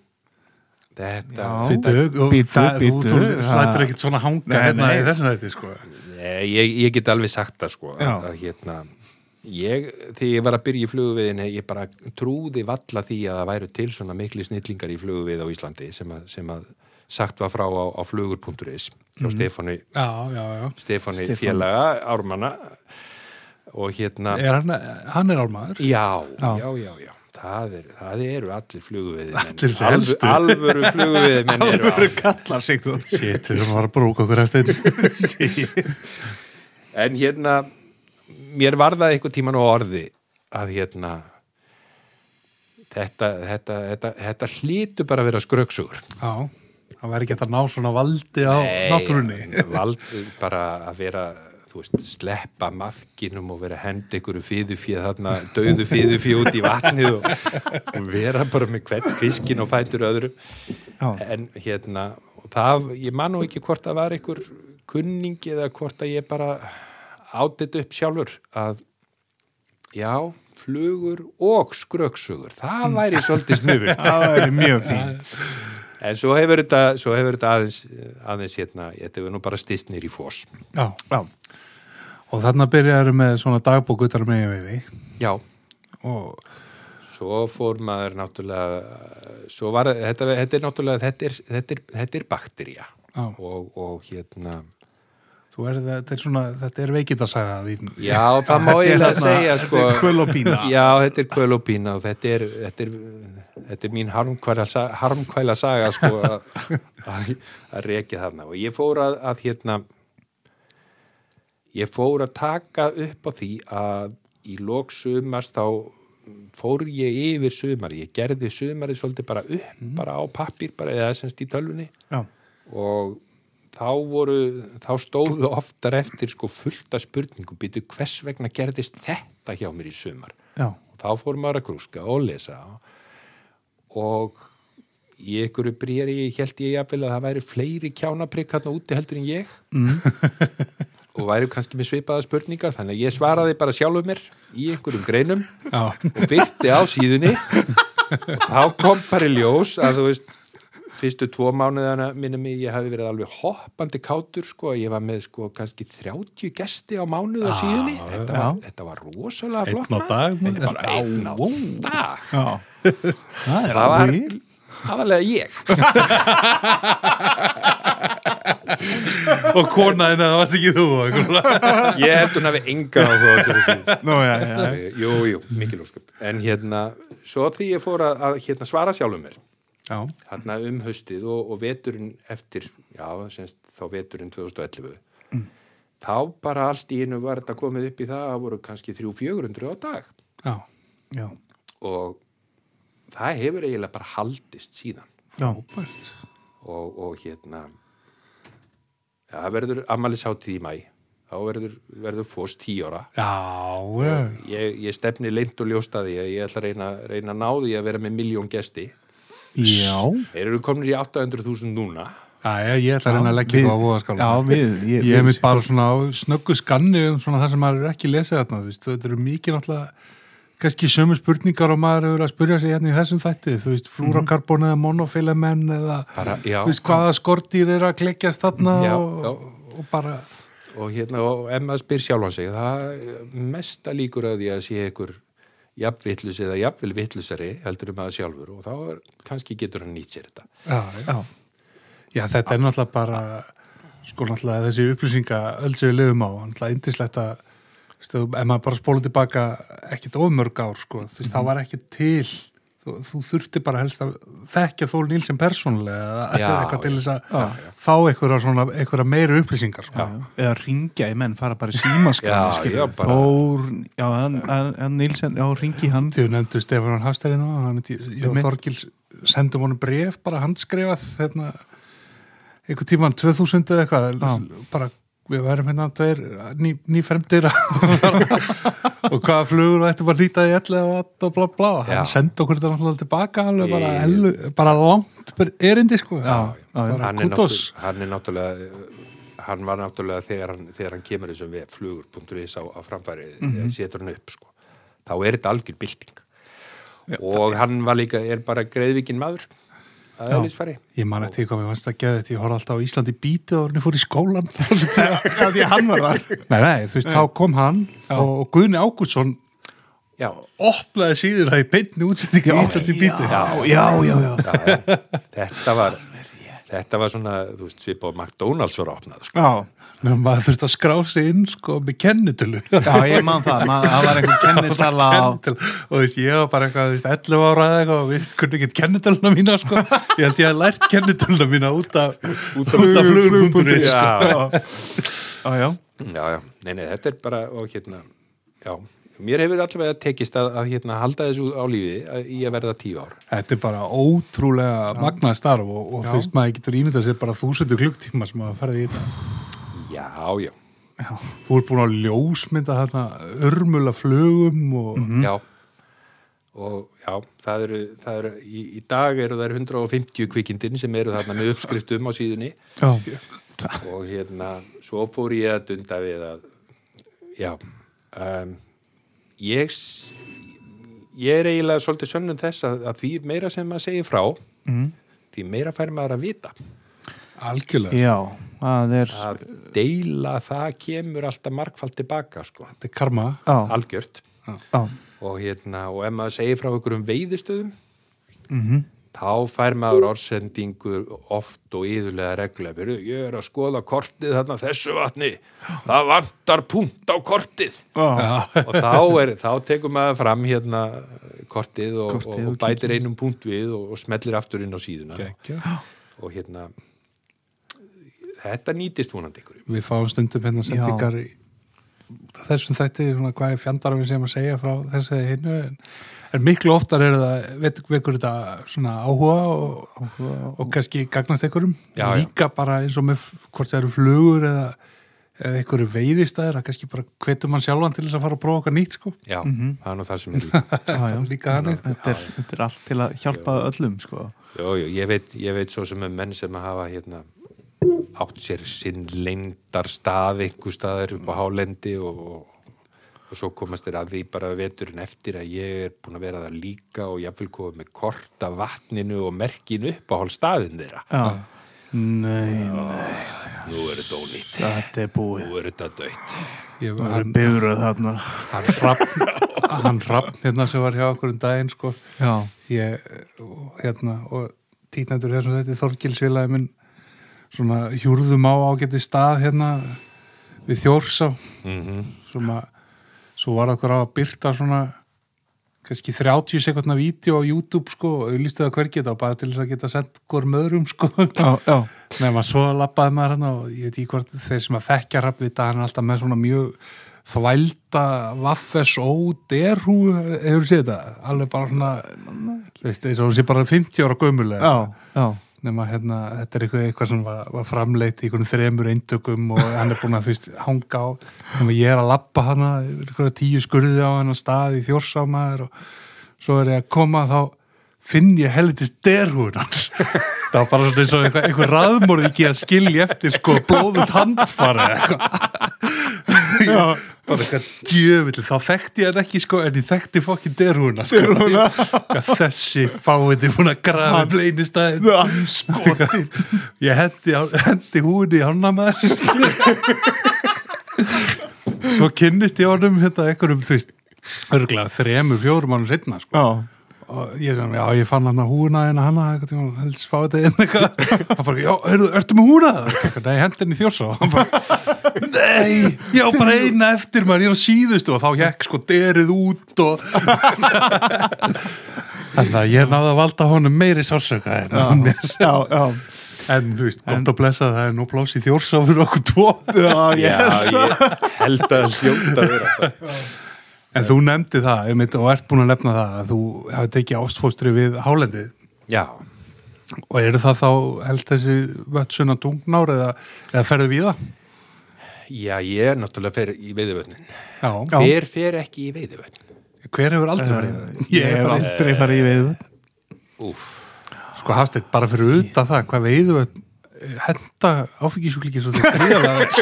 Speaker 3: þetta
Speaker 2: Já.
Speaker 1: Bítu, og
Speaker 2: Bíddu,
Speaker 1: það- þú-
Speaker 2: bíddu,
Speaker 1: Þú
Speaker 2: það-
Speaker 1: slættir ekkert svona hanga
Speaker 2: Nei,
Speaker 1: hérna
Speaker 2: nei.
Speaker 1: í þessum þetta, sko.
Speaker 3: Nei, ég, ég get alveg sagt það sko
Speaker 2: Já.
Speaker 3: að, að hérna ég, þegar ég var að byrja í flugviðinni ég bara trúði valla því að það væru til svona mikli snillingar í flugvið á Íslandi sem að, sem að sagt var frá á, á flugur.is
Speaker 2: Mhm.
Speaker 3: hjá Stefáni,
Speaker 1: Já, já, já.
Speaker 3: Stefáni
Speaker 2: Stefán.
Speaker 3: félaga Ármanna og hérna
Speaker 1: Er hann, hann er álmaður.
Speaker 3: já,
Speaker 2: Já.
Speaker 3: já, já, já, Það, er, það eru allir flugviðin
Speaker 1: Allir sem helstu.
Speaker 3: alvöru flugviðin eru
Speaker 2: Þú
Speaker 3: á
Speaker 2: kallar Sigþór
Speaker 1: Shit, við erum bara að bróka okkur eftir.
Speaker 3: En hérna, mér varðaði eitthvað tíman á orði að hérna, þetta, þetta, þetta, þetta hlýtu bara að vera skröksugur.
Speaker 1: já, hann væri ekki hægt að ná svona valdi á náttúrunni.
Speaker 3: Vald bara að vera, þú veist, sleppa maðkinum og vera að henda ykkur fíðu fíð þarna, döðu fíðu fíð út í vatnið og, og vera bara með hvert fiskin og fætur öðru.
Speaker 2: Já.
Speaker 3: En hérna, og það, ég man nú ekki hvort það var ykkur kunningi eða hvort að ég bara átið upp sjálfur að já, flugur og skröksugur, það væri svolítið snuður.
Speaker 2: Það er mjög fín
Speaker 3: en svo hefur þetta, svo hefur þetta aðeins, aðeins hérna, þetta hefur nú bara stýst nýr í fós
Speaker 1: Já. Já. Og þarna byrjaður með svona dagbók utar megin við því
Speaker 3: já,
Speaker 1: og
Speaker 3: svo fór maður náttúrulega svo var, þetta, þetta er náttúrulega þetta er, þetta er, þetta er bakterja
Speaker 1: Já.
Speaker 3: og, og hérna
Speaker 1: þú er þetta er svona, þetta er veikindasaga þín.
Speaker 3: já, það má eiginlega segja sko,
Speaker 2: Þetta er kvöl og bína
Speaker 3: já, þetta er kvöl og pína og þetta er, þetta er, þetta er mín harmkvæla, sa- harmkvæla saga sko, að- að að rekja þarna og ég fór að, að hérna ég fór að taka upp á því að í lok sumars þá fór ég yfir sumari ég gerði sumarið svolítið bara upp
Speaker 2: Mhm.
Speaker 3: bara á pappir, bara eða semst í tölvunni
Speaker 2: Já,
Speaker 3: og þá voru þá stóðu oftar eftir sko fullta spurningu býtu hvers vegna gerðist þetta hjá mér í sumar
Speaker 2: já,
Speaker 3: og þá fór maður að grúska og lesa og í einhverju brýri held ég jafnvel að það væri fleiri kjánaprikk hann úti heldur en ég og væri kannski með svipaða spurningar þannig að ég svaraði bara sjálfur mér í einhverjum greinum
Speaker 1: Já.
Speaker 3: og byrti á síðunni og þá kom bara í ljós að þú veist fyrstu tvo mánuðana minni mig ég hafi verið alveg hoppandi kátur sko ég var með sko kannski 30 gesti á mánuð á síðunni þetta, var, þetta var rosalega flott
Speaker 1: Einn á
Speaker 3: maður.
Speaker 1: dag, maður.
Speaker 3: þetta er bara einn á dag
Speaker 2: já Það er
Speaker 3: það var
Speaker 2: alveg í.
Speaker 3: aðalega ég
Speaker 1: og konaðin að það varst ekki þú. og einhver-
Speaker 3: ég held hún hafi enga á þessu
Speaker 2: Nú, já, já, já.
Speaker 3: Eh, jú, jú, mikil ósköp en hérna, svo því ég fór að, að hérna, svara sjálfum mér
Speaker 1: Já.
Speaker 3: þarna um haustið og, og veturinn eftir, já, semst, þá veturinn 2011 þá bara allt í einu var þetta komið upp í það að voru kannski 300-400 á dag
Speaker 1: Já.
Speaker 2: já,
Speaker 3: og það hefur eiginlega bara haldist síðan
Speaker 2: já,
Speaker 1: Óbært.
Speaker 3: og, og hérna já, það verður ammælisháttið í mæ þá verður, verður fóst 10 ára
Speaker 1: Já, já.
Speaker 3: ég, ég stefni leint og ljóst að því að ég ætla að reyna, reyna að ná því að vera með miljón gesti
Speaker 2: já.
Speaker 3: þeir eru komnir í 800.000 núna
Speaker 1: Já, já, ég ætla að reyna að leggja
Speaker 2: Við-
Speaker 1: þú á voðaskála.
Speaker 2: Já, við, ég,
Speaker 1: Ég hef mitt bara svona á snöggu skanni um svona það sem maður er ekki lesið þarna, þú veist, þú- þetta eru mikið náttúrulega kannski sömu spurningar og maður hefur að spyrja sig hérna í þessum þætti, þú veist, flúrakarbon eða monofilamenn eða,
Speaker 3: Bara- já.
Speaker 1: þú veist, hvaða skortýr er að klekjast þarna
Speaker 3: Já,
Speaker 1: og, og bara,
Speaker 3: og hérna, og ef maður spyr sjálfan sig það er mesta líkur að því að sé ykkur jafnvillus eða jafnvel villusari heldur um maður sjálfur og þá er, kannski getur hann nýtt sér þetta
Speaker 1: já, já.
Speaker 2: Já,
Speaker 1: já, þetta er náttúrulega bara, sko náttúrulega þessi upplýsinga öll sem við lifum á, náttúrulega indislegt að, þú veist, ef maður bara spóla tilbaka ekkit ofmörg ár, sko, þú veist,
Speaker 3: Mhm.
Speaker 1: það var ekki til, þú, þú þurfti bara helst að þekkja Þól Nílsen persónulega eða
Speaker 3: Já,
Speaker 1: eða eitthvað til
Speaker 3: já,
Speaker 1: þess að fá einhverja svona, einhverja meiri upplýsingar, sko.
Speaker 2: eða ringja í menn, fara bara í símaskan
Speaker 3: Já, já, bara-
Speaker 2: Þór, já, hann, hann, hann Nilsen, já, ringi hann
Speaker 1: Þið nefndu Stefán Hafstæri nú, hann myndi, ég og
Speaker 2: Einmitt.
Speaker 1: Þorgils sendum honum bref, bara handskrifað, hérna, einhver tíman 2000 eða eitthvað, bara við værum hérna tveir ný, nýfremdir og hvaða flugur við ættum að nýta í ellu og allt og bla bla hann
Speaker 3: Já.
Speaker 1: sendi okkur þetta náttúrulega tilbaka alveg bara,
Speaker 3: Ég-
Speaker 1: ellu, bara langt per- erindi sko
Speaker 2: Já, já, já.
Speaker 1: bara
Speaker 3: hann er,
Speaker 1: kudos
Speaker 3: náttúrulega, hann er náttúrulega hann var náttúrulega þegar hann, þegar hann kemur þessum við flugur.is á, á framfæri
Speaker 1: Mhm.
Speaker 3: mm. setur hann upp sko. þá er þetta algjör bylting og hann var líka, er bara greiðvikinn maður að eðlisfæri
Speaker 1: ég man eftir hvað mér vannst að geða þetta ég horfði alltaf á Íslandi bítið og hann fór í skólan
Speaker 2: Já, því að hann var þar
Speaker 1: nei nei, þú veist, þá kom hann og, og Guðni Ágússon
Speaker 3: já,
Speaker 1: opnaði síður það í beinni útsendingu í Íslandi bítið
Speaker 2: Já, já, já, já
Speaker 3: já, já. þetta var þetta var svona, þú veist, svipað og McDonalds var opnað sko.
Speaker 2: Já,
Speaker 1: Nefnum maður þurfti að skrá sig inn sko með kennitölu
Speaker 2: já, ég man það, maður, það var einhver kennitala á
Speaker 1: Kennitölu. og þú veist, ég var bara eitthvað, þú veist, 11 ára eða eitthvað og við kunni ekki kennitöluna mína sko ég held ég að lært kennitöluna mína út af út af flugur.is
Speaker 3: já,
Speaker 2: Já, já,
Speaker 3: já, já, nei, nei, þetta er bara og hérna, já mér hefur allavega tekist að, að hérna halda þessu á lífi að, í að verða tíu ár
Speaker 1: Þetta er bara ótrúlega magnað starf og, og þú veist, maður getur ímyndað sér bara þúsundu klukktíma sem maður ferði í þetta
Speaker 3: já, já,
Speaker 1: Þú ert búin að ljósmynda þarna örmula flugum og
Speaker 3: já og já, það eru, það eru í, í dag eru það 150 kvikindin sem eru þarna með uppskriftum á síðunni
Speaker 2: já,
Speaker 3: og hérna, svo fór ég að dunda við að já um, ég s- ég er eiginlega svolítið sönnum þess að, að því meira sem maður segir frá mm. því meira fær maður að vita
Speaker 1: algjörlega,
Speaker 2: já, það er
Speaker 3: að deila það kemur alltaf margfald tilbaka sko,
Speaker 1: þetta er karma
Speaker 2: á,
Speaker 3: algjört
Speaker 2: á
Speaker 3: og hérna, og ef maður segir frá ykkur um veiðistöðum
Speaker 2: mhm,
Speaker 3: þá fær maður orðsendingu oft og yðurlega regla Heyrðu, ég er að skoða kortið þarna á þessu vatni það vantar punkt á kortið
Speaker 2: á,
Speaker 1: já,
Speaker 3: og þá, er, þá tekur maður fram hérna kortið og,
Speaker 2: Kortið
Speaker 3: og,
Speaker 2: og
Speaker 3: og bætir einum punkt við og, og smellir aftur inn á síðuna
Speaker 1: gekkja
Speaker 3: og hérna þetta nýtist vonandi ykkur
Speaker 1: við fáum stundum hérna sendingar í þessum þætti, svona, hvað er fjandarum sem að segja frá þessu eða hinnu en, en miklu oftar er það veit- vekur þetta svona áhuga og, og kannski gagnast einhverjum
Speaker 3: Já, já.
Speaker 1: líka bara eins og með f- hvort það eru flugur eða, eða einhverju veiðistæðir það kannski bara hvetur mann sjálfan til þess að fara að prófa okkar nýtt sko,
Speaker 3: já, það er nú það sem er líka
Speaker 2: á, já
Speaker 1: líka þannig
Speaker 2: Þetta er, þetta er allt til að hjálpa öllum sko.
Speaker 3: Jó, jó, ég veit, ég veit svo sem er menn sem að hafa hérna átt sér sinn leyndar stað einhver staðar upp á hálendi og, og, og svo komast þér að því bara veturinn eftir að ég er búin að vera það líka og ég vil koma með kort af vatninu og merkin upp á hál staðin þeirra.
Speaker 2: Já Nei, nei,
Speaker 3: Nú er þetta ónýtt,
Speaker 2: þetta er búið
Speaker 3: nú er þetta döitt.
Speaker 1: ég,
Speaker 2: Það er
Speaker 1: hann,
Speaker 2: bifröð þarna
Speaker 1: hann rappn hann rappn hérna sem var hjá okkur um daginn sko,
Speaker 2: Já,
Speaker 1: ég, og, hérna, og títnættur þessum þetta Þorgilsfélagi minn svona hjúrðum á ágæti stað hérna við Þjórsá
Speaker 3: Mm
Speaker 1: sem að svo var okkur á að byrta svona kannski 30 sekundna vídeo á YouTube sko og auðlistuða hvergi þetta og bara til þess að geta sendt hver möðrum sko
Speaker 2: já, já,
Speaker 1: nema svo lappaði maður hann og ég veit í hvort þeir sem að þekkja rappvita hann er alltaf með svona mjög þvælda vaffes og derhú hefur séð þetta, alveg bara svona þú veist, eins og hún sé bara 50 ára gömulega,
Speaker 2: já, já.
Speaker 1: nema hérna þetta er eitthvað, eitthvað sem var, var framleitt í einhvern þremur eintökum og hann er búin að þú veist, hanga á, nema ég er að lappa hana eitthvað tíu skurði á hann stað í þjórsámaður og svo er ég að koma þá finn ég helitist derhúin hans það var bara svona eins og einhver, einhver raðmorð ekki að skilja eftir sko blóðut handfara eða eitthvað Ég- bara eitthvað djöfill þá þekkti ég hann ekki sko en ég þekkti fokkin derhúna sko. Hvað þessi fáiði búin að grafa upp leynistæðin skotin ég hendi, hendi húni í hanna maður svo kynnist ég honum hérna einhverjum þú veist örglega þremur, fjórum ánum setna sko.
Speaker 2: já.
Speaker 1: og ég sem, já, ég fann hérna, hann að húna en hann að eitthvað tíma, helst fá þetta inn eitthvað hann bara, já, heyrðu, ertu með húna það? Eitthvað, nei, hendin í þjórsá hann bara, nei, já, bara eina eftir maður, ég er á síðustu og þá hekk sko derið út og þannig að ég náði að valda honum meiri sásöka en hann mér
Speaker 2: já, já.
Speaker 1: En þú veist, gott að blessa það er nú plás í þjórsáfur okkur tvo
Speaker 2: já,
Speaker 3: Já, ég held að hljóta að vera það.
Speaker 1: En þú nefndi það, einmitt, og ert búin að nefna það að þú hafi tekið ástfóstri við hálendið
Speaker 3: Já,
Speaker 1: og eru það þá held þessi vötsuna tungnár eða, eða ferðu við það?
Speaker 3: já, ég er náttúrulega fer í veiðivötnin.
Speaker 1: Já.
Speaker 3: Hver fer ekki í veiðivötnin?
Speaker 1: Hver hefur aldrei
Speaker 2: Eh,
Speaker 1: verið? það?
Speaker 2: Ég hef
Speaker 1: bara-
Speaker 2: aldrei farið í veið
Speaker 3: Úf.
Speaker 1: Sko hafstætt, bara fyrir utan það, hvað veiðu að henda áfengisjúklingi svo þetta gríðalega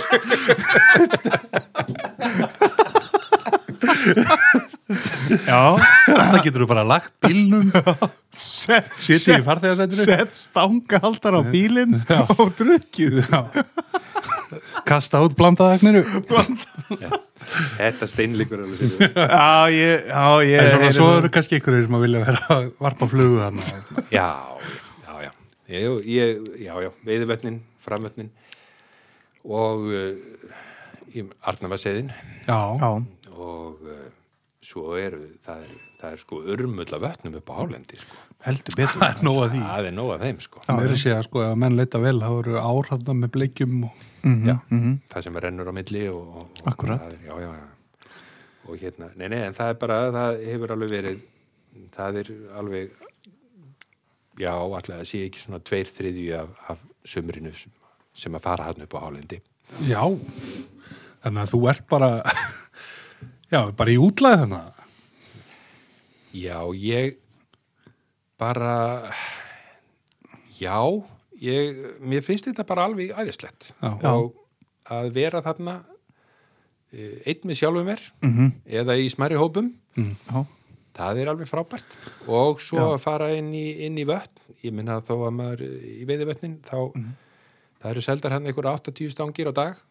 Speaker 2: Já
Speaker 1: það getur þú bara lagt bílnum
Speaker 2: Sett
Speaker 1: Setið í farþegasætinu.
Speaker 2: Sett stangahaldar á bílinn og drukkið
Speaker 1: kasta út blandaðagninu
Speaker 3: Þetta steinleikur alveg fyrir.
Speaker 2: Já, ég, já, ég
Speaker 1: en svona,
Speaker 2: heyri
Speaker 1: svo
Speaker 2: það.
Speaker 1: eru kannski einhverjir sem að vilja vera að varpa flugu þarna
Speaker 3: já, já, já, já, ég, já, já, veiðvötnin, framvötnin og uh, Arnafaseiðin
Speaker 1: Já,
Speaker 2: Já,
Speaker 3: og uh, svo eru, það er, það er sko urmulla vötnum upp á hálendi, sko.
Speaker 2: heldur betur
Speaker 1: það er nóg að því
Speaker 3: Það er nóg af þeim, sko.
Speaker 1: Það er sér að sko, ef menn leita vel þá eru áhrafna með bleikjum og...
Speaker 3: já, það sem rennur á milli og, og, og
Speaker 2: Akkúrat.
Speaker 3: það er, já, já, já og hérna, nei, nei, en það er bara það hefur alveg verið það er alveg já, alltaf það sé ekki svona tveir þriðju af, af sömurinu sem, sem að fara hann upp á hálendi
Speaker 1: Já, þannig að þú ert bara, já, bara í útlæði þannig.
Speaker 3: já, ég bara já, ég mér finnst þetta bara alveg æðislegt
Speaker 1: Já.
Speaker 3: og að vera þarna eh, einn með sjálfum mér eða í smæri hópum
Speaker 2: Já,
Speaker 3: það er alveg frábært og svo að fara inn í, inn í vötn ég minna þó að maður í veiðivötnin þá, það eru seldar hann einhver 80 stangir á dag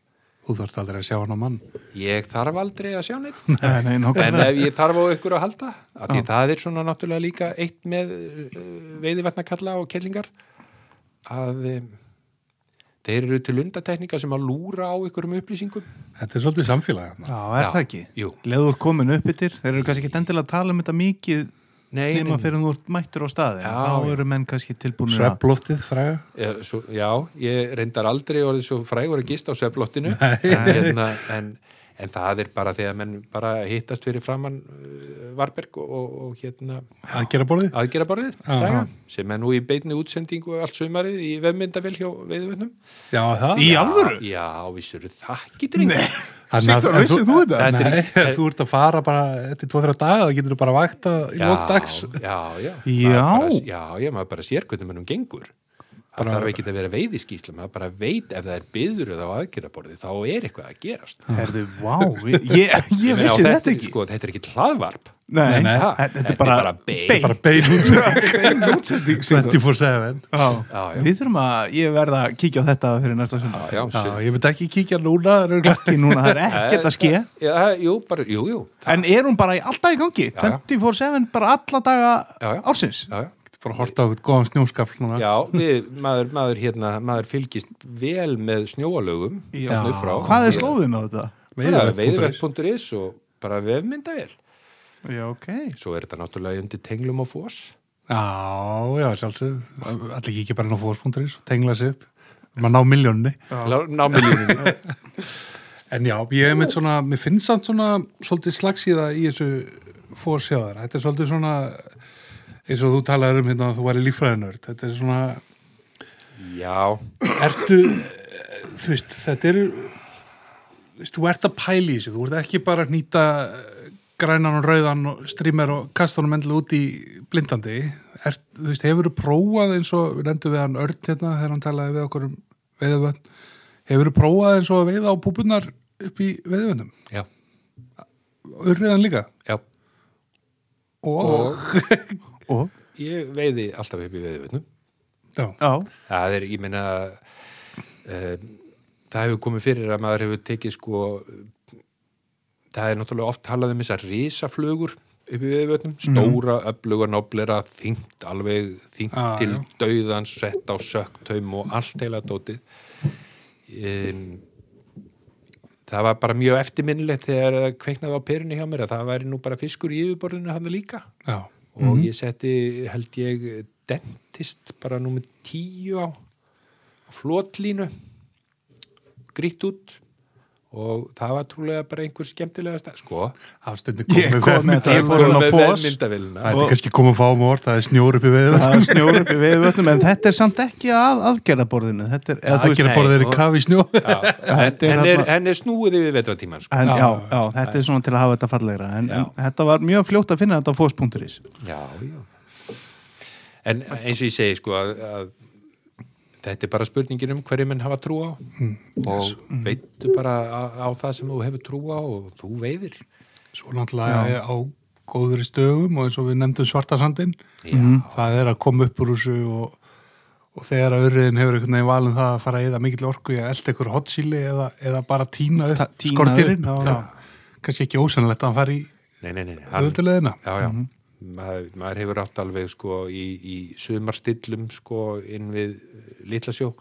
Speaker 1: Þú þarft aldrei að sjá hann á mann.
Speaker 3: ég þarf aldrei að sjá neitt
Speaker 2: Nei, nei,
Speaker 3: en
Speaker 2: nákvæmlega.
Speaker 3: ef ég þarf á ykkur að halda af því það er svona náttúrulega líka eitt með uh, veiðivatnakalla og kellingar að um, þeir eru til undatekninga sem að lúra á ykkur um upplýsingum
Speaker 1: Þetta er svolítið samfélagið.
Speaker 2: Já, er
Speaker 3: Já,
Speaker 2: það ekki?
Speaker 3: jú.
Speaker 2: Leður komin upp yttir, þeir eru kannski ekki endilega að tala um þetta mikið
Speaker 3: Nei,
Speaker 2: nema
Speaker 3: nei,
Speaker 2: fyrir þú ert mættur á staði.
Speaker 3: Já,
Speaker 2: Þá
Speaker 3: já.
Speaker 2: eru menn kannski tilbúinir að-
Speaker 1: Svepploftið fræga.
Speaker 3: Eh, svo, já, ég reyndar aldrei orðið svo frægur að gista á sveflottinu en, hérna, en, en það er bara þegar menn bara hittast fyrir framann uh, Varberg og, og, og hérna
Speaker 1: Að gera borðið.
Speaker 3: aðgeraborðið
Speaker 1: Já.
Speaker 3: fræga, sem er nú í beinni útsendingu allt sumarið í vefmyndavél hjá veiðvötnum
Speaker 1: Já, það.
Speaker 2: Í alvöru?
Speaker 3: Já, vissur þakki drengur
Speaker 1: Þannig að-
Speaker 2: Sigþór,
Speaker 1: en
Speaker 2: vissir þú þetta?
Speaker 3: Þetta er-
Speaker 1: Nei, þú ert að fara bara eftir tvo-þrjá daga, þá getur þú bara vakta í lók dags.
Speaker 3: Já, já
Speaker 2: Já.
Speaker 3: Maður bara, Já, já, maður bara sér hvernig mönnum gengur Það
Speaker 1: Bara-
Speaker 3: þarf ekki að vera veiðiskísla maður bara veit ef það er byður eða á aðgeraborði þá er eitthvað að gerast
Speaker 2: Herðu, vá, ég, ég, ég
Speaker 3: meina,
Speaker 2: vissi
Speaker 3: og
Speaker 2: þetta
Speaker 3: er-
Speaker 2: ekki.
Speaker 3: Sko, þetta er ekki hlaðvarp
Speaker 2: Nei,
Speaker 1: Nei, nei.
Speaker 2: þetta- þetta er bara
Speaker 3: bein.
Speaker 2: bein.
Speaker 1: Bara bein út
Speaker 2: bein útsending, Sigþór.
Speaker 1: 24-7.
Speaker 2: Já,
Speaker 3: Já, já.
Speaker 2: Við þurfum að, ég verða að kíkja á þetta fyrir næsta söndag.
Speaker 3: Já,
Speaker 1: Já,
Speaker 3: já,
Speaker 1: ég veit ekki kíkja núna. það er örugglega-
Speaker 2: Ekki núna, það er ekkert að ske.
Speaker 3: Eh, já, jú, bara, jú, jú
Speaker 2: En er hún bara í, alltaf í gangi?
Speaker 3: já.
Speaker 2: 24-7 bara alla daga
Speaker 3: Já, já.
Speaker 2: ársins?
Speaker 3: Já, já.
Speaker 1: Bara að horta á eitthvað góðan snjóskafl núna.
Speaker 3: já við, maður, maður, hérna, maður fylgist vel með snjóalögum þarna upp frá.
Speaker 2: Hvað er slóðin á þetta?
Speaker 3: Bara
Speaker 1: Veiðivert.is.
Speaker 3: Veiðverk.is og bara vefmyndavél
Speaker 2: Já, ok.
Speaker 3: Svo er þetta náttúrulega undir tenglum og fós
Speaker 1: Já, já, sjálfsög. Allir kíkja bara inn á fórs.is og tengla sér upp. Maður ná miljónni.
Speaker 3: Námiðlunum
Speaker 1: En já, ég hef mitt svona, mér finnst samt svona svolítið slagsíða í þessu fórsjáðar. Þetta er svolítið svona, eins og þú talaður um hérna að þú væri líffræðinörd. Þetta er svona,
Speaker 3: Já,
Speaker 1: ertu, eh, þú veist, þetta eru, þú veist, þú ert að pæla í þessu. Þú ert ekki bara að nýta eh, grænan og rauðan og strýmer og kasta honum endilega út í blindandi. Er, þú veist, hefur þú prófað eins og, við lendum við hann örd hérna þegar hann talaði við okkur um veiðavönd. Hefur þú prófað eins og að veiða á búbunar upp í veiðavöndum?
Speaker 3: já,
Speaker 1: urriðan líka
Speaker 3: já
Speaker 1: og,
Speaker 2: Og?
Speaker 3: Ég veiði alltaf upp í veiðvötnum
Speaker 1: já,
Speaker 2: Já.
Speaker 3: Það er, ég meina um, það hefur komið fyrir að maður hefur tekið sko það er náttúrulega oft talað um þessar risaflugur upp í veiðvötnum
Speaker 1: Mhm.
Speaker 3: stóra, öfluga, noblera, þyngt alveg þyngt
Speaker 1: Ah,
Speaker 3: til
Speaker 1: já.
Speaker 3: dauðan sett á söktaum og allt heila dótið um, það var bara mjög eftirminnilegt þegar það kveiknaði á perunni hjá mér að það væri nú bara fiskur í yfirborðinu hann líka
Speaker 1: já,
Speaker 3: og
Speaker 2: Mhm.
Speaker 3: ég setti held ég dentist bara númer tíu á, á flotlínu grýtt út og það var trúlega bara einhver skemmtilegasta sko,
Speaker 1: afstundin
Speaker 2: Ég kom með þetta, ég fór hún á fós.
Speaker 3: myndavélina
Speaker 1: Það
Speaker 2: Og-
Speaker 1: er kannski komið að fá um orð, það er snjór upp í veður
Speaker 2: Það er snjór upp í veiðvötnum, en þetta er samt ekki að aðgerðaborðinu. Þetta er, eða þú
Speaker 1: Það
Speaker 2: veist-
Speaker 1: gerir bara
Speaker 3: nei,
Speaker 1: þeirri
Speaker 3: og-
Speaker 1: kafi í snjó
Speaker 3: en,
Speaker 2: Þetta er
Speaker 3: en, er,
Speaker 2: þarna-
Speaker 3: en er snúið yfir vetratíman sko.
Speaker 2: En, já,
Speaker 1: Já,
Speaker 2: já, þetta er svona til að hafa þetta fallegra en,
Speaker 3: Já.
Speaker 2: en þetta var mjög fljótt að finna þetta á fós.is
Speaker 3: já, já en eins og ég segi sko að, að þetta er bara spurningin um hverju menn hafa trú á
Speaker 2: Mm.
Speaker 3: og veitu bara á, á það sem þú hefur trú á og þú veiðir
Speaker 1: Svo náttúrulega á góður stöðum og eins og við nefndum svartasandinn
Speaker 3: já,
Speaker 2: Mhm.
Speaker 1: það er að koma upp úr þessu og, og þegar að urriðin hefur einhvern veginn valin það að fara að eða mikill orku í að elda einhver hotsíli eða, eða bara tína
Speaker 2: Ta-
Speaker 1: upp
Speaker 2: tína
Speaker 1: skortirinn þá
Speaker 2: upp,
Speaker 1: er kannski ekki ósannlegt að hann fari í
Speaker 3: nei, nei, nei, nei, hann-
Speaker 1: auðvitaðleðina
Speaker 3: já, já. maður, maður hefur átt alveg sko í, í sumarstillum sko inn við eh, Litlasjó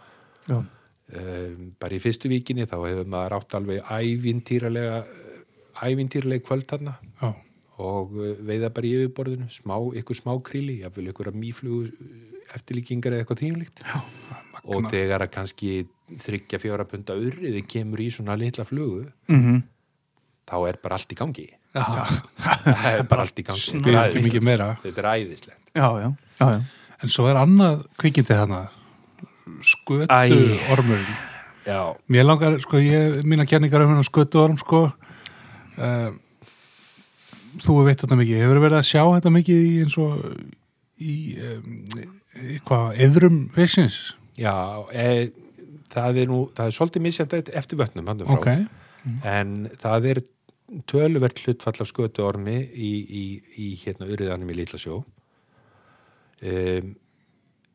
Speaker 2: Já.
Speaker 3: um, bara í fyrstu vikinni þá hefur maður átt alveg ævintýralega ævintýralega kvöld þarna
Speaker 1: Já,
Speaker 3: og eh, veiða bara í yfirborðinu smá, ykkur smá kríli, jafnvel ykkur að mýflugu eh, eftirlíkingar eða eitthvað tímlíkt og þegar að kannski þryggja fjóra punta urriði kemur í svona litla flugu
Speaker 2: Mhm.
Speaker 3: þá er bara allt í gangi
Speaker 1: já.
Speaker 3: það er bara allt í gangi Þetta er
Speaker 1: Býr ekki mikið
Speaker 3: æðislegt.
Speaker 1: meira.
Speaker 3: þetta er æðislegt
Speaker 2: já, já, já, já.
Speaker 1: En svo er annað kvikindi þarna skötu
Speaker 3: Æ.
Speaker 1: ormurinn
Speaker 3: Já,
Speaker 1: Mér langar, sko, ég, mína kenningar um hennar skötuorm, sko, uh, þú veit þetta mikið, hefur verið að sjá þetta mikið í eins og í, um, í hvað, eðrum vissins?
Speaker 3: já e, það er nú, það er svolítið misjæmt eftir vötnum handum frá,
Speaker 1: Ok,
Speaker 3: en það er töluvert hlutfall af skötuormi í, í, í hérna uriðanum í Lítlasjó um,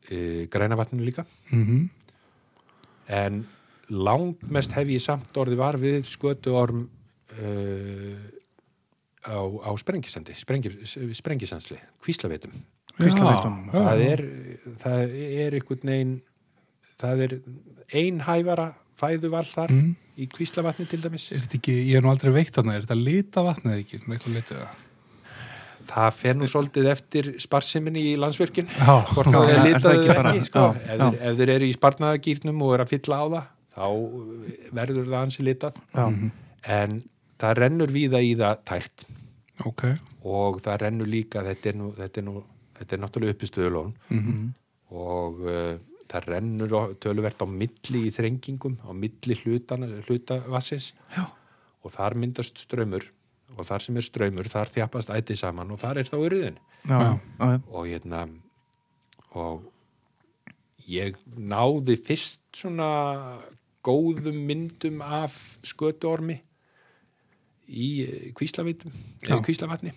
Speaker 3: uh, grænavatninu líka
Speaker 1: mm
Speaker 3: en langmest hef ég samt orði var við skötuorm uh, á, á sprengisendi sprengi, sprengisensli, kvíslavitum
Speaker 2: Kvíslavitunum.
Speaker 1: Já,
Speaker 3: það er, það er einhvern veginn það er einhæfara fæðuval þar
Speaker 1: Mhm.
Speaker 3: í kvíslavatni til dæmis
Speaker 1: er þetta ekki, ég er nú aldrei veikt þarna, er þetta lita vatnið ekki, veikt að lita það?
Speaker 3: það fer nú svolítið eftir sparsiminni í landsvirkinn
Speaker 1: Já,
Speaker 3: hvort
Speaker 2: Já,
Speaker 3: það er
Speaker 2: er það
Speaker 3: litaðu
Speaker 2: ekki
Speaker 3: ekki,
Speaker 2: bara-
Speaker 3: ekki sko.
Speaker 2: já,
Speaker 3: ef,
Speaker 2: já.
Speaker 3: þeir, ef þeir eru í spartnaðagýrnum og eru að fylla á það þá verður það ansi litað
Speaker 2: Já.
Speaker 3: en það rennur víða í það tært
Speaker 1: ok,
Speaker 3: og það rennur líka þetta er, nú, þetta er, nú, þetta er náttúrulega uppistöðulón og uh, það rennur á- töluvert á milli í þrengingum á milli hlutana, hlutavassins
Speaker 2: Já.
Speaker 3: og þar myndast strömmur og þar sem er strömmur þar þjapast ætið saman og þar er þá urðin
Speaker 2: Já, já, já, já.
Speaker 3: og hérna og ég náði fyrst svona góðum myndum af skötuormi í eh, kvíslavitum,
Speaker 1: Já.
Speaker 3: eh, kvíslavatni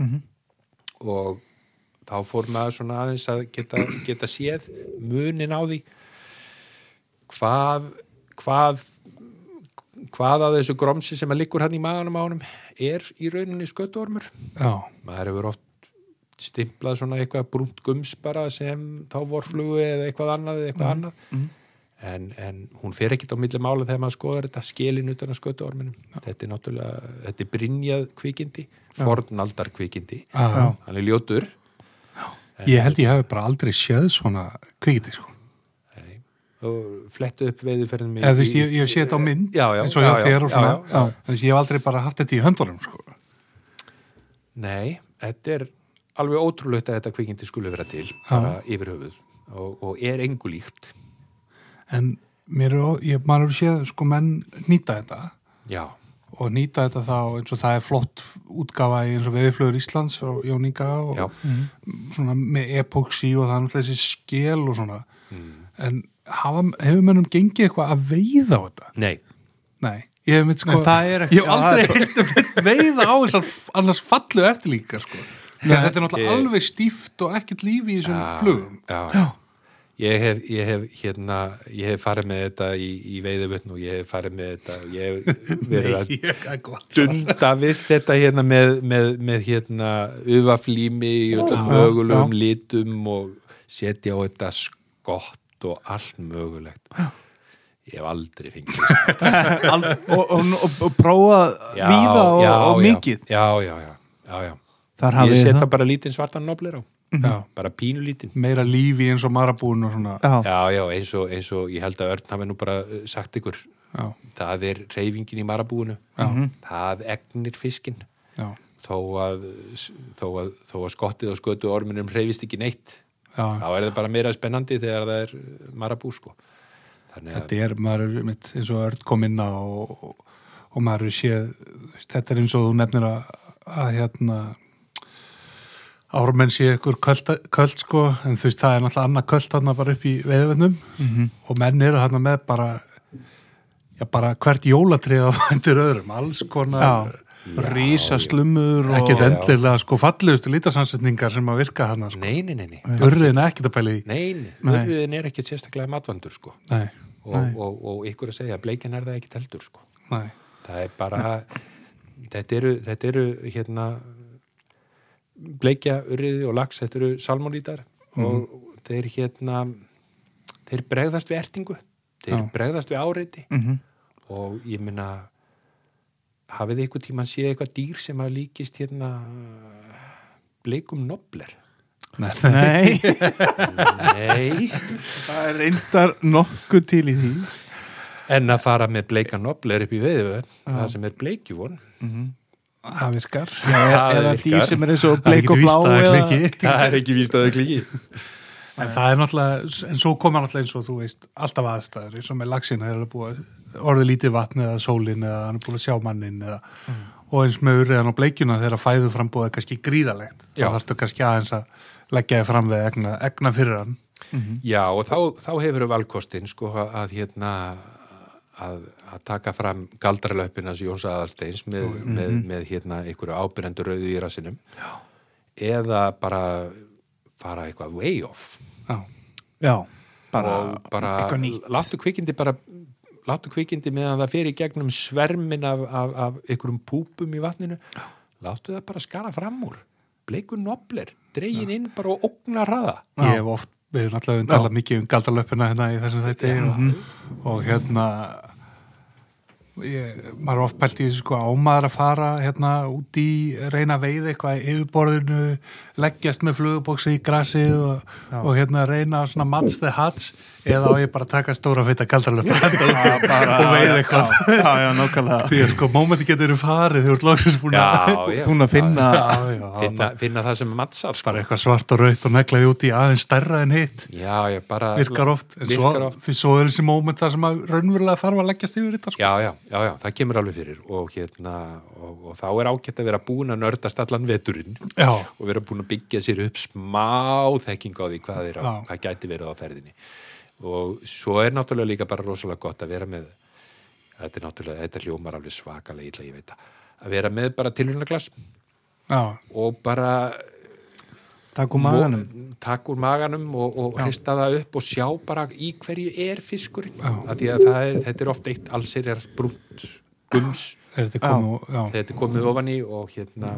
Speaker 2: Mhm.
Speaker 3: og þá fór maður svona aðeins að geta, geta séð munin á því hvað hvað hvað að þessu gromsi sem að liggur hann í maganum á honum er í rauninni skötuormur
Speaker 1: já,
Speaker 3: maður hefur oft stimplað svona eitthvað brúnt gums bara sem þá vorflugu eða eitthvað annað eða
Speaker 1: Mhm,
Speaker 3: eitthvað annað en, en hún fer ekkit á milli mála þegar maður skoðar þetta skilin utan að skötu orminum þetta er náttúrulega, þetta er brinjað kvikindi fornaldar kvikindi
Speaker 1: já.
Speaker 3: hann er ljótur
Speaker 1: Ég held ég hef bara aldrei séð svona kvikiti, sko.
Speaker 3: Nei. og flettu upp veiðuferðin
Speaker 1: Eða þú veist, ég, ég hef séð þetta á mynd,
Speaker 3: Já, já,
Speaker 1: eins og hjá
Speaker 3: já, já,
Speaker 1: þér og
Speaker 3: já,
Speaker 1: svona.
Speaker 3: já, já.
Speaker 1: Þú veist, ég hef aldrei bara haft þetta í höndunum, sko.
Speaker 3: Nei, þetta er alveg ótrúlegt að þetta kvikindi skulle vera til bara yfir höfuð og, og er engu líkt
Speaker 1: En mér er, ó- ég, maður hefur séð, sko, menn nýta þetta
Speaker 3: Já,
Speaker 1: og nýta þetta þá eins og það er flott útgafa í eins og veðiflöður Íslands og Jón Inga og Mhm.
Speaker 3: já
Speaker 1: svona með epoxi og það er náttúrulega þessi skel og svona.
Speaker 3: Mm.
Speaker 1: En hafa, hefur mönnum gengið eitthvað að veiða á þetta?
Speaker 3: Nei,
Speaker 1: Nei, ég hef mitt sko
Speaker 2: Nei, það er ekki-
Speaker 1: Ég hef
Speaker 2: já, það er
Speaker 1: aldrei heilt að veiða á þessar f- annars fallu eftirlíkar sko Nei, Þetta er náttúrulega
Speaker 3: ég-
Speaker 1: alveg stíft og ekkert líf í þessum
Speaker 3: Já,
Speaker 1: flugum
Speaker 3: Ah, já, já. Ég hef, ég hef hérna, ég hef farið með þetta í, í veiðuvötn og ég hef farið með þetta og ég hef verið að
Speaker 1: Ég er gott
Speaker 3: dunda við þetta hérna með, með, með hérna ufaflými í öllum mögulegum litum og setja á þetta skott og allt mögulegt ég hef aldrei fengið þessu.
Speaker 2: Al- og, og, og, og prófa
Speaker 3: Já,
Speaker 2: víða og,
Speaker 3: já,
Speaker 2: og
Speaker 3: já.
Speaker 2: mikið
Speaker 3: já, já, já, já, já.
Speaker 2: þar hafið
Speaker 3: ég
Speaker 2: þið
Speaker 3: setja
Speaker 2: það
Speaker 3: bara lítinn svartan nobler á
Speaker 1: Já,
Speaker 3: bara pínulítinn
Speaker 1: meira líf í eins og marabúin og svona
Speaker 2: já,
Speaker 3: Já, já, eins og, eins og ég held að Örn hafi nú bara uh, sagt ykkur
Speaker 1: Já,
Speaker 3: það er reyfingin í marabúinu
Speaker 1: já,
Speaker 3: það egnir fiskinn
Speaker 1: já,
Speaker 3: þó að, þó, að, þó að skottið og skötu orminum reyfist ekki neitt þá
Speaker 1: já
Speaker 3: er það bara meira spennandi þegar það er uh, marabú sko þannig að
Speaker 1: Þetta er, maður er mitt eins og örd kom inn á og, og maður er séð þú veist, Þetta er eins og þú nefnir að, að hérna Ármenn sé ykkur köld, köld sko, en þú veist það er náttúrulega annað köld hann bara upp í veiðvennum og menn eru hann með bara já bara hvert jólatrið á hendur öðrum, alls konar
Speaker 2: já. rísa slumur og
Speaker 1: ekkert endilega sko fallegustu lítasansetningar sem að virka hann sko.
Speaker 3: nei, nei, nei, nei,
Speaker 1: Urriðin er ekkert að pæli í
Speaker 3: nei, nei.
Speaker 2: Nei.
Speaker 3: urriðin er ekkit sérstaklega matvandur sko
Speaker 1: Nei,
Speaker 3: og, og, og, ykkur að segja, bleikin er það ekkit heldur sko
Speaker 1: nei,
Speaker 3: það er bara þetta eru, þetta eru hérna bleikja, urriði og lax þetta eru salmónítar og þeir hérna þeir bregðast við ertingu þeir
Speaker 1: Já.
Speaker 3: bregðast við áreiti
Speaker 2: Mhm.
Speaker 3: og ég minna hafið þið eitthvað tíma að sé eitthvað dýr sem að líkist hérna bleikum nobler
Speaker 1: nei, nei.
Speaker 2: nei,
Speaker 3: nei
Speaker 2: það er reyndar nokkuð til í því
Speaker 3: en að fara með bleika nobler upp í veiðu það sem er bleikjuvon
Speaker 1: það virkar
Speaker 2: eða,
Speaker 3: Það
Speaker 2: eða
Speaker 3: virkar.
Speaker 2: dýr sem er eins og
Speaker 1: Það er
Speaker 2: bleik
Speaker 1: ekkert
Speaker 2: og
Speaker 1: víst
Speaker 2: blá
Speaker 1: að það
Speaker 2: eða-
Speaker 1: klikki
Speaker 3: það er ekki víst að það klíkið
Speaker 1: En það er náttúrulega, en svo koma náttúrulega eins og þú veist, alltaf aðstæður, eins og með laxin það er alveg búið að orðið lítið vatn eða sólin eða hann er búið að sjá mannin eða, og eins með urriðan og bleikjuna þegar fæðu frambúið er kannski gríðalegt þá
Speaker 3: Já.
Speaker 1: þarftu kannski aðeins að leggja þið fram við egna, egna fyrir hann
Speaker 3: Já, og þá, þá hefur valkostin sko að að, hérna að, að taka fram galdralöpina sem Jóns Aðalsteins með,
Speaker 2: Mm-hmm.
Speaker 3: með, með hérna einhverju ábyrjendur rauðu í rassinum Já. eða bara fara eitthvað way off
Speaker 1: já,
Speaker 2: já, bara,
Speaker 3: og bara
Speaker 2: eitthvað nýtt
Speaker 3: láttu kvikindi bara láttu kvikindi meðan það fer í gegnum svermin af, af, af einhverjum púpum í vatninu láttu það bara skara fram úr bleikur nobler, dregin inn bara og ógna hraða
Speaker 1: ég hef oft, við erum alltaf um talað mikið um galdalöpina hérna í þessum þætti og, og hérna ég, maður er oft pælt í þessu sko ámaður að fara hérna út í reyna að veiða eitthvað í yfirborðinu leggjast með flugubóksi í grassið og, og hérna reyna svona match the hats eða á ég bara að taka stóra feita galdalöpina og veiða eitthvað
Speaker 2: já, já, já, nákvæmlega
Speaker 1: því að sko mómenti getur verið farið þegar þú ert loksins búin að
Speaker 3: já,
Speaker 2: hún að finna
Speaker 1: Já, já,
Speaker 3: finna, finna það sem mattsar sko.
Speaker 1: bara eitthvað svart og raut og negla því út í aðeins stærra en hitt
Speaker 3: já, já, bara
Speaker 1: virkar oft, en svo,
Speaker 3: virkar oft.
Speaker 1: því svo er þessi móment þar sem að raunverulega þarf að leggjast yfir þetta sko.
Speaker 3: Já, já, já, já, það kemur alveg fyrir og, hérna, og, og þá er ágætt að vera búin að nördast allan veturinn
Speaker 1: já,
Speaker 3: og vera búin að byggja sér upp smá þekking á því hvað, er, á,
Speaker 1: Já.
Speaker 3: hvað gæti verið á ferðinni og svo er náttúrulega líka bara rosalega gott að vera með þetta er náttúrulega, þetta hljómar alveg svakalega illa, ég veit það, að vera með bara tilhjörnaglas
Speaker 1: já,
Speaker 3: og bara
Speaker 2: takk úr maganum
Speaker 3: takk úr maganum og, og hrista það upp og sjá bara í hverju er fiskurinn af því að það er, þetta er oft eitt allsirjar brúnt gums
Speaker 1: þegar þetta komu já, já,
Speaker 3: þetta er komið ofan í og hérna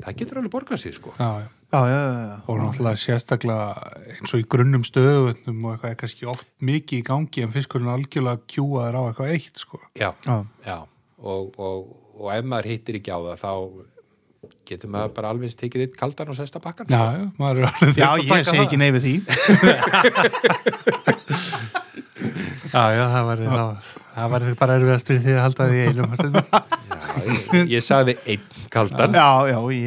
Speaker 3: það getur alveg borgað sér sko
Speaker 1: já.
Speaker 2: já, já, já, já.
Speaker 1: og náttúrulega sérstaklega eins og í grunnum stöðuvötnum og eitthvað er kannski oft mikið í gangi en fiskurinn algjörlega kjúaður á eitthvað eitt sko.
Speaker 3: já,
Speaker 2: Já.
Speaker 3: já. Og, og, og ef maður hittir ekki á það þá getur maður bara alveg eins tekið eitt kaldan og sesta bakkan
Speaker 1: já, já, maður er alveg
Speaker 2: Já,
Speaker 1: þreytt að taka
Speaker 2: ég segi
Speaker 1: það.
Speaker 2: ekki neyfið því
Speaker 1: já, já, það var, það, það var bara erfiðast fyrir því að halda því í einum stundum.
Speaker 3: Já, ég, ég sagði einn kaldan já.
Speaker 2: Já, já, ég, ég,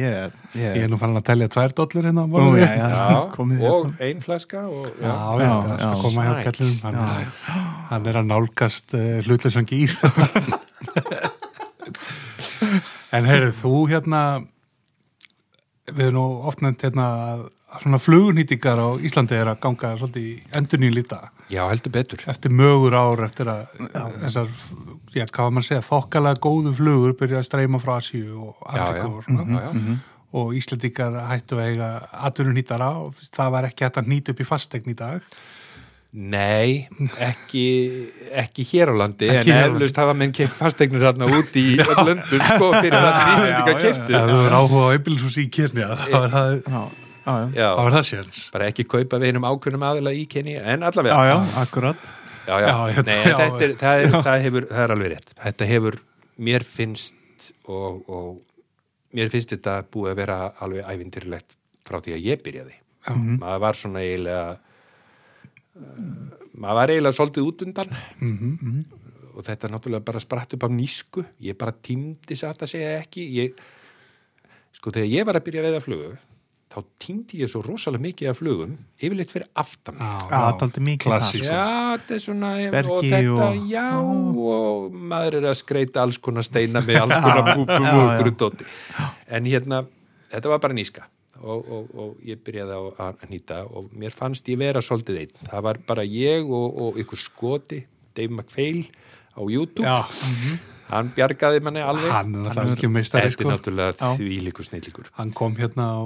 Speaker 1: ég er nú fann að telja tvær dollur hérna á
Speaker 2: Nú,
Speaker 1: borðinu.
Speaker 2: já, já, komið þér.
Speaker 3: og ein flaska og,
Speaker 1: Já,
Speaker 3: já.
Speaker 1: já,
Speaker 2: Já,
Speaker 1: það er alltaf
Speaker 2: já.
Speaker 1: að koma hjá
Speaker 3: Snæ.
Speaker 1: kallum hann, er- hann er að nálgast uh, hlutlausan gýr En heyrðu, þú hérna við erum nú oft nefnt hérna að að svona flugunýtingar á Íslandi er að ganga svolítið í endurnýjum líta
Speaker 3: já, heldur betur
Speaker 1: eftir mögur ár eftir að þessar, já, hvað var maður að segja þokkalega góðu flugur byrja að streyma frá Asíu og
Speaker 3: já, já. Mhm.
Speaker 1: Afriku og svona
Speaker 3: Já, já.
Speaker 1: og Íslandingar hættu að eiga atvinnunýtara og þú veist, það var ekki hægt að nýta upp í fastegn í dag
Speaker 3: Nei, ekki, ekki hér á landi
Speaker 1: Ekki hér á
Speaker 3: en
Speaker 1: landi.
Speaker 3: eflaust hafa menn keitt fasteignir þarna út í löndum sko fyrir það sem Íslandika keiptu
Speaker 1: Ef þú er áhuga á einbílisús í Kenya þá er það,
Speaker 2: já, já, já.
Speaker 1: þá
Speaker 3: Já,
Speaker 1: er það séns
Speaker 3: bara ekki kaupa við einum ákveðnum aðila í kynni en allavega
Speaker 2: já, já, akkurat
Speaker 3: já, já.
Speaker 1: Já, ég-
Speaker 3: Nei, en
Speaker 1: já.
Speaker 3: þetta er, það, er, það, hefur, það er alveg rétt þetta hefur, mér finnst og, og mér finnst þetta búið að vera alveg ævindirlegt frá því að ég byrjaði maður var svona eiginlega uh, maður var eiginlega svolítið út undan og þetta náttúrulega bara spratt upp af nýsku ég bara tímdi satt að segja ekki ég, sko þegar ég var að byrja að veiða flugu þá tímdi ég svo rosalega mikið af flugum yfirleitt fyrir aftan mig.
Speaker 2: Já, það er aldrei mikið
Speaker 1: Klassískt.
Speaker 2: það,
Speaker 3: Já, þetta er svona og
Speaker 2: Bergi
Speaker 3: þetta,
Speaker 2: og-
Speaker 3: já og maður er að skreita alls konar steina með alls konar púpum
Speaker 2: já,
Speaker 3: og
Speaker 2: já.
Speaker 3: grúttóti en hérna, þetta var bara nýska og, og, og ég byrjaði á að nýta og mér fannst ég vera svolítið einn það var bara ég og, og ykkur skoti Dave McPhail á YouTube
Speaker 1: Já, mhm.
Speaker 3: hann bjargaði manni alveg
Speaker 1: hann er
Speaker 2: Hann
Speaker 1: náttúrulega
Speaker 2: er-
Speaker 1: ekki
Speaker 3: þetta
Speaker 1: meistari
Speaker 3: er
Speaker 1: sko.
Speaker 3: náttúrulega því líkur snillíkur
Speaker 1: hann kom hérna á,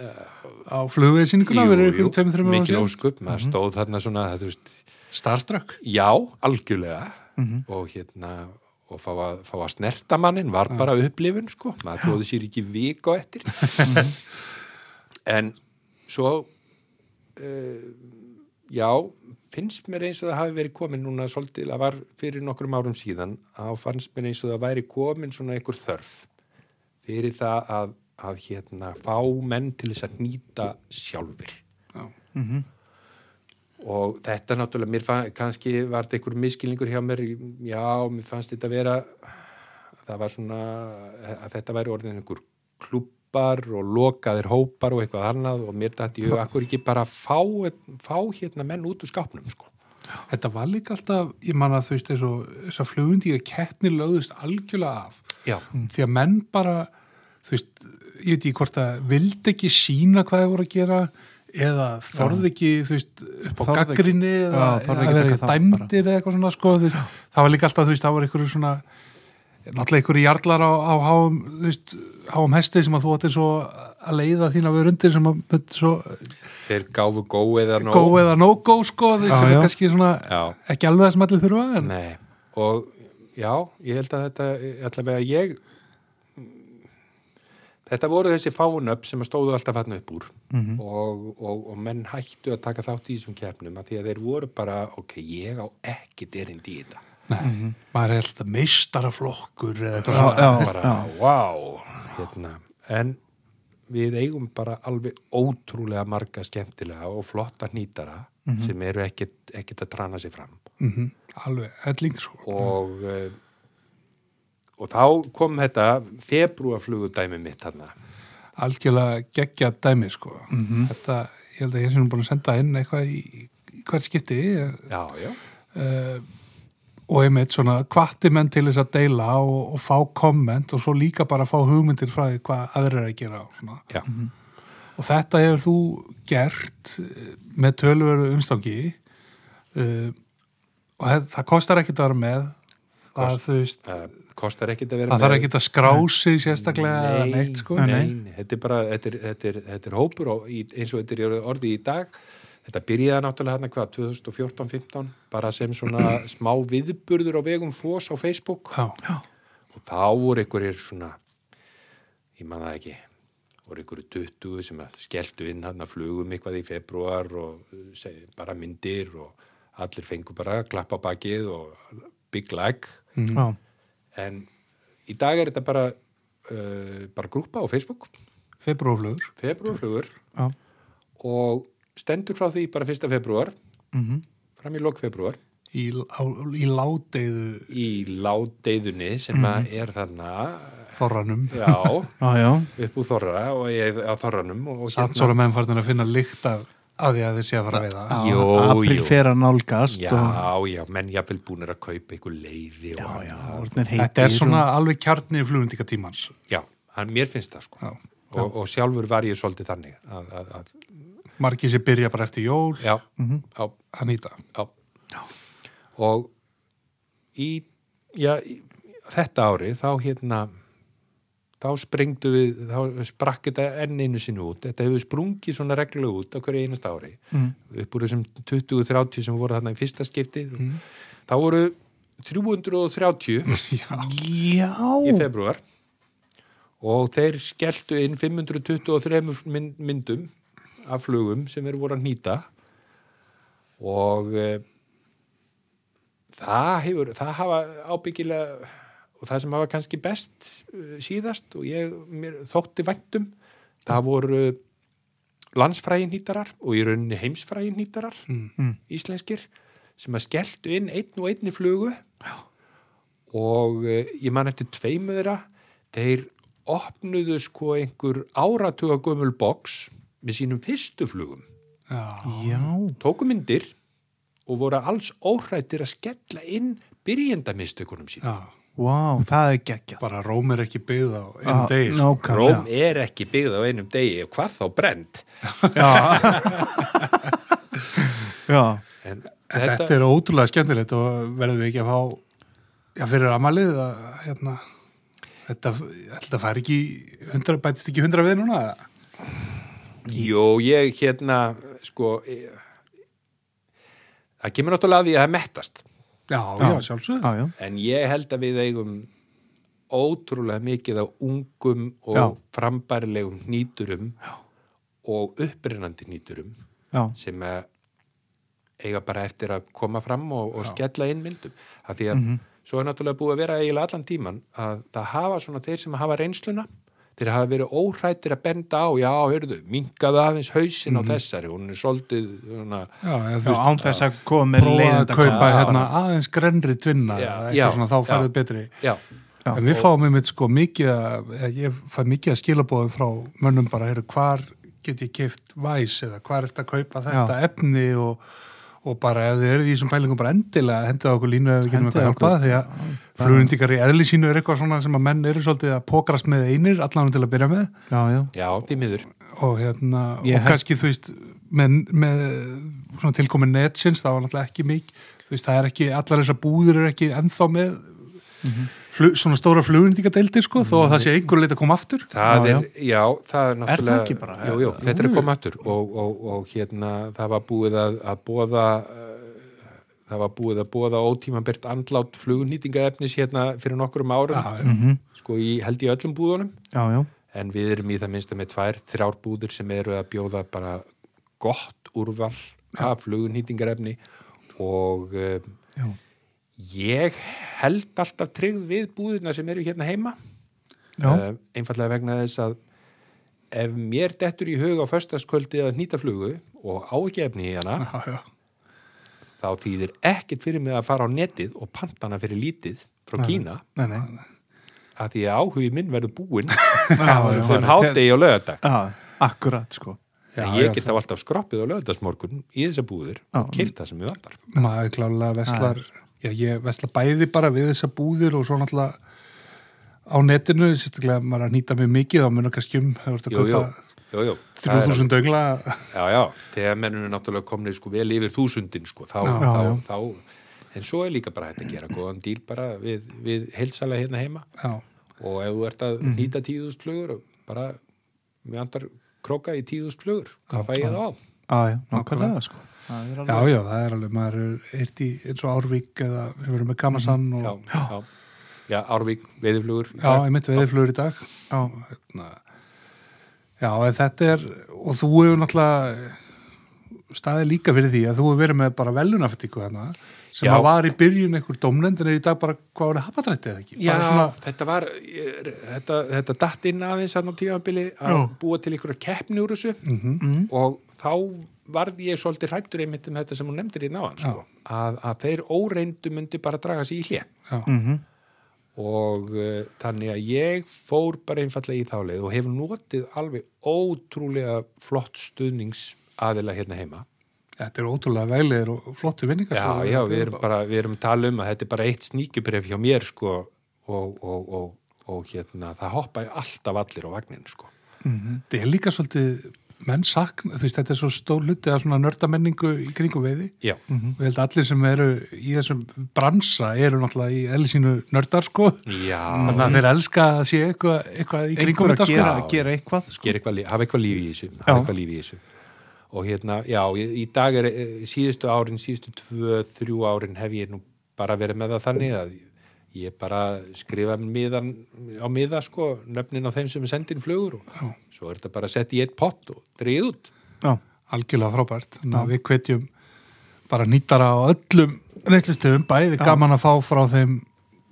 Speaker 1: á flugveðsýninguna verið ykkur tveimur, þreimur ára
Speaker 3: mikil
Speaker 1: síðan Mhm.
Speaker 3: óskup, maður stóð þarna svona, það, þú veist
Speaker 1: Starstruck
Speaker 3: Já, algjörlega og hérna og fá að, fá að snerta mannin var bara upplifun sko, maður tróði sér ekki vik á eftir en svo uh, já finnst mér eins og það hafi verið komin núna svolítið, það var fyrir nokkrum árum síðan þá fannst mér eins og það væri komin svona einhver þörf fyrir það að, að hérna fá menn til þess að nýta sjálfur
Speaker 1: Já.
Speaker 3: og þetta náttúrulega, mér fann, kannski var þetta einhver miskilningur hjá mér, já, mér fannst þetta vera, það var svona, að þetta væri orðin einhver klubbar og lokaðir hópar og eitthvað annað og mér dætti ég akkur ekki bara fá, fá hérna menn út úr skápnum, sko.
Speaker 1: Þetta var líka alltaf, ég man að þú veist þess að, þess að flugundíka keppni lögðust algjörlega af
Speaker 3: Já,
Speaker 1: því að menn bara þú veist, ég veit ekki hvort að vildi ekki sína hvað þið voru að gera eða þorði ekki þú veist, upp á
Speaker 2: Þorði ekki-
Speaker 1: gaggrinni eða
Speaker 2: Já,
Speaker 1: eða
Speaker 2: þorði ekki
Speaker 1: verið
Speaker 2: taka þátt
Speaker 1: dæmdir eða eitthvað svona sko, þú veist, það var líka alltaf, þú veist, það var einhverju svona náttúrulega einhverju jarlar á, á háum, þú veist, háum hesti sem að þú áttir svo að leiða þína við rundir sem að mynd svo
Speaker 3: þeir gáfu góið eða
Speaker 1: go eða no go sko, þú veist,
Speaker 2: Já,
Speaker 1: sem
Speaker 2: já.
Speaker 1: er kannski svona
Speaker 3: Já.
Speaker 1: ekki alveg það sem allir þurfa en,
Speaker 3: Nei, og já, ég held að þetta, allavega ég, þetta voru þessi fánöpp sem stóðu alltaf hann upp úr
Speaker 2: Mhm.
Speaker 3: og, og, og menn hættu að taka þátt í þessum keppnum að því að þeir voru bara, ok, ég á ekki derindi í þetta.
Speaker 1: maður er alltaf meistaraflokkur eða eitthvað
Speaker 2: Já,
Speaker 1: svona
Speaker 2: já,
Speaker 3: Bara,
Speaker 2: já.
Speaker 3: wow, hérna, en við eigum bara alveg ótrúlega marga skemmtilega og flotta nýtara
Speaker 2: Mhm.
Speaker 3: sem eru ekkit, ekkit að trana sig fram.
Speaker 1: Mhm, alveg, helling sko
Speaker 3: og eh, og þá kom þetta februarflugudæmi mitt hann
Speaker 1: algjörlega geggja dæmi sko þetta, ég held að ég sem búin að senda inn eitthvað í, í hvert skipti
Speaker 3: já, já,
Speaker 1: uh, og einmitt svona kvatti menn til þess að deila og, og fá komment og svo líka bara fá hugmyndir frá því hvað aðrir er að gera og svona.
Speaker 3: já.
Speaker 1: og þetta hefur þú gert eh, með tölveru umstangi uh, og hef, það kostar ekkit að vera með það, þú veist,
Speaker 3: það kostar ekkit að vera
Speaker 1: það
Speaker 3: með
Speaker 1: þarf ekkit að skrá sig sérstaklega eða
Speaker 3: nei,
Speaker 1: neitt sko
Speaker 3: nei, þetta er bara þetta er, þetta er, þetta er hópur og, í, eins og þetta er orðið í dag þetta byrjaði náttúrulega hérna hvað 2014-15 bara sem svona smá viðburður á vegum flós á Facebook
Speaker 1: Já.
Speaker 3: og þá voru einhverjir svona ég man það ekki voru einhverju 20 sem að skelltu inn hann að flugum eitthvað í februar og uh, seg, bara myndir og allir fengu bara að klappa á bakið og big like
Speaker 1: Mm.
Speaker 2: já,
Speaker 3: en í dag er þetta bara uh, bara grúpa á Facebook
Speaker 1: febróflugur
Speaker 3: februarflugur
Speaker 2: já,
Speaker 3: og stendur frá því bara 1. februar
Speaker 2: mhm,
Speaker 3: fram í lok februar
Speaker 1: í, á, í ládeiðu
Speaker 3: í ládeiðunni sem að er þarna
Speaker 1: þorranum
Speaker 3: já,
Speaker 2: já, já.
Speaker 3: upp úr þorra og ég á þorranum og, hérna- og
Speaker 1: samt svona menn farnir að finna lykt af að því að þið sé að fara að veiða
Speaker 3: Jú,
Speaker 2: april
Speaker 3: jú.
Speaker 2: fer að nálgast og
Speaker 3: Já, já, menn jafnvel búinir að kaupa einhver leiði og já,
Speaker 2: orðnir heitir
Speaker 1: þetta er svona
Speaker 2: og,
Speaker 1: alveg kjarni í flugundika tímans
Speaker 3: já, hann, mér finnst það sko
Speaker 1: Já.
Speaker 3: Og, og sjálfur var ég svolítið þannig að, að, að,
Speaker 1: margir sem byrja bara eftir jól
Speaker 3: já, já,
Speaker 1: að nýta
Speaker 3: já, og í, já, í, þetta ári þá hérna þá sprengdu við, þá sprakk þetta enn einu sinni út, þetta hefur sprungið svona reglulega út á hverju einasta ári
Speaker 2: mm,
Speaker 3: upp úr þessum 20-30 sem voru þarna í fyrsta skiptið þá voru 330 í
Speaker 2: já,
Speaker 3: februar og þeir skelltu inn 523 mynd, myndum af flugum sem eru voru að nýta og e, það hefur það hafa ábyggilega og það sem hafa kannski best e, síðast og ég mér, þótti væntum það voru landsfræðin nýtarar og í rauninni heimsfræðin nýtarar
Speaker 2: Mm.
Speaker 3: íslenskir sem að skelltu inn einn og einni flugu og eh, ég man eftir tveimu þeirra þeir opnuðu sko einhver áratuga gömul box með sínum fyrstu flugum
Speaker 1: já,
Speaker 2: já
Speaker 3: tóku myndir og voru alls óhrættir að skella inn byrjendamistökunum sínum
Speaker 1: já.
Speaker 2: wow, það er geggjað
Speaker 1: bara róm er ekki byggð á einu degi sko.
Speaker 3: Róm
Speaker 2: nákvæmlega
Speaker 3: er ekki byggð á einum degi og hvað þá brend
Speaker 2: já, já,
Speaker 3: en
Speaker 1: þetta... er ótrúlega skemmtilegt og verðum við ekki að fá já, fyrir amalið að hérna Þetta, þetta fær ekki, 100, bætist ekki hundra við núna? eða?
Speaker 3: Jó, ég hérna, sko, eh, það kemur náttúrulega að því að það mettast,
Speaker 1: Já, já,
Speaker 2: Já.
Speaker 1: sjálfsögð.
Speaker 2: já, já.
Speaker 3: en ég held að við eigum ótrúlega mikið á ungum og
Speaker 2: Já.
Speaker 3: frambærilegum nýturum og upprinnandi nýturum
Speaker 2: já.
Speaker 3: sem eh, eiga bara eftir að koma fram og, og skella inn myndum. Af því að svo er náttúrulega búið að vera eiginlega allan tíman að það hafa svona þeir sem hafa reynsluna, þeir hafa verið óhrættir að benda á, já, hörðu, minkaðu aðeins hausin á þessari, hún er svolítið, svona,
Speaker 1: Já, eða þú
Speaker 2: Já, án þess að koma með
Speaker 1: prófa að
Speaker 2: leiðenda
Speaker 1: kaupa
Speaker 2: Já,
Speaker 1: hérna, aðeins grenri tvinna
Speaker 3: Já,
Speaker 1: eða
Speaker 3: já,
Speaker 1: eitthvað svona, þá
Speaker 3: já.
Speaker 1: færðu betri
Speaker 3: já,
Speaker 2: Já.
Speaker 1: en við fáum einmitt sko mikið að, eða ég fæ mikið að skilabóðum frá mönnum bara, heyrðu, hvar get ég keift væs eða hvar ertu að kaupa þetta efni og, og bara ef þið eru því sem pælingum bara endilega hendið á okkur línu ef við getum
Speaker 2: Hendið
Speaker 1: eitthvað hjálpað
Speaker 2: okkur.
Speaker 1: því að flugundikar í eðli sínu er eitthvað svona sem að menn eru svolítið að pókrast með einir allan til að byrja með
Speaker 2: já, já,
Speaker 3: já, því miður.
Speaker 1: og hérna
Speaker 2: Ég
Speaker 1: og
Speaker 2: held-
Speaker 1: kannski þú veist með, með svona tilkomin netsins það var náttúrulega ekki mikið þú veist það er ekki, allar þessar búðir er ekki ennþá með
Speaker 3: Mhm.
Speaker 1: flug, svona stóra flugundingadeildir sko þó að það sé einhver leita að koma aftur
Speaker 3: Það
Speaker 2: Já,
Speaker 3: er, já, það er náttúrulega
Speaker 2: ekki bara? Mm.
Speaker 3: Jú, jú, þetta er komið aftur og, og, og hérna, það var búið að, að bóða það var búið að bóða ótímanbyrt andlátt flugnýtingaefnis hérna fyrir nokkrum árum
Speaker 1: Já, já.
Speaker 3: sko í, held í öllum búðunum
Speaker 2: já, já,
Speaker 3: en við erum í það minnsta með tvær, þrjár búðir sem eru að bjóða bara gott úrval af flugnýtingarefni og um,
Speaker 2: já.
Speaker 3: ég held alltaf tryggð við búðina sem eru hérna heima
Speaker 2: Já.
Speaker 3: Eh, einfallega vegna þess að ef mér dettur í hug á föstaskvöldi að nýta flugu og á ekki efni í hana
Speaker 2: Ah.
Speaker 1: Já, já.
Speaker 3: þá þýðir ekkert fyrir mig að fara á netið og panta hana fyrir lítið
Speaker 2: Ah.
Speaker 3: frá Kína
Speaker 2: Nei, nei.
Speaker 3: að því að áhugi minn verður búinn um
Speaker 2: Já, já.
Speaker 3: þann hátegi á lögadag
Speaker 2: Já, akkurat sko.
Speaker 1: Já,
Speaker 3: en ég
Speaker 1: já,
Speaker 3: get þá alltaf skroppið á lögadagsmorgun í þessa búðir
Speaker 2: Já.
Speaker 3: og keift það sem ég vantar
Speaker 1: maður klálega veslar já, ég vesla bæði bara við þessa búðir og svo náttúrulega á netinu, sérstaklega ef maður er að nýta mjög mikið á munar kannski um, hefur þetta
Speaker 3: jú, jú,
Speaker 1: kaupa
Speaker 3: jú, jú. Það er
Speaker 1: 3000 dögla
Speaker 3: Já, já, þegar mennum er náttúrulega komnir sko vel yfir þúsundin sko, þá,
Speaker 1: Já,
Speaker 3: þá,
Speaker 2: já.
Speaker 3: þá, en svo er líka bara hægt að gera góðan díl bara við, við heilsala hérna heima
Speaker 1: já,
Speaker 3: og ef þú ert að nýta tíðust flugur, bara við andar króka í tíðust flugur, hvað fæ ég þá?
Speaker 2: Já, já, nákvæmlega sko. Það er
Speaker 1: já,
Speaker 2: alveg-
Speaker 1: já, það er alveg maður er eitt í eins og Árvík eða sem verður með Kamasan og
Speaker 3: Mm, Já,
Speaker 1: já,
Speaker 3: já, já, Árvík, veiðiflugur, í dag.
Speaker 1: ég mitt veðiflugur í dag
Speaker 2: Já,
Speaker 1: hérna. já, en þetta er og þú hefur náttúrulega staðið líka fyrir því að þú hefur verið með bara velunaftíku þarna sem
Speaker 3: Já.
Speaker 1: að var í byrjun einhver dómnend en er í dag bara hvað voru hafadrætti eða ekki
Speaker 3: Já,
Speaker 1: bara svona
Speaker 3: þetta var, ég- þetta, þetta datt inn aðeins að á tímabili að búa til einhverja keppni úr þessu
Speaker 1: Mhm.
Speaker 3: og þá varð ég svolítið hrættur einmitt um þetta sem hún nefndir í náðan sko. að, að þeir óreindu myndi bara draga sig í hlje
Speaker 1: Já.
Speaker 2: mhm.
Speaker 3: og uh, þannig að ég fór bara einfallega í þálið og hef notið alveg ótrúlega flott stuðnings aðila hérna heima
Speaker 1: Þetta er ótrúlega veglegir og flotti vinningar
Speaker 3: Já, já, við erum bara, við erum að tala um að þetta er bara eitt sníkjubref hjá mér, sko, og, og, og, og hérna, það hoppa alltaf allir á vagnin, sko.
Speaker 1: Þetta er líka svolítið menn sakna, þú veist, þetta er svo stór hluti að svona nördamenningu í kringum veiði
Speaker 3: Já,
Speaker 1: og ég held að allir sem eru í þessum bransa eru náttúrulega í eðli sínu nördar sko,
Speaker 3: já,
Speaker 1: þannig að þeir elska að sé eitthvað, eitthvað í kringum
Speaker 2: einhver
Speaker 1: þetta
Speaker 2: að
Speaker 1: sko
Speaker 2: gera,
Speaker 3: Já.
Speaker 2: gera eitthvað sko.
Speaker 3: gera eitthvað, lí- hafa eitthvað líf í þessu,
Speaker 2: Já.
Speaker 3: hafa eitthvað líf í þessu. Og hérna, já, ég- í dag er eh, síðustu árin, síðustu tvö, þrjú árin hef ég nú bara verið með það þannig að ég bara skrifa miðan, á miða, sko, nöfnin á þeim sem er sendin flugur og
Speaker 1: Já.
Speaker 3: svo er þetta bara sett í eitt pott og dreyð út.
Speaker 2: Já,
Speaker 1: algjörlega frábært, þannig að við hvetjum bara nýtara á öllum reyndslustöfum, bæði gaman að fá frá þeim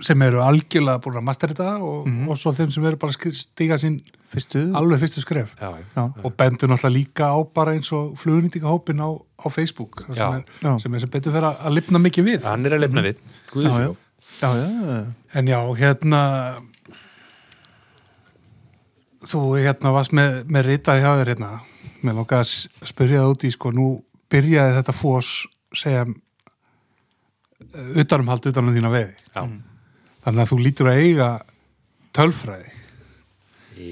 Speaker 1: sem eru algjörlega búin að mastera þetta og, og svo þeim sem eru bara að stiga sín
Speaker 2: fyrstu
Speaker 1: alveg fyrstu skref
Speaker 3: Já, já.
Speaker 2: Mm. Já,
Speaker 1: og bendur náttúrulega líka á bara eins og flugnýtingahópin á, á Facebook þar sem
Speaker 3: Já.
Speaker 1: er,
Speaker 2: Já.
Speaker 1: sem er sem betur fyrir að lifna mikið við
Speaker 3: Hann er að lefna við.
Speaker 2: já,
Speaker 3: Guðsjó.
Speaker 2: já, já, já.
Speaker 1: en já, hérna þú hérna varst með, með ritað hjá þér hérna mér lókaði að s- spyrja það út í sko, nú byrjaði þetta fós sem eh, utanumhald utanum þína veði
Speaker 3: Já.
Speaker 1: þannig að þú lítur að eiga tölfræði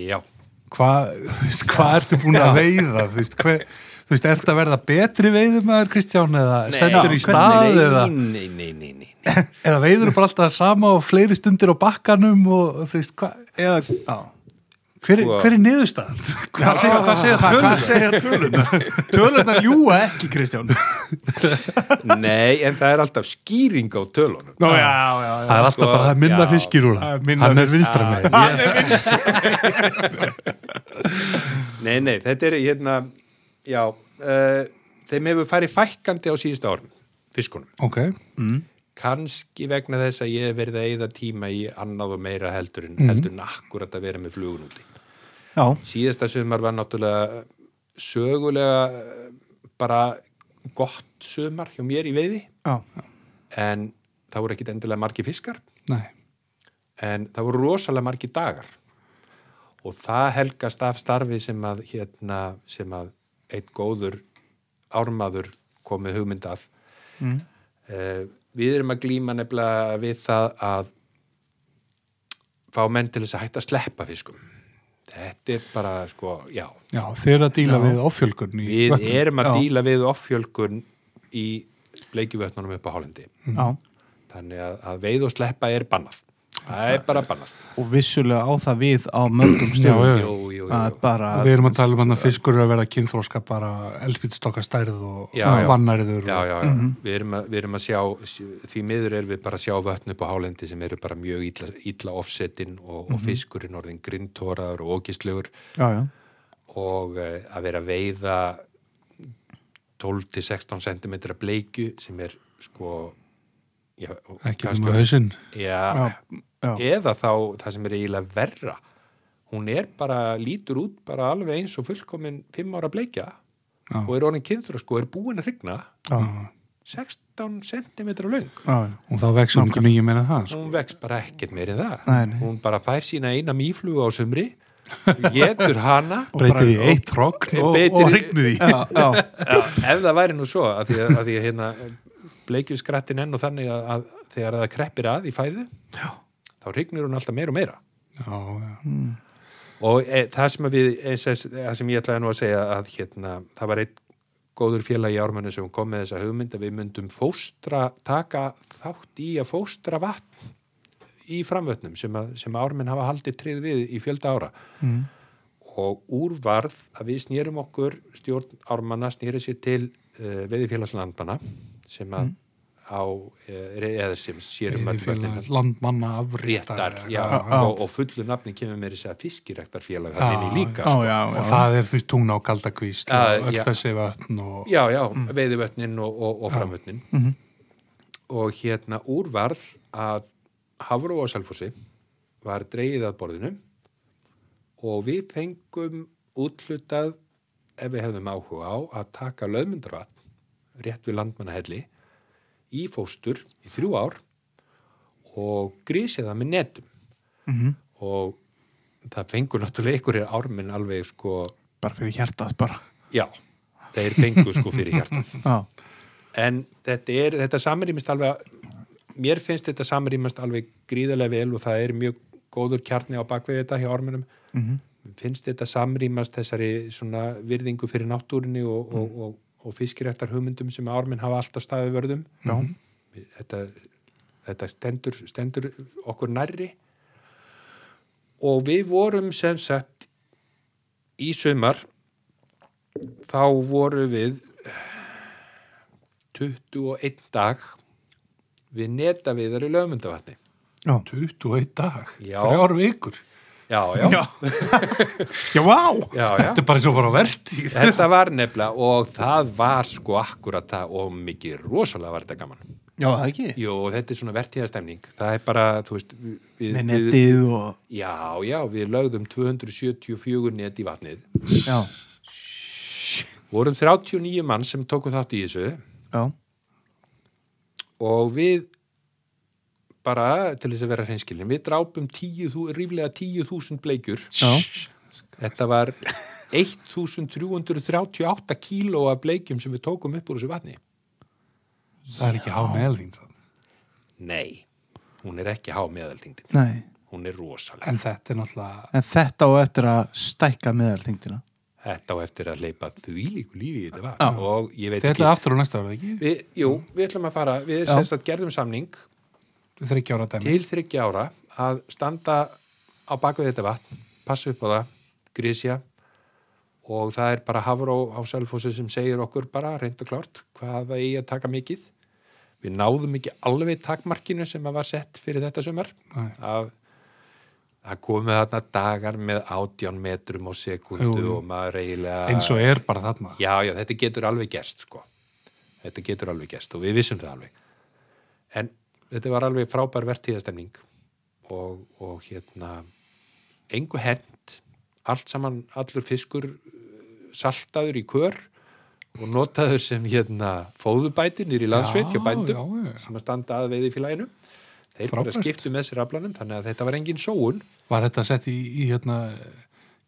Speaker 3: Já,
Speaker 1: hvað þú veist, hvað ertu búin að veiða þú veist, hver, þú veist, ertu að verða betri veiðumæður Kristján eða stendur í
Speaker 2: já,
Speaker 1: stað eða,
Speaker 3: nei, nei, nei, nei, nei.
Speaker 1: eða veiður bara alltaf sama og fleiri stundir á bakkanum og þú veist, hva,
Speaker 2: Eða, já.
Speaker 1: hver,
Speaker 3: Sko-
Speaker 1: hver er niðurstaðan hvað segja, hvað segja
Speaker 2: Hva-
Speaker 1: tölur
Speaker 2: Hvað segja tölurnar? Tölurnar ljúa ekki, Kristján.
Speaker 3: Nei, en það er alltaf skýring á tölunum
Speaker 2: Nó, já, já, já.
Speaker 1: það er alltaf
Speaker 3: Sko,
Speaker 1: bara að minna
Speaker 3: já.
Speaker 1: fiskir úr
Speaker 2: Það er
Speaker 1: það
Speaker 2: minna
Speaker 1: hann er
Speaker 2: fisk-
Speaker 1: vinstra með ég,
Speaker 3: Nei, nei, þetta er hérna Já, uh, þeim hefur farið fækkandi á síðustu árum Fiskunum
Speaker 1: ok,
Speaker 3: Kanski vegna þess að ég hef verið að eyða tíma í annað og meira heldur
Speaker 1: Mhm.
Speaker 3: en heldur en akkurat að vera með flugun úti
Speaker 2: Já,
Speaker 3: Síðasta sumar var náttúrulega sögulega eh, bara gott sumar hjá mér í veiði
Speaker 2: já,
Speaker 3: en það voru ekkit endilega margir fiskar
Speaker 1: næ
Speaker 3: en það voru rosalega margir dagar og það helgast af starfi sem að hérna, sem að eitt góður ármaður komið hugmynd að
Speaker 2: Mm.
Speaker 3: Eh, við erum að glíma nefnilega við það að fá menn til þess að hætta að sleppa fiskum þetta er bara sko, já,
Speaker 1: Já, þeir eru að díla
Speaker 2: Já.
Speaker 1: við offjölgun í
Speaker 3: við
Speaker 1: vötnum.
Speaker 3: erum að
Speaker 2: já.
Speaker 3: díla við offjölgun í bleikjuvötnunum upp á Hálendi
Speaker 2: Mm. Já.
Speaker 3: þannig að, að veið og sleppa er bannað það er bara bannað
Speaker 2: og vissulega á það við á mörgum
Speaker 1: Já,
Speaker 2: stöðum
Speaker 1: já.
Speaker 3: jú, jú, jú,
Speaker 2: að
Speaker 3: jú.
Speaker 2: bara
Speaker 1: Og við erum að tala um hann að fiskur er að verða kynþróska bara elspýtstokka stærð og
Speaker 3: Já, já.
Speaker 1: vannærður.
Speaker 3: Já,
Speaker 1: og-
Speaker 3: já, já. við, erum að, við erum að sjá því miður erum við bara að sjá vötn upp á hálendi sem eru bara mjög illa, illa offsetin og, og fiskurinn orðin grindtóraður og ógistlegur
Speaker 2: já, já.
Speaker 3: og eh, að vera að veiða 12-16 cm bleikju sem er sko já, og
Speaker 1: Ekki
Speaker 3: kannski-
Speaker 1: um að hausinn.
Speaker 3: já,
Speaker 2: Já, já.
Speaker 3: eða þá það sem er eiginlega verra hún er bara, lítur út bara alveg eins og fullkomin 5 ára bleikja
Speaker 1: Já.
Speaker 3: og er orðin kynþur sko, er búin að hrygna
Speaker 1: Já.
Speaker 3: 16 cm löng
Speaker 2: Já, já.
Speaker 1: Og þá vex hún ekki mikið meira en það. sko.
Speaker 3: hún vex bara ekkert meir en það
Speaker 2: Nei, nei.
Speaker 3: hún bara fær sína eina mýflugu á sumri getur hana
Speaker 2: Og bara-
Speaker 1: Breytið í eitt hrogn og,
Speaker 3: Beitir-
Speaker 1: og hrygnið í.
Speaker 2: Já, já,
Speaker 3: Já, ef það væri nú svo að því að, að, því að hérna, bleikjur skrattin enn og þannig að, að þegar það kreppir að í fæðu Já. þá hrygnir hún alltaf meira og meira
Speaker 1: Já, já.
Speaker 3: og e, það sem að við eins, eins, það sem ég ætlaði nú að segja að hérna, það var einn góður félagi í ármennu sem kom með þessa hugmynd að við myndum fóstra, taka þátt í að fóstra vatn í framvötnum sem, að, sem að ármenn hafa haldið trið við í fjölda ára
Speaker 2: Mm.
Speaker 3: og úr varð að við snýrum okkur, stjórn ármanna snýri sér til uh, veðifélagslandmanna sem að á, uh, eða sem sérum að
Speaker 1: Veiðifélag landmanna afréttar.
Speaker 3: réttar já,
Speaker 1: eitthvað.
Speaker 2: já.
Speaker 3: og, og fullu nafni kemur mér þess að fiskirektarfélag hann inn í líka
Speaker 2: já,
Speaker 3: sko.
Speaker 2: já,
Speaker 1: Og
Speaker 2: já.
Speaker 1: það er því tungna á kaldakvísl
Speaker 3: Já,
Speaker 1: og öll
Speaker 3: já.
Speaker 1: þessi vatn og...
Speaker 3: já, já, veiðivötnin og, og, og framvötnin
Speaker 2: Mm. Mhm.
Speaker 3: og hérna úr varð að Hafró og Selfossi var dreigið að borðinu og við fengum útlutað ef við hefðum áhuga á að taka löðmundarvatn rétt við landmannahelli í fóstur í þrjú ár og grísið það með netum
Speaker 2: Mhm.
Speaker 3: og það fengur náttúrulega einhverjir árminn alveg sko,
Speaker 2: bara fyrir hjartað bara
Speaker 3: já þeir fengu sko fyrir hjartað
Speaker 2: já,
Speaker 3: en þetta, er, þetta samrýmist alveg mér finnst þetta samrýmast alveg gríðarlega vel og það er mjög góður kjarni á bakvið þetta hjá ormunum mm finnst þetta samrýmast þessari svona virðingu fyrir náttúrinni og, og, og, og fiskirættar hugmyndum sem ormin hafa alltaf staðið vörðum Mhm.
Speaker 2: já,
Speaker 3: þetta, þetta stendur, stendur okkur nærri og við vorum sem sagt í sumar þá voru við 21 dag við neta við í lögmundavatni
Speaker 1: 21 dag,
Speaker 3: Já.
Speaker 1: þrjár vikur
Speaker 3: já, já, já,
Speaker 2: já, vá
Speaker 3: já.
Speaker 1: Þetta er bara eins og fara á vertíð
Speaker 3: þetta var nefnilega og það var sko akkurat það og mikið rosalega var þetta gaman
Speaker 2: já, það ekki
Speaker 3: Jó, þetta er svona vertíðastemning það er bara, þú veist við,
Speaker 2: með netið og
Speaker 3: Já, já, við lögðum 274 net í vatnið.
Speaker 2: já,
Speaker 3: Vorum 39 mann sem tóku þátt í þessu
Speaker 2: já,
Speaker 3: og við bara, til þess að vera hreinskilin, við drápum 10, þú- ríflega 10.000 bleikjur.
Speaker 2: já,
Speaker 3: Þetta var 1338 kíló af bleikjum sem við tókum upp úr þessu vatni.
Speaker 1: Það er ekki há meðalþín
Speaker 3: Nei, hún er ekki há meðalþingdin.
Speaker 2: nei
Speaker 3: Hún er rosaleg.
Speaker 1: En þetta er náttúrulega
Speaker 2: en þetta á eftir að stækka meðalþingdina
Speaker 3: Þetta á eftir að leipa því líku lífi í þetta vatn.
Speaker 2: Já.
Speaker 3: Og ég veit
Speaker 1: Þetta
Speaker 3: ekki...
Speaker 1: er aftur á næsta ára, ekki?
Speaker 3: Við, jú, við ætlum að fara, við
Speaker 2: Já.
Speaker 3: semst að gerðum samning
Speaker 1: Þryggja ára dæmi
Speaker 3: til þryggja ára að standa á baku þetta vatn, passa upp á það, grísja og það er bara Hafró á Selfossi sem segir okkur bara reynd og klárt hvað það eigi að taka mikið. Við náðum ekki alveg takmarkinu sem að var sett fyrir þetta sumar.
Speaker 1: Nei.
Speaker 3: Af, það komið þarna dagar með átján metrum á sekundu
Speaker 1: Jú, jú.
Speaker 3: og maður eiginlega...
Speaker 1: eins og er bara þarna
Speaker 3: Já, já, þetta getur alveg gerst, sko. Þetta getur alveg gerst og við vissum það alveg. En þetta var alveg frábær vertíðastemning og, og hérna, engu hent, allt saman, allur fiskur eh, saltaður í kör og notaður sem hérna fóðubæti nýri landsveit hjá bændum
Speaker 1: já, já.
Speaker 3: sem að standa að veiði félaginu. Þeir bara
Speaker 1: Frábært.
Speaker 3: skiptu með sér aflanum þannig að þetta var engin sóun.
Speaker 1: Var þetta sett í, í hérna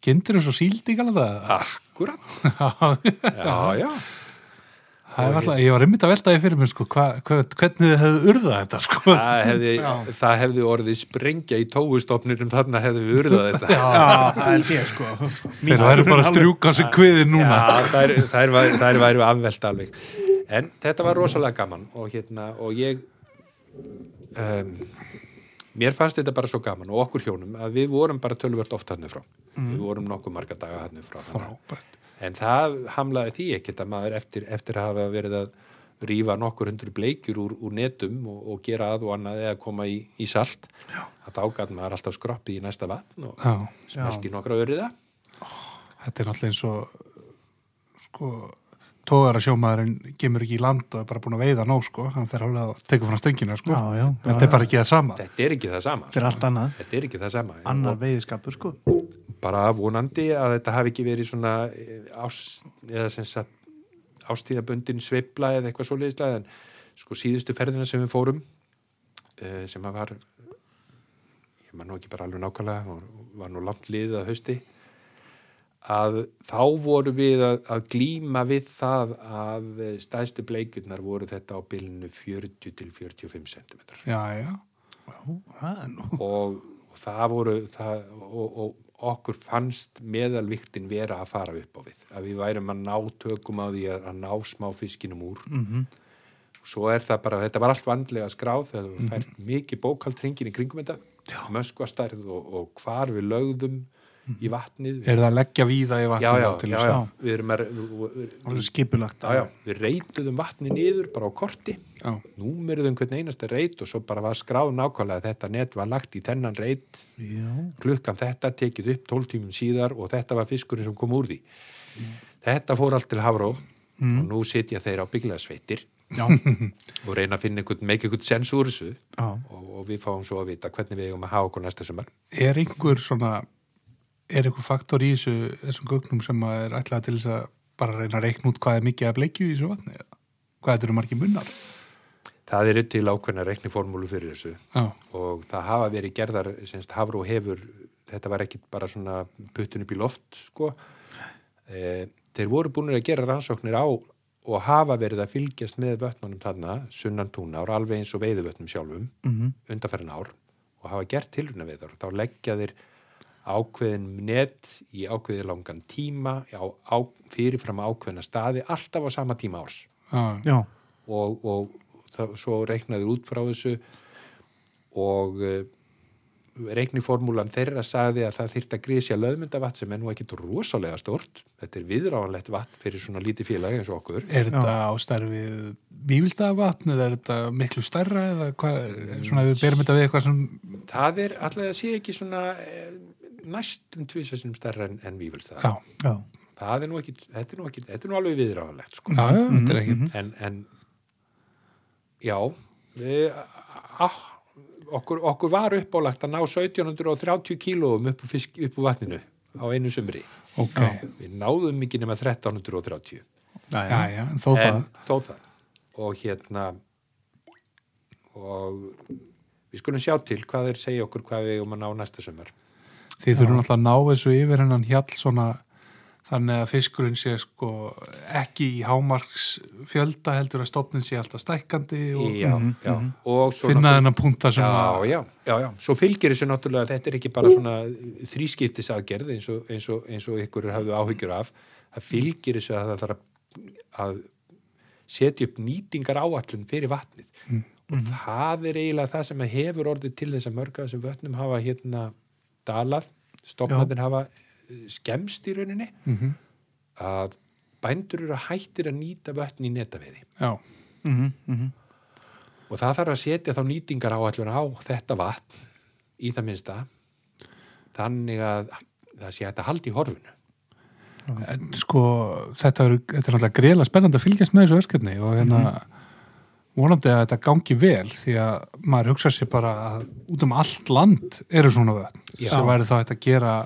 Speaker 1: kindir eins og síld í galda?
Speaker 3: Akkurat.
Speaker 1: Já,
Speaker 3: Já, já.
Speaker 1: Það er alltaf, ég var einmitt að velta því fyrir mér sko, hva, hva, hvernig þið hefðu urðað þetta sko.
Speaker 3: það hefði,
Speaker 1: Já.
Speaker 3: það hefði orðið sprengja í tóustofnir um þarna hefði við urðað þetta
Speaker 1: Já,
Speaker 2: það held ég sko
Speaker 1: þeir væri bara að strjúka sig kviðin núna.
Speaker 3: Já, þær, þær, væri- þær væri afvelt alveg en þetta var rosalega gaman og hérna og ég um, mér fannst þetta bara svo gaman og okkur hjónum að við vorum bara tölvört oft hannu frá við vorum nokkuð marga daga hannu frá
Speaker 1: Frábært.
Speaker 3: en það hamlaði því ekkert að maður eftir, eftir að hafa verið að rífa nokkur hundru bleikjur úr, úr netum og, og gera að og annað eða koma í, í salt Já. að þá gæt maður alltaf skroppið í næsta vatn og
Speaker 1: Já,
Speaker 3: smelt í nokkra öryða
Speaker 1: þetta er náttúrulega eins og sko, tóðara sjómaðurinn gemur ekki í land og er bara búin að veiða nóg sko, hann fer alveg að teka frá stöngina sko.
Speaker 2: Já, já,
Speaker 1: þetta er bara ekki það sama.
Speaker 3: þetta er ekki það sama
Speaker 2: þetta er allt annað
Speaker 3: þetta er ekki það sama
Speaker 2: annar veiðskapur sko
Speaker 3: bara vonandi að þetta hafi ekki verið svona eh, ást, eða sem sagt ástíðabundin sveifla eða eitthvað svo leiðislega en sko síðustu ferðina sem við fórum eh, sem að var ég man nú ekki bara alveg nákvæmlega og var nú langt liðið að hausti að þá voru við að, að glíma við það að eh, stæðstu bleikjurnar voru þetta á bilinu 40 til 45 cm
Speaker 1: Já, já.
Speaker 2: Ó, það er nú
Speaker 3: og, og það voru það, og, og okkur fannst meðalviktin vera að fara upp á við að við værum að ná tökum á því að, að ná smá fiskinum úr
Speaker 1: Mm.
Speaker 2: Mhm.
Speaker 3: svo er það bara, þetta var allt vandlega skráð þegar
Speaker 1: Mm-hmm.
Speaker 3: það fært mikið bókald hringin í kringum þetta, möskvastærð og, og hvar við lögðum í vatnið
Speaker 1: Mm-hmm. Er það að leggja víða í
Speaker 3: já,
Speaker 1: vatnið
Speaker 3: já,
Speaker 1: þá til
Speaker 3: já,
Speaker 1: þess
Speaker 3: já,
Speaker 1: að
Speaker 3: við erum að við,
Speaker 2: alveg skipulagt
Speaker 3: já, já, við reytuðum vatnið niður bara á korti
Speaker 1: Já,
Speaker 3: númeruðum hvern einasta reyt og svo bara var skráð nákvæmlega að þetta net var lagt í þennan reyt
Speaker 2: já,
Speaker 3: klukkan þetta tekið upp 12 tímum síðar og þetta var fiskurinn sem kom úr því þetta fór allt til Hafró og nú sitja þeir á bygglegasveitir
Speaker 2: já,
Speaker 3: og reyna að finna einhvern, make einhvern sens úr þessu
Speaker 2: já.
Speaker 3: og, og við fáum svo að vita hvernig við eigum að hafa okkur næsta sumar
Speaker 1: er einhver svona, er einhver faktor í þessu, þessum gögnum sem að er ætlað til þess að bara reyna að reikna út hvað er mikið að bleikju í þessu vatni? eða? Hvað þetta eru margir munnar?
Speaker 3: það eru til ákveðna reikniformúlu fyrir þessu
Speaker 1: Já,
Speaker 3: og það hafa verið gerðar semst Hafró hefur, þetta var ekki bara svona puttun upp í loft sko e, þeir voru búinir að gera rannsóknir á og hafa verið að fylgjast með vötnunum þarna sunnan túnár, alveg eins og veiðuvötnum sjálfum
Speaker 2: Mhm.
Speaker 3: undanferðin ár og hafa gert tilruna við þar þá leggja þeir ákveðin net í ákveðið langan tíma á, á, fyrirfram ákveðina staði alltaf á sama tíma árs
Speaker 1: já,
Speaker 2: já.
Speaker 3: og, og það, svo reiknaður út frá þessu og uh, reikniformúlan þeirra sagði að það þyrfti að grísja löðmyndavatt sem er nú ekkit rosalega stort þetta er viðráðanlegt vatn fyrir svona lítið félag eins og okkur
Speaker 1: Er þetta á stærfið vývildavatn eða er þetta miklu stærra eða hvað, svona ef við berum þetta við eitthvað sem,
Speaker 3: það er alltaf að sé ekki svona eh, næstum tvisessinum stærra en, en vífilstæð
Speaker 1: já,
Speaker 2: já.
Speaker 3: það er nú ekki, þetta er nú ekki þetta er nú alveg viðráðanlegt sko.
Speaker 1: já, já, þetta er ekkert.
Speaker 3: en, en já við, á, okkur, okkur var uppálagt að ná 1730 kílóum upp úr, fisk, upp úr vatninu á einu sumri
Speaker 1: Ok,
Speaker 3: við náðum ekki nema
Speaker 2: já,
Speaker 3: 1330
Speaker 1: já, já, en þó það,
Speaker 3: en þó það og hérna og við skulum sjá til hvað þeir segja okkur hvað við um að ná næsta sumar
Speaker 1: því þurfum alltaf að ná þessu yfir hennan hjall svona, þannig að fiskurinn sé sko ekki í hámarks fjölda heldur að stofnin sé alltaf stækkandi og
Speaker 3: já, já. og svo
Speaker 1: finna hennan punta sem
Speaker 3: Já,
Speaker 1: að,
Speaker 3: já, já, já. Svo fylgir þessu náttúrulega að þetta er ekki bara svona uh, þrískiptisaðgerð eins og, eins og, eins og ykkur hafðu áhyggjur af. Það fylgir þessu að það þarf að- að setja upp nýtingar áallun fyrir vatnið. Og það er eiginlega það sem að hefur orðið til þess að mörg af þessum vötnum hafa hérna dalað, stofnaðin hafa eh, skemmst í rauninni,
Speaker 1: Mhm.
Speaker 3: að bændur eru hættir að nýta vötn í netaviði
Speaker 1: já,
Speaker 2: Mhm, mhm.
Speaker 3: og það þarf að setja þá nýtingar áallur á þetta vatn í það minnsta þannig að það sé hægt að halda í horfinu
Speaker 1: en sko þetta er, þetta er alltaf greiðlega spennandi að fylgjast með þessu verkefni og hérna
Speaker 3: Mhm.
Speaker 1: vonandi að þetta gangi vel því að maður hugsa sér bara að út um allt land eru svona vötn
Speaker 3: Já.
Speaker 1: sem væri þá þetta að gera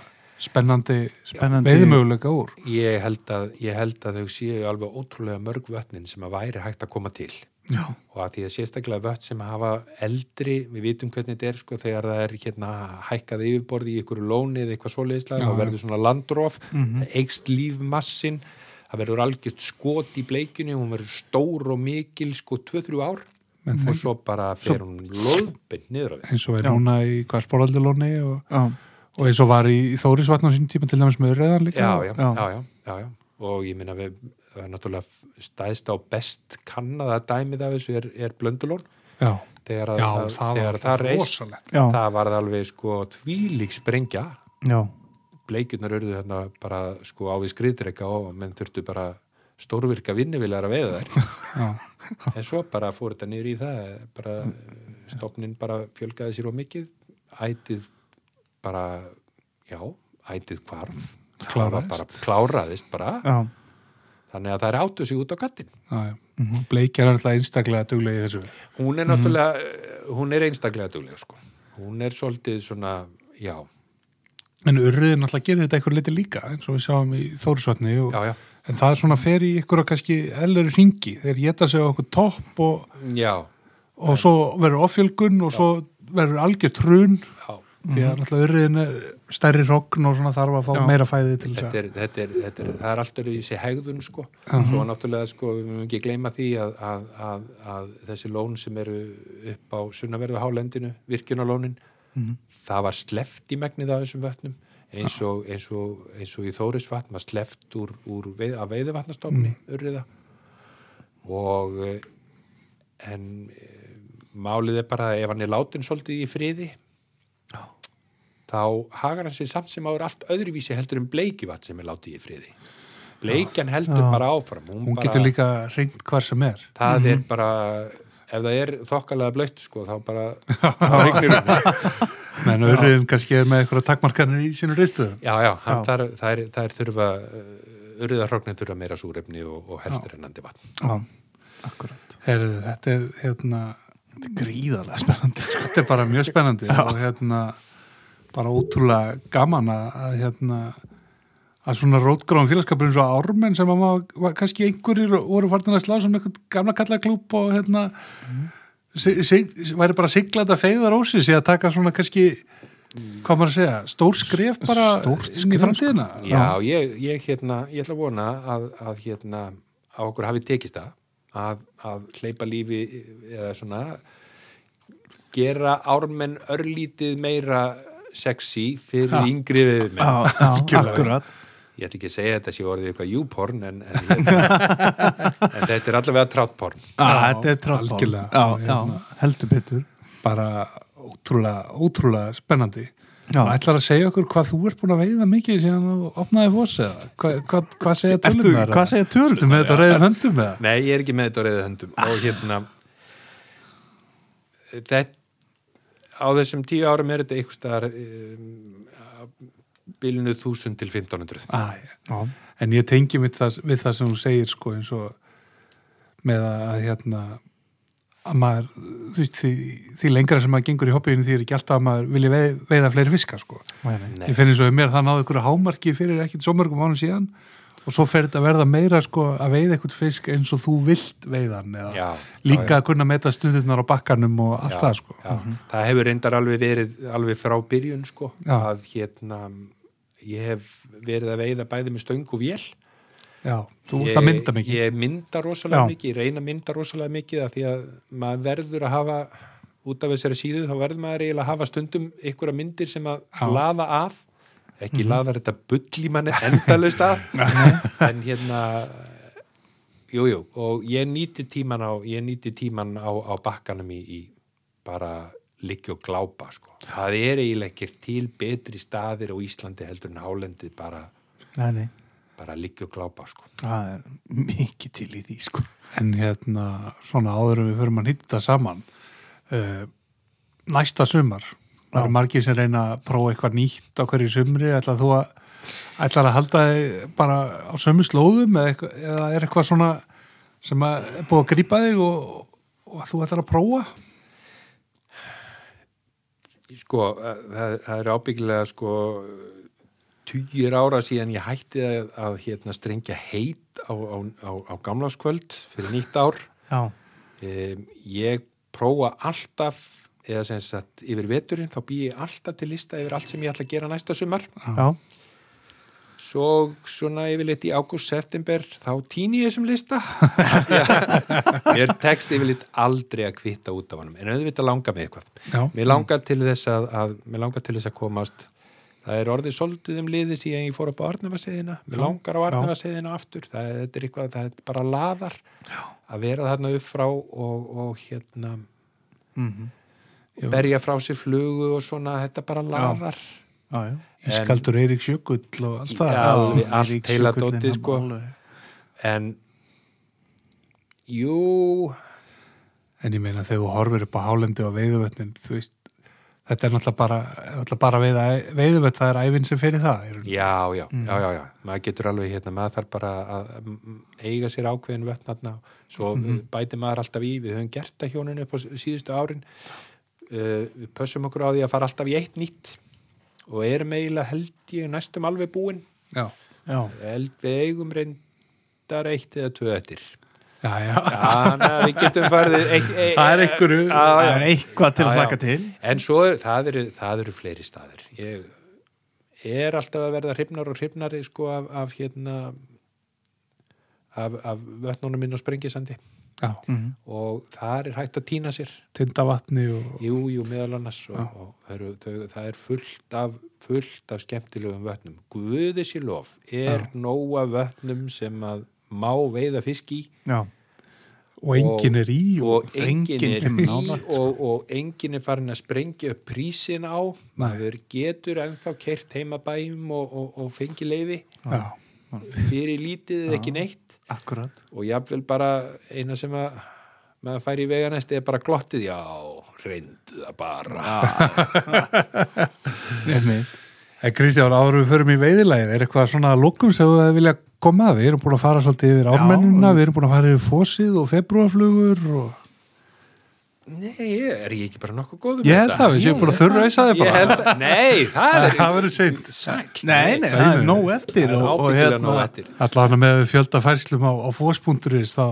Speaker 1: spennandi,
Speaker 2: Spennandi-
Speaker 1: veiðmöguleika úr
Speaker 3: ég held, að, ég held að þau séu alveg ótrúlega mörg vötnin sem að væri hægt að koma til
Speaker 2: já,
Speaker 3: og að því að sérstaklega vötn sem hafa eldri, við vitum hvernig þetta er sko, þegar það er hérna hækkað yfirborði í ykkur lóni eða eitthvað svoleiðislega
Speaker 1: Já, Mhm.
Speaker 3: og verður svona landróf, það eikst lífmassin það verður algjört skot í bleikinu hún verður stór og mikil sko 2-3 ár og svo bara fer hún lóðbind niður á því
Speaker 1: eins og er núna í hvað spóraldilóni og,
Speaker 2: já,
Speaker 1: og eins og var í Þórisvatn á sín tíma til dæmis með reyðan líka
Speaker 3: já,
Speaker 2: Já.
Speaker 3: já, já, já, já, já. og ég minna við það er náttúrulega stæðst á best kannaða dæmið af þessu er, er blöndulón
Speaker 1: já.
Speaker 3: þegar, að-
Speaker 1: Já, það
Speaker 3: að,
Speaker 1: var
Speaker 3: þegar það
Speaker 1: alltaf
Speaker 3: reist
Speaker 1: rosalegt
Speaker 2: já,
Speaker 3: það varð alveg sko tvílík sprengja
Speaker 2: já,
Speaker 3: bleikjurnar urðu hérna bara sko á við skriðdreika og menn þurftu bara stórvirka vinnuvilar að veiða þær
Speaker 1: já.
Speaker 3: en svo bara fór þetta niður í það bara stofnin bara fjölgaði sér og mikið ætið bara já, ætið hvarf Það var
Speaker 1: Kláraðist.
Speaker 3: bara, kláraðist bara
Speaker 2: já,
Speaker 3: þannig að það er áttu sig út á kattin
Speaker 1: Já, já.
Speaker 3: Mhm.
Speaker 1: Bleikja er alltaf einstaklega duglega í þessu
Speaker 3: hún er náttúrulega, hún er einstaklega dugleg sko, hún er svolítið svona, já,
Speaker 1: en urriðin alltaf gerir þetta eitthvað liti líka eins og við sjáum í Þórisvatni og,
Speaker 3: já, já
Speaker 1: en það er svona fer í ykkur að kannski elleri ringi, þeir geta sig á okkur topp og,
Speaker 3: já,
Speaker 1: og svo verður offjölgun og svo verður algjör trun
Speaker 3: já
Speaker 1: því að alltaf urriðin er stærri rogn og svona þarf að fá
Speaker 2: Já.
Speaker 1: meira fæði til þess
Speaker 3: þetta
Speaker 1: að Mhm.
Speaker 3: er, þetta er, þetta er, það er alltaf í þessi hegðun sko, svo náttúrulega sko við mögum ekki gleyma því að, að, að, að þessi lón sem eru upp á sunnaverðu hálendinu, virkjunalónin
Speaker 1: Mhm.
Speaker 3: það var sleft í megnið af þessum vötnum eins og, eins og, eins og í Þórisvatn var sleft úr, úr veið, af veiðivatnastofni
Speaker 1: Mhm.
Speaker 3: urriða og eh, en eh, málið er bara ef hann er látin svolítið í friði þá hagar hann sér samt sem áður allt öðruvísi heldur en bleikivatt sem er látið í friði bleikjan heldur bara áfram hún,
Speaker 1: hún
Speaker 3: bara,
Speaker 1: getur líka Mhm. ringt hvar sem er
Speaker 3: það er bara ef það er þokkalega blöytt sko þá bara þá rignir um.
Speaker 1: menn urriðin kannski er með eitthvað takmarkanir í sínum ristuðum
Speaker 3: já já, hann, þar, þær, þær þurfa urðarhróknin þurfa meira súrefni og, og helst rennandi vatn
Speaker 2: já, akkurat.
Speaker 1: Heyrðu, þetta er hérna
Speaker 2: Þetta er gríðarlega spennandi. sko.
Speaker 1: þetta er bara mjög spennandi og hérna bara ótrúlega gaman að, að hérna að svona rótgráðum félagskapur eins og ármenn sem að maður, var, kannski einhverjir voru farnir að slá sem eitthvað gamla kallaklúb og hérna sig, sig, væri bara siglað að feiða rósi sé að taka svona kannski hvað maður að segja, stór skref bara inn
Speaker 2: stórt skref, sko.
Speaker 1: í framtíðina
Speaker 3: já, ég, ég hérna, ég ætla að vona að, að hérna, að okkur hafi tekist það að, að hleypa lífi eða svona gera ármenn örlítið meira sexy fyrir yngri við
Speaker 2: Já, já, akkurat.
Speaker 3: ég ætla ekki að segja þetta sé orðið eitthvað júporn en, en, hérna, en þetta er allavega trátporn
Speaker 2: Já,
Speaker 1: Já,
Speaker 2: þetta er tráttból.
Speaker 1: algjörlega.
Speaker 2: Já, já,
Speaker 1: Hérna.
Speaker 2: heldur betur.
Speaker 1: bara ótrúlega, ótrúlega spennandi
Speaker 2: Já.
Speaker 1: og ætlar að segja okkur hvað þú ert búin að veiða mikið síðan þú opnaði fós eða hvað, hvað, hvað segja
Speaker 2: Ertu-
Speaker 1: tölum þar
Speaker 2: hvað segja tölurnar?
Speaker 1: Ertu með þetta reyðum höndum með það?
Speaker 3: Nei, ég er ekki með þetta á reyðu höndum og hérna þetta á þessum tíu árum er þetta einhvers staðar um, bilinu 1000 til 1500
Speaker 2: Já,
Speaker 1: en ég tengi mitt það, við það sem þú segir sko eins og með að hérna að maður, þú veist, því, því lengra sem maður gengur í hobbyinu því er ekki alltaf að maður vilja veið, veiða fleiri fiska sko
Speaker 2: Nei, nei.
Speaker 3: Nei.
Speaker 1: ég finn eins og mér það náðu ykkur hámarki fyrir ekkit svo mörgum ánum síðan og svo fer þetta að verða meira sko að veiða eitthvað fisk eins og þú vilt veiðan eða
Speaker 3: Já,
Speaker 1: líka að kunna meta stundirnar á bakkanum og allt það sko
Speaker 3: Já, það hefur reyndar alveg verið alveg frá byrjun sko
Speaker 1: Já.
Speaker 3: að hérna ég hef verið að veiða bæði með stöng og vél
Speaker 1: já, þú,
Speaker 3: ég,
Speaker 1: það mynda mikið
Speaker 3: Ég mynda rosalega
Speaker 2: Já.
Speaker 3: mikið, ég reyna að mynda rosalega mikið af því að maður verður að hafa út af þessari síðu, þá verður maður eiginlega að hafa stundum einhverja myndir sem að
Speaker 1: Já. Mhm.
Speaker 3: laða að, ekki laða þetta bull í manni endalaust að en hérna jújú, jú, og ég nýti tíman á ég nýti tíman á, á bakkanum í, í bara liggja og glápa sko, það er eiginlega ekki til betri staðir á Íslandi heldur en hálendið bara,
Speaker 2: nei, nei.
Speaker 3: bara liggja og glápa sko
Speaker 2: Það er mikið til í því, sko.
Speaker 1: en hérna svona áður en við förum að nýtta saman uh, næsta sumar það eru margir sem reyna að prófa eitthvað nýtt á hverju sumri, ætlar þú að ætlar að halda þig bara á sömu slóðum eða, eitthvað, eða er eitthvað svona sem að er búið að grípa þig og, og þú ætlar að prófa
Speaker 3: sko, eh, það, það er ábyggilega sko tugir ára síðan ég hætti að, að hérna strengja heit á, á, á, á gamlaskvöld fyrir nýtt ár
Speaker 2: Já,
Speaker 3: um, ég prófa alltaf eða sem sagt yfir veturinn þá bý ég alltaf til lista yfir allt sem ég ætla að gera næsta sumar
Speaker 2: já,
Speaker 3: Svo svona yfirleitt í ágúst september þá týni ég þessum lista Af því að Mér tekst yfirleitt aldrei að kvitta út af honum en auðvitað langar mig eitthvað
Speaker 1: Já.
Speaker 3: Mér langar til þess að, að mér langar til þess að komast Það er orðið soldið um liðið síðan ég fór upp á Arnafaseiðina Mér langar á Arnafaseiðina aftur það, er- þetta er eitthvað, það er bara laðar Já. að vera þarna upp frá og, og hérna
Speaker 2: Mhm.
Speaker 1: Jú.
Speaker 3: berja frá sér flugu og svona þetta bara laðar
Speaker 2: Já, já.
Speaker 1: Ískaldur Eiríks Jökull og allt það
Speaker 3: Já, alveg allt
Speaker 2: Eiríks
Speaker 3: heila
Speaker 2: Jökullinn,
Speaker 3: dótið,
Speaker 2: hann
Speaker 3: sko.
Speaker 2: alveg.
Speaker 3: en jú
Speaker 1: En ég meina þegar þú horfir upp á hálendi og veiðuvötnin, þú veist, þetta er náttúrulega bara, náttúrulega bara veiða, veiðuvötn, það er ævinn sem fyrir það. í rauninni.
Speaker 3: já, já,
Speaker 1: Mm.
Speaker 3: já, já, já maður getur alveg hérna, maður þarf bara að mm, eiga sér ákveðin vötnarna svo mm
Speaker 1: Mhm.
Speaker 3: bæti maður alltaf í, við höfum gert það hjóninu upp á síðustu árin uh, við pössum okkur á því að fara alltaf í eitt nýtt og erum eiginlega held ég næstum alveg búin
Speaker 1: Já,
Speaker 2: Já,
Speaker 3: held við eigum reyndar eitt eða tvö eftir
Speaker 1: já, já.
Speaker 3: þannig að við getum farið eitt, eitt,
Speaker 1: Það er einhverju,
Speaker 2: það er eitthvað til
Speaker 3: Já,
Speaker 2: að
Speaker 3: já.
Speaker 2: hlaka til.
Speaker 3: En svo er, það, eru, það eru fleiri staðir. Ég er alltaf að verða hrifnar og hrifnari sko af, af hérna af, af vötnunum minn og sprengisandi
Speaker 1: já,
Speaker 2: Mhm.
Speaker 3: og þar er hægt að týna sér
Speaker 1: tindavatni og,
Speaker 3: jú, jú, meðal annars og, og það, eru, þau, það er fullt af fullt af skemmtilegum vötnum Guði sér lof er nóga vötnum sem að má veiða fisk í
Speaker 2: Já,
Speaker 1: og enginn er í og,
Speaker 3: og enginn
Speaker 2: enginn
Speaker 3: er
Speaker 2: kemur
Speaker 3: í
Speaker 2: nálægt, sko.
Speaker 3: og, og enginn er farin að sprengja upp prísin á
Speaker 1: Nei.
Speaker 3: maður getur ennþá kert heimabæjum og, og, og fengi leifi
Speaker 1: já,
Speaker 3: fyrir lítið eða ekki neitt
Speaker 2: akkurat.
Speaker 3: og jafnvel bara eina sem að maður fær í veganesti er bara glottið já, reyndu það bara
Speaker 2: Einmitt.
Speaker 1: En Kristján, áður við förum í veiðilægið, er eitthvað svona að lokum sem þú hefði viljað koma að? Við erum búin að fara svolítið yfir ármennina, við erum búin að fara yfir fósið og februarflugur og...
Speaker 3: nei, ég- er ég ekki bara nokkuð góð
Speaker 1: Ég held að við séum búin að þurra að það
Speaker 3: ég
Speaker 1: bara.
Speaker 3: held að, nei, það er
Speaker 1: Það verður seint.
Speaker 3: sæll
Speaker 2: Nei, nei, það er
Speaker 1: nei.
Speaker 2: nóg eftir.
Speaker 3: það er
Speaker 2: og- og
Speaker 3: ábyggilega
Speaker 2: hérna-
Speaker 3: nóg eftir
Speaker 1: Allan með fjölda færslum á, á fóspunkturins, þá,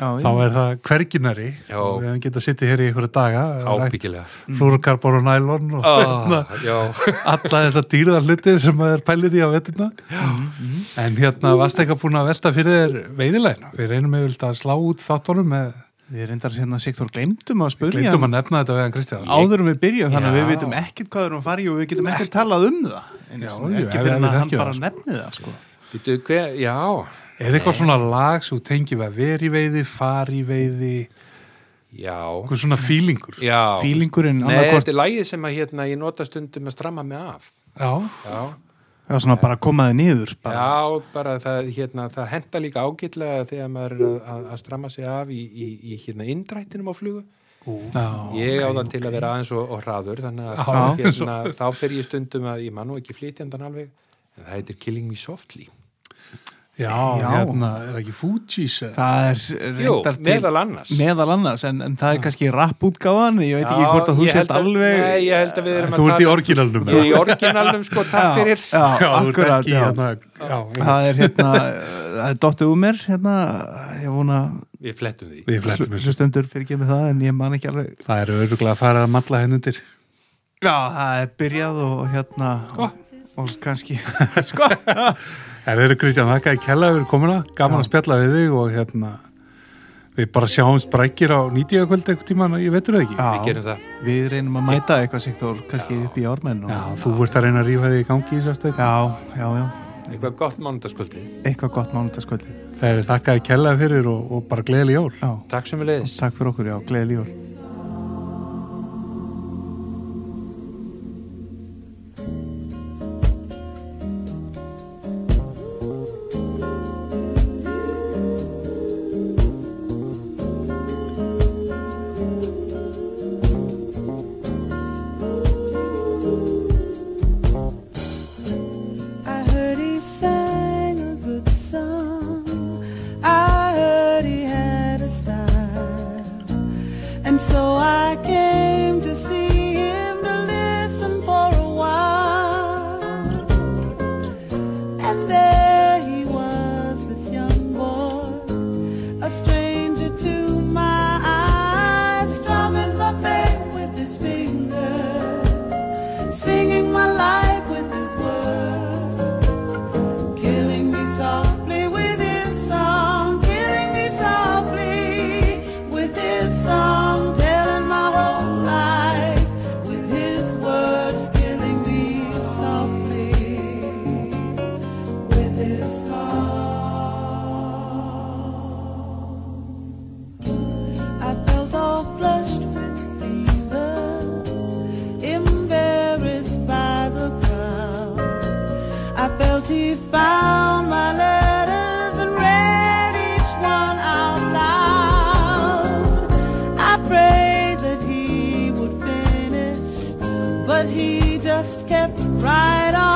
Speaker 2: Já,
Speaker 1: þá
Speaker 2: já.
Speaker 1: er það hverginari.
Speaker 3: Já.
Speaker 1: Og Við hefum getað sittið hér í einhverja daga.
Speaker 3: ábyggilega
Speaker 1: Flúrkarbon og nælon og
Speaker 3: Ó, já
Speaker 1: alla þessa dýrðar hluti sem maður pælir í á vettuna en hérna varst eitthvað búin að velta fyrir þér veiðilegna, við reynum yfir að slá út þáttunum með,
Speaker 2: Við reyndar hérna Sigþór glemdum að spurja
Speaker 1: gleyndum að
Speaker 2: hann
Speaker 1: nefna þetta veiðan Kristján
Speaker 2: áður en við byrjum þannig að
Speaker 3: Já.
Speaker 2: við vitum ekkert hvað við erum að fara í og við getum ekkert talað um það. Einu
Speaker 1: Já,
Speaker 2: sinni,
Speaker 1: jú,
Speaker 2: ekki
Speaker 1: ef-
Speaker 2: fyrir
Speaker 1: ef
Speaker 2: en
Speaker 1: við
Speaker 2: að hann
Speaker 1: þekkjum
Speaker 2: bara
Speaker 1: það,
Speaker 2: nefni það, sko.
Speaker 3: Býtu, hver, já
Speaker 1: er eitthvað svona lag svo tengjum við að vera í veiði, fara í veiði
Speaker 3: Já,
Speaker 1: eitthvað svona fílingur já,
Speaker 3: já.
Speaker 2: Fílingurinn,
Speaker 3: Nei,
Speaker 2: annarkort,
Speaker 3: þetta er lagið sem að hérna, ég nota stundum að stramma mig af Já,
Speaker 2: já, svona bara komaði niður, bara.
Speaker 3: já bara það, hérna, það henda líka ágætlega þegar maður er að- að, að stramma sig af í, í, í hérna indrættinum á flugu
Speaker 1: já,
Speaker 3: Ég á það til að vera aðeins og, og hraður þannig að
Speaker 1: Já.
Speaker 3: þá, hérna, þá fer ég stundum að ég man nú ekki flytjandan alveg en það heitir Killing Me Softly
Speaker 1: já,
Speaker 2: Já.
Speaker 1: hérna er ekki Fugees eða?
Speaker 2: Það er
Speaker 3: Jú,
Speaker 2: reyndar til
Speaker 3: meðal annars
Speaker 2: meðal annars, en, en það er kannski rapp útgáðan, ég veit ekki hvort að þú
Speaker 3: ég
Speaker 2: sért
Speaker 3: held
Speaker 2: alveg...
Speaker 3: Nei, ég held að við erum að
Speaker 1: þú ert í
Speaker 3: tala-
Speaker 1: orginalnum
Speaker 3: Ég er
Speaker 1: eða?
Speaker 3: í orginalnum, sko, takk fyrir
Speaker 2: Já,
Speaker 1: þú
Speaker 2: já,
Speaker 1: ert
Speaker 2: akkurat,
Speaker 1: ekki
Speaker 2: já.
Speaker 1: hérna já, einmitt.
Speaker 2: það er hérna, það er dottið úr mér, hérna, ég vona
Speaker 3: Við flettum því
Speaker 1: við flettum þessu
Speaker 2: hlustendur fyrir ekki með það, en ég man ekki alveg...
Speaker 1: það eru öruglega að fara að matla henn undir
Speaker 2: Já, það er byrjað og hérna... Sko? Og kannski... sko?
Speaker 1: Það eru Kristján, þakkaði kella fyrir komuna, gaman að spjalla við þig og hérna, við bara sjáumst brækir á 90 kvöld eitthvað tíma, ég veitur það ekki.
Speaker 2: Já,
Speaker 3: Við gerum það.
Speaker 2: Við reynum að mæta eitthvað sektor, kannski upp í ármenn og...
Speaker 1: Já, þú ert að reyna að rífa þig í gangi í þessu stöð.
Speaker 2: Já, já, já.
Speaker 3: Eitthvað gott mánudagskvöldi
Speaker 2: Eitthvað gott mánudaskvöldi.
Speaker 1: Það eru þakkaði kella fyrir og, og bara gleðileg jól.
Speaker 2: Já,
Speaker 3: Takk sem við leiðis
Speaker 2: takk fyrir okkur, já, gleðið jól.
Speaker 4: I heard he sang a good song. I heard he had a style. And so I came to see him to listen for a while. And there he was, this young boy, a stranger to my eyes, strumming my back with his fingers, singing my life with his words. just kept right on. Oh.